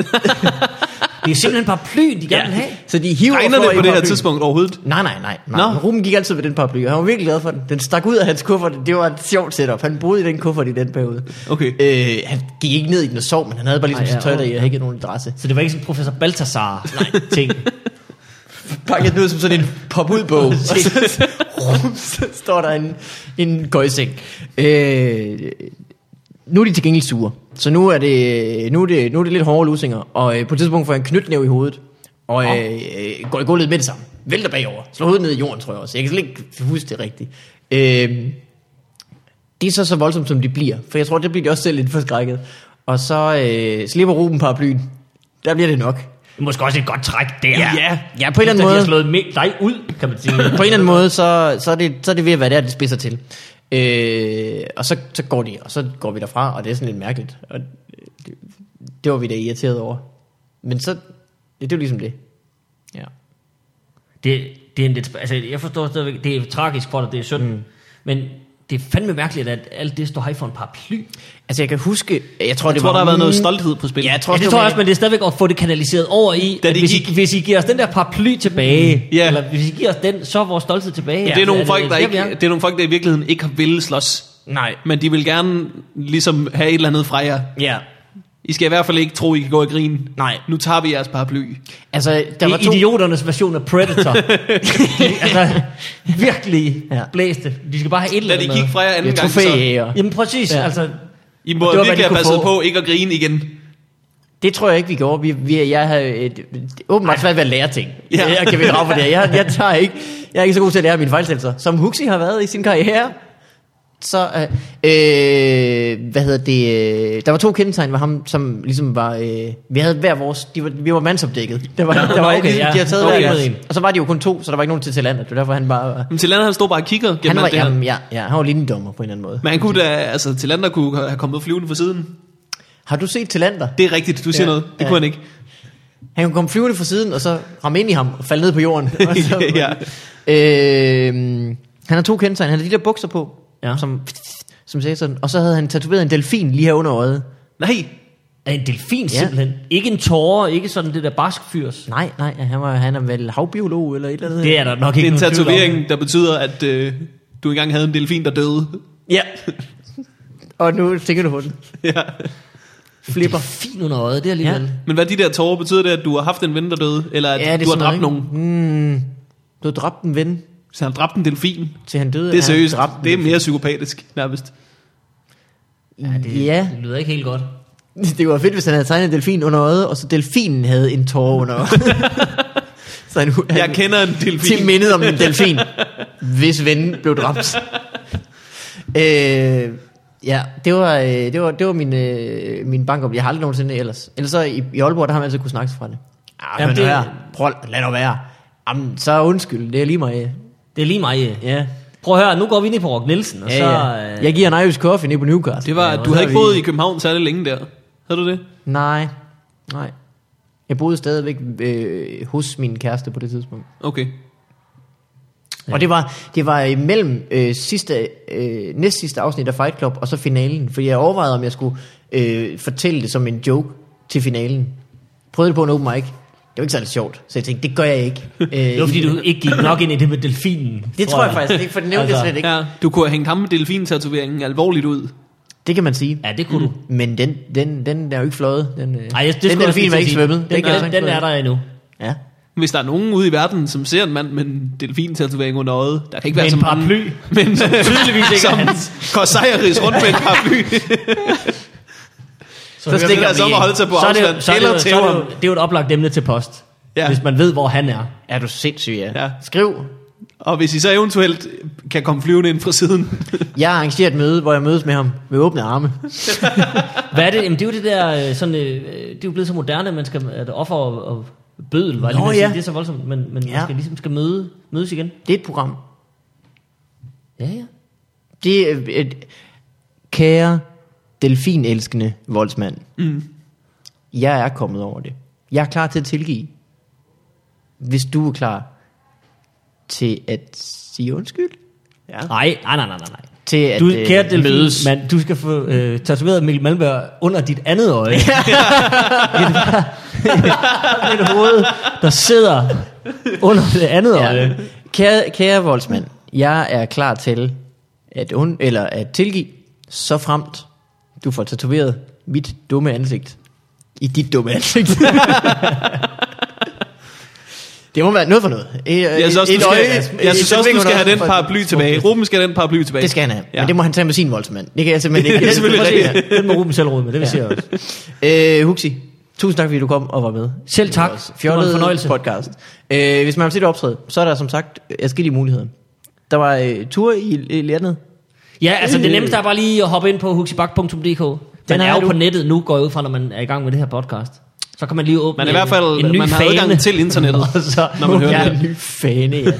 S2: Det er simpelthen bare plyen, de gerne vil have.
S1: Så de hiver
S3: Regner
S1: og flår
S3: det på
S1: i
S3: det her
S1: paraplyen.
S3: tidspunkt overhovedet?
S1: Nej, nej, nej. nej.
S3: Nå.
S1: No. Ruben gik altid ved den paraply, og han var virkelig glad for den. Den stak ud af hans kuffert. Det var et sjovt setup. Han boede i den kuffert i den periode.
S3: Okay.
S1: Øh, han gik ikke ned i den og sov, men han havde bare ligesom
S2: Ej,
S1: Ej,
S2: ja,
S1: sit tøj
S2: åh.
S1: der i, og ikke nogen adresse.
S2: Så det var ikke sådan professor Baltasar-ting.
S1: Pakket den ud som sådan en pop-ud-bog. og så, så står der en, en gøjseng. Øh, nu er de til gengæld sure. Så nu er det, nu er det, nu er det lidt hårde lusinger. Og øh, på et tidspunkt får han knytnæv i hovedet. Og øh, øh, går i gulvet med det samme. Vælter bagover. Slår hovedet ned i jorden, tror jeg også. Jeg kan slet ikke huske det rigtigt. Øh, det er så så voldsomt, som de bliver. For jeg tror, det bliver de også selv lidt forskrækket. Og så øh, slipper Ruben paraplyen. Der bliver det nok.
S2: Måske også et godt træk der.
S1: Ja, ja, på en eller anden
S2: Efter de
S1: måde.
S2: har slået me- dig ud, kan man sige.
S1: på en eller anden måde, så, så, er det, så er det ved at være der, det spidser til. Øh, og så, så går de, og så går vi derfra, og det er sådan lidt mærkeligt. Og det, det var vi da irriteret over. Men så, det, det er jo ligesom det. Ja.
S2: Det, det er en lidt... sp- Altså, jeg forstår stadigvæk, det er tragisk for dig, det er synd. Mm. Men det er fandme mærkeligt, at alt det står her for en paraply.
S1: Altså jeg kan huske, jeg tror,
S3: Jeg
S1: det
S3: tror,
S1: var,
S3: der har været noget
S1: mm,
S3: stolthed på spil.
S1: Ja, jeg tror,
S2: Ja,
S1: også,
S2: det tror jeg også,
S1: var-
S2: men det er stadigvæk at få det kanaliseret over i,
S3: Da
S2: at
S3: det
S2: hvis,
S3: gik-
S2: I, hvis I giver os den der paraply tilbage,
S3: Ja.
S2: eller hvis I giver os den, så er vores stolthed tilbage.
S3: det, er nogle folk, der
S2: det,
S3: ikke,
S2: vi er?
S3: det er nogle folk, der i virkeligheden ikke har ville slås.
S1: Nej.
S3: Men de vil gerne ligesom have et eller andet fra jer.
S1: Ja.
S3: I skal i hvert fald ikke tro, I kan gå og grine.
S1: Nej.
S3: Nu tager vi jeres paraply.
S1: Altså, der
S2: Det
S1: var
S2: er
S1: to...
S2: idioternes version af Predator. De- altså, virkelig ja.
S1: Ja.
S2: blæste. De skal bare have et eller
S3: Lad det
S2: andet.
S3: gik fra jer anden
S1: Ja,
S3: gang, så
S1: trofæjæger.
S2: Jamen præcis, ja.
S1: Ja.
S2: altså.
S3: I
S2: Og
S3: må
S2: det var, hvad de
S3: virkelig have
S2: kunne
S3: passet
S2: få.
S3: på ikke at grine igen.
S1: Det tror jeg ikke, vi gjorde. Vi, vi, jeg havde et, åbenbart svært ved at lære ting.
S3: Ja.
S1: Ja. Jeg kan vi drage for det. Jeg, jeg, tager ikke, jeg er ikke så god til at lære mine fejltagelser. Som Huxi har været i sin karriere. Så, øh, øh, hvad hedder det, øh, der var to kendetegn ved ham, som ligesom var, øh, vi havde hver vores, de var, vi var mandsopdækket. Der var, der var
S2: okay,
S1: okay, ligesom,
S2: ja.
S1: de havde taget
S2: Okay,
S1: okay, hver
S2: ja.
S1: deres. Og så var de jo kun to, så der var ikke nogen til Talander. Det var derfor, han bare var,
S3: Men Tillander, han stod bare og kigger gennem
S1: han var,
S3: alt det her.
S1: jamen, ja, ja, han var linjedommer på en eller anden måde.
S3: Men han kunne da, altså Tillander kunne have kommet flyvende fra siden.
S1: Har du set Talander?
S3: Det er rigtigt, du siger
S1: Ja.
S3: noget. Det
S1: Ja.
S3: kunne han ikke.
S1: Han kunne komme flyvende fra siden, og så ramme ind i ham og falde ned på jorden. Og så-
S3: Ja.
S1: øh, han har to kendetegn. Han har de der bukser på,
S2: Ja.
S1: ja. som, som sagde sådan. Og så havde han tatoveret en delfin lige her under øjet.
S3: Nej,
S2: Er en delfin ja. simpelthen. Ikke en tåre, ikke sådan det der barskfyrs.
S1: Nej, nej, han, var, han er vel havbiolog eller et eller andet.
S2: Det er der nok
S3: det
S2: ikke
S3: er en
S2: nogen tvivl om.
S3: tatovering, der betyder, at øh, du engang havde en delfin, der døde.
S1: Ja. og nu tænker du på den.
S3: ja.
S1: Flipper.
S2: Delfin under øjet, det er alligevel. Ja.
S1: Ja.
S3: Men hvad de der tårer, betyder det, at du har haft en ven, der døde? Eller at
S1: Ja, det
S3: ja,
S1: er
S3: du har
S1: sådan
S3: dræbt
S1: noget,
S3: nogen?
S1: ikke? Mm. Du har dræbt en ven,
S3: Så han dræbte en delfin.
S1: til han døde.
S3: Det er
S1: Ja, han
S3: seriøst.
S1: dræbte en
S3: Det er
S1: delfin.
S3: mere psykopatisk, nærmest.
S2: Ja, det,
S1: Ja.
S2: det lyder ikke helt godt.
S1: Det var fedt, hvis han havde tegnet en delfin under øjet, og så delfinen havde en tåre under øjet. så han, han,
S3: Jeg kender en delfin.
S1: til mindet om en delfin, hvis ven blev dræbt. Øh, ja, det var, øh, det var, det var min, øh, min bankop. Jeg har aldrig nogensinde ellers. Ellers så i, i Aalborg, der har man altid kunne snakke sig fra det. Ah,
S2: Jamen,
S1: Jamen, det...
S2: det-
S1: Her. Prøv, lad nu være. Jamen, så undskyld, det er lige mig.
S2: Det er lige mig. øh.
S1: Ja,
S2: Prøv at høre, nu går vi ned på Rock Nielsen, og
S1: ja,
S2: så...
S1: ja.
S2: øh,
S1: Jeg giver en Irish coffee ned på Newcastle.
S3: Det var,
S2: Ja,
S3: ja, du
S2: hvor
S3: havde
S2: er
S3: ikke
S2: vi-
S3: boet i København særlig længe der. Havde du det?
S1: Nej, nej. Jeg boede stadigvæk øh, hos min kæreste på det tidspunkt.
S3: Okay.
S1: Ja. Og det var, det var imellem øh, sidste, øh, næst sidste afsnit af Fight Club, og så finalen. Fordi jeg overvejede, om jeg skulle øh, fortælle det som en joke til finalen. Prøvede det på en open mic. Det var ikke særlig sjovt, så jeg tænkte, det gør jeg ikke. Øh,
S2: Det var fordi, du ikke gik nok ind i det med delfinen.
S1: Det tror jeg faktisk, det, for det nævnte altså, jeg slet ikke. Ja.
S3: Ja, du kunne have hængt ham med delfintatoveringen alvorligt ud.
S1: Det kan man sige.
S2: Ja, det kunne du.
S1: Men den, den, den er jo ikke fløjet. Den, øh,
S2: Ej, jeg, det
S1: den
S2: skulle jeg
S1: delfin
S2: også
S1: var ikke
S2: lige til at sige.
S1: svømmet.
S2: Den,
S1: kan jeg
S2: den,
S1: sagtens
S2: den er
S1: forstå.
S2: der endnu.
S1: Ja.
S3: Hvis der er nogen ude i verden, som ser en mand med en delfintatovering under øjet, der kan ikke
S2: Med
S3: være så
S2: en
S3: mange.
S2: paraply.
S3: Men som
S2: tydeligvis ikke er
S3: som
S2: hans.
S3: Corsaris rundt med en paraply.
S1: Så
S3: det
S1: stikker
S3: er altså
S1: vi
S3: om at holde sig på
S2: så er det, jo-
S3: afstand.
S2: så er det,
S3: eller
S2: jo- så
S3: tæve
S2: er det,
S3: ham.
S2: jo- det er jo et oplagt emne til post.
S3: Ja.
S2: Ja. Hvis man ved, hvor han er.
S1: Er du sindssyg, ja.
S3: Ja.
S1: ja. Skriv.
S3: Og hvis I så eventuelt kan komme flyvende ind fra siden.
S1: Jeg har arrangeret et møde, hvor jeg mødes med ham med åbne arme.
S2: Hvad er det? Jamen, det er jo det der, øh, sådan, øh, det er jo blevet så moderne, at man skal at offer og, og bødel, var jeg lige
S1: Nå,
S2: ved at sige.
S1: ja.
S2: det er så voldsomt, men, men ja.
S1: Ja.
S2: man skal ligesom skal møde, mødes igen.
S1: Det er et program.
S2: Ja, ja.
S1: Det er et kære delfinelskende voldsmand. Mm. Jeg er kommet over det. Jeg er klar til at tilgive. Hvis du er klar til at sige undskyld. Ja.
S2: Nej, nej, nej, nej, nej.
S1: Til at
S2: Du,
S1: øh,
S2: kære delfin,
S1: mødes.
S2: mand, du skal få øh, tatoveret Mikkel Malmberg under dit andet øje. Et et hoved, der sidder under det andet
S1: Ja.
S2: øje.
S1: Kære, kære voldsmand, jeg er klar til at, und, eller at tilgive, så fremt du får tatoveret mit dumme ansigt i dit dumme ansigt. det må være noget for noget. Et,
S3: Jeg synes også, du skal, jeg synes også, du skal have den
S1: par
S3: paraply tilbage. Ruben skal have den paraply tilbage.
S1: Det skal han have, ja.
S3: Ja.
S1: men det må han tage med sin voldsmand. Det kan jeg simpelthen ikke.
S3: Det er selvfølgelig
S1: Prøv at se
S3: rigtigt.
S2: Den må Ruben selv råde med, det vil
S1: Ja.
S2: sige jeg også.
S1: her. Øh, Huxi, tusind tak, fordi du kom og var med.
S2: Selv tak. Det var en
S1: Fjollet
S2: fornøjelse.
S1: podcast. Øh, hvis man vil se det optræde, så er der som sagt forskellige muligheder. Der var øh, ture i, i landet.
S2: Ja, altså det nemmeste er bare lige at hoppe ind på huxibak.dk. Den
S1: Den
S2: er
S1: har
S2: jo
S1: du.
S2: på nettet nu, går jeg ud fra, når man er i gang med det her podcast. Så kan man lige åbne
S3: Man er i hvert fald,
S2: en ny
S3: man har
S2: fane.
S3: adgang til internettet,
S2: Og så,
S3: når man hører
S2: ja,
S3: det.
S1: en ny fane, ja.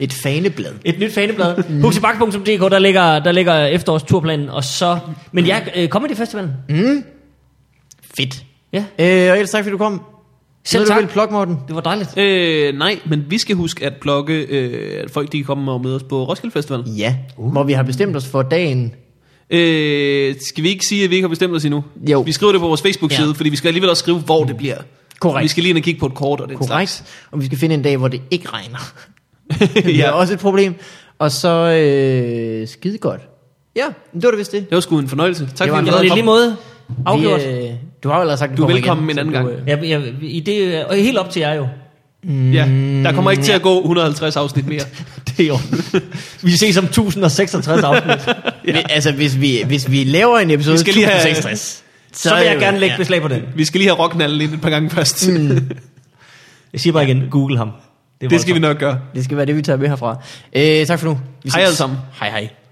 S1: Et faneblad.
S2: Et nyt faneblad. Huxibak.dk, der ligger, der ligger efterårsturplanen. Og så, men ja, øh, Comedy Festivalen.
S1: Fedt.
S2: Ja,
S1: Øh, og ellers tak, fordi du kom.
S2: Selv
S1: Noget,
S2: tak.
S1: Du vil plukke, Morten.
S2: det var dejligt.
S3: Øh, nej, men vi skal huske at plukke, øh, at folk de kan komme og møde os på Roskilde Festival.
S1: Ja, uh. hvor vi har bestemt os for dagen.
S3: Øh, skal vi ikke sige, at vi ikke har bestemt os endnu?
S1: Jo.
S3: Vi skriver det på vores Facebook-side,
S2: Ja.
S3: ja. fordi vi skal alligevel også skrive, hvor det bliver.
S1: Korrekt.
S3: Vi skal lige ind og kigge på et kort og den
S1: Korrekt. Og vi skal finde en dag, hvor det ikke regner. det er
S3: ja.
S1: også et problem. Og så øh, skide godt. Ja, men det var det vist det.
S3: Det var sgu en fornøjelse. Tak
S1: Det var
S3: fordi
S1: en
S2: Jamen,
S3: du gad
S2: i
S3: at
S2: lige
S3: komme.
S2: måde,
S1: Vi,
S2: afgjort.
S1: øh, du har jo allerede sagt, at
S3: Du er
S1: kommer
S3: velkommen
S1: igen,
S3: en
S1: så
S3: anden
S1: du,
S3: gang.
S1: øh,
S2: Ja, ja, i det, og helt op til jer jo.
S3: Ja. Der kommer ikke til at gå 150 afsnit mere.
S2: Det er jo. Vi ses om 1066 afsnit.
S1: Ja. Altså, hvis vi, hvis vi laver en episode
S3: Vi skal lige have-
S1: 1066,
S2: Så vil
S1: er
S2: jeg
S1: det-
S2: gerne lægge beslag på den.
S3: Vi skal lige have rocknallen ind et par gange først. Mm.
S2: Jeg siger bare igen, google ham.
S3: Det skal vi nok gøre.
S1: Det skal være det, vi tager med herfra. Øh, tak for nu. Vi
S3: Hej
S1: ses.
S3: alle sammen.
S1: Hej hej.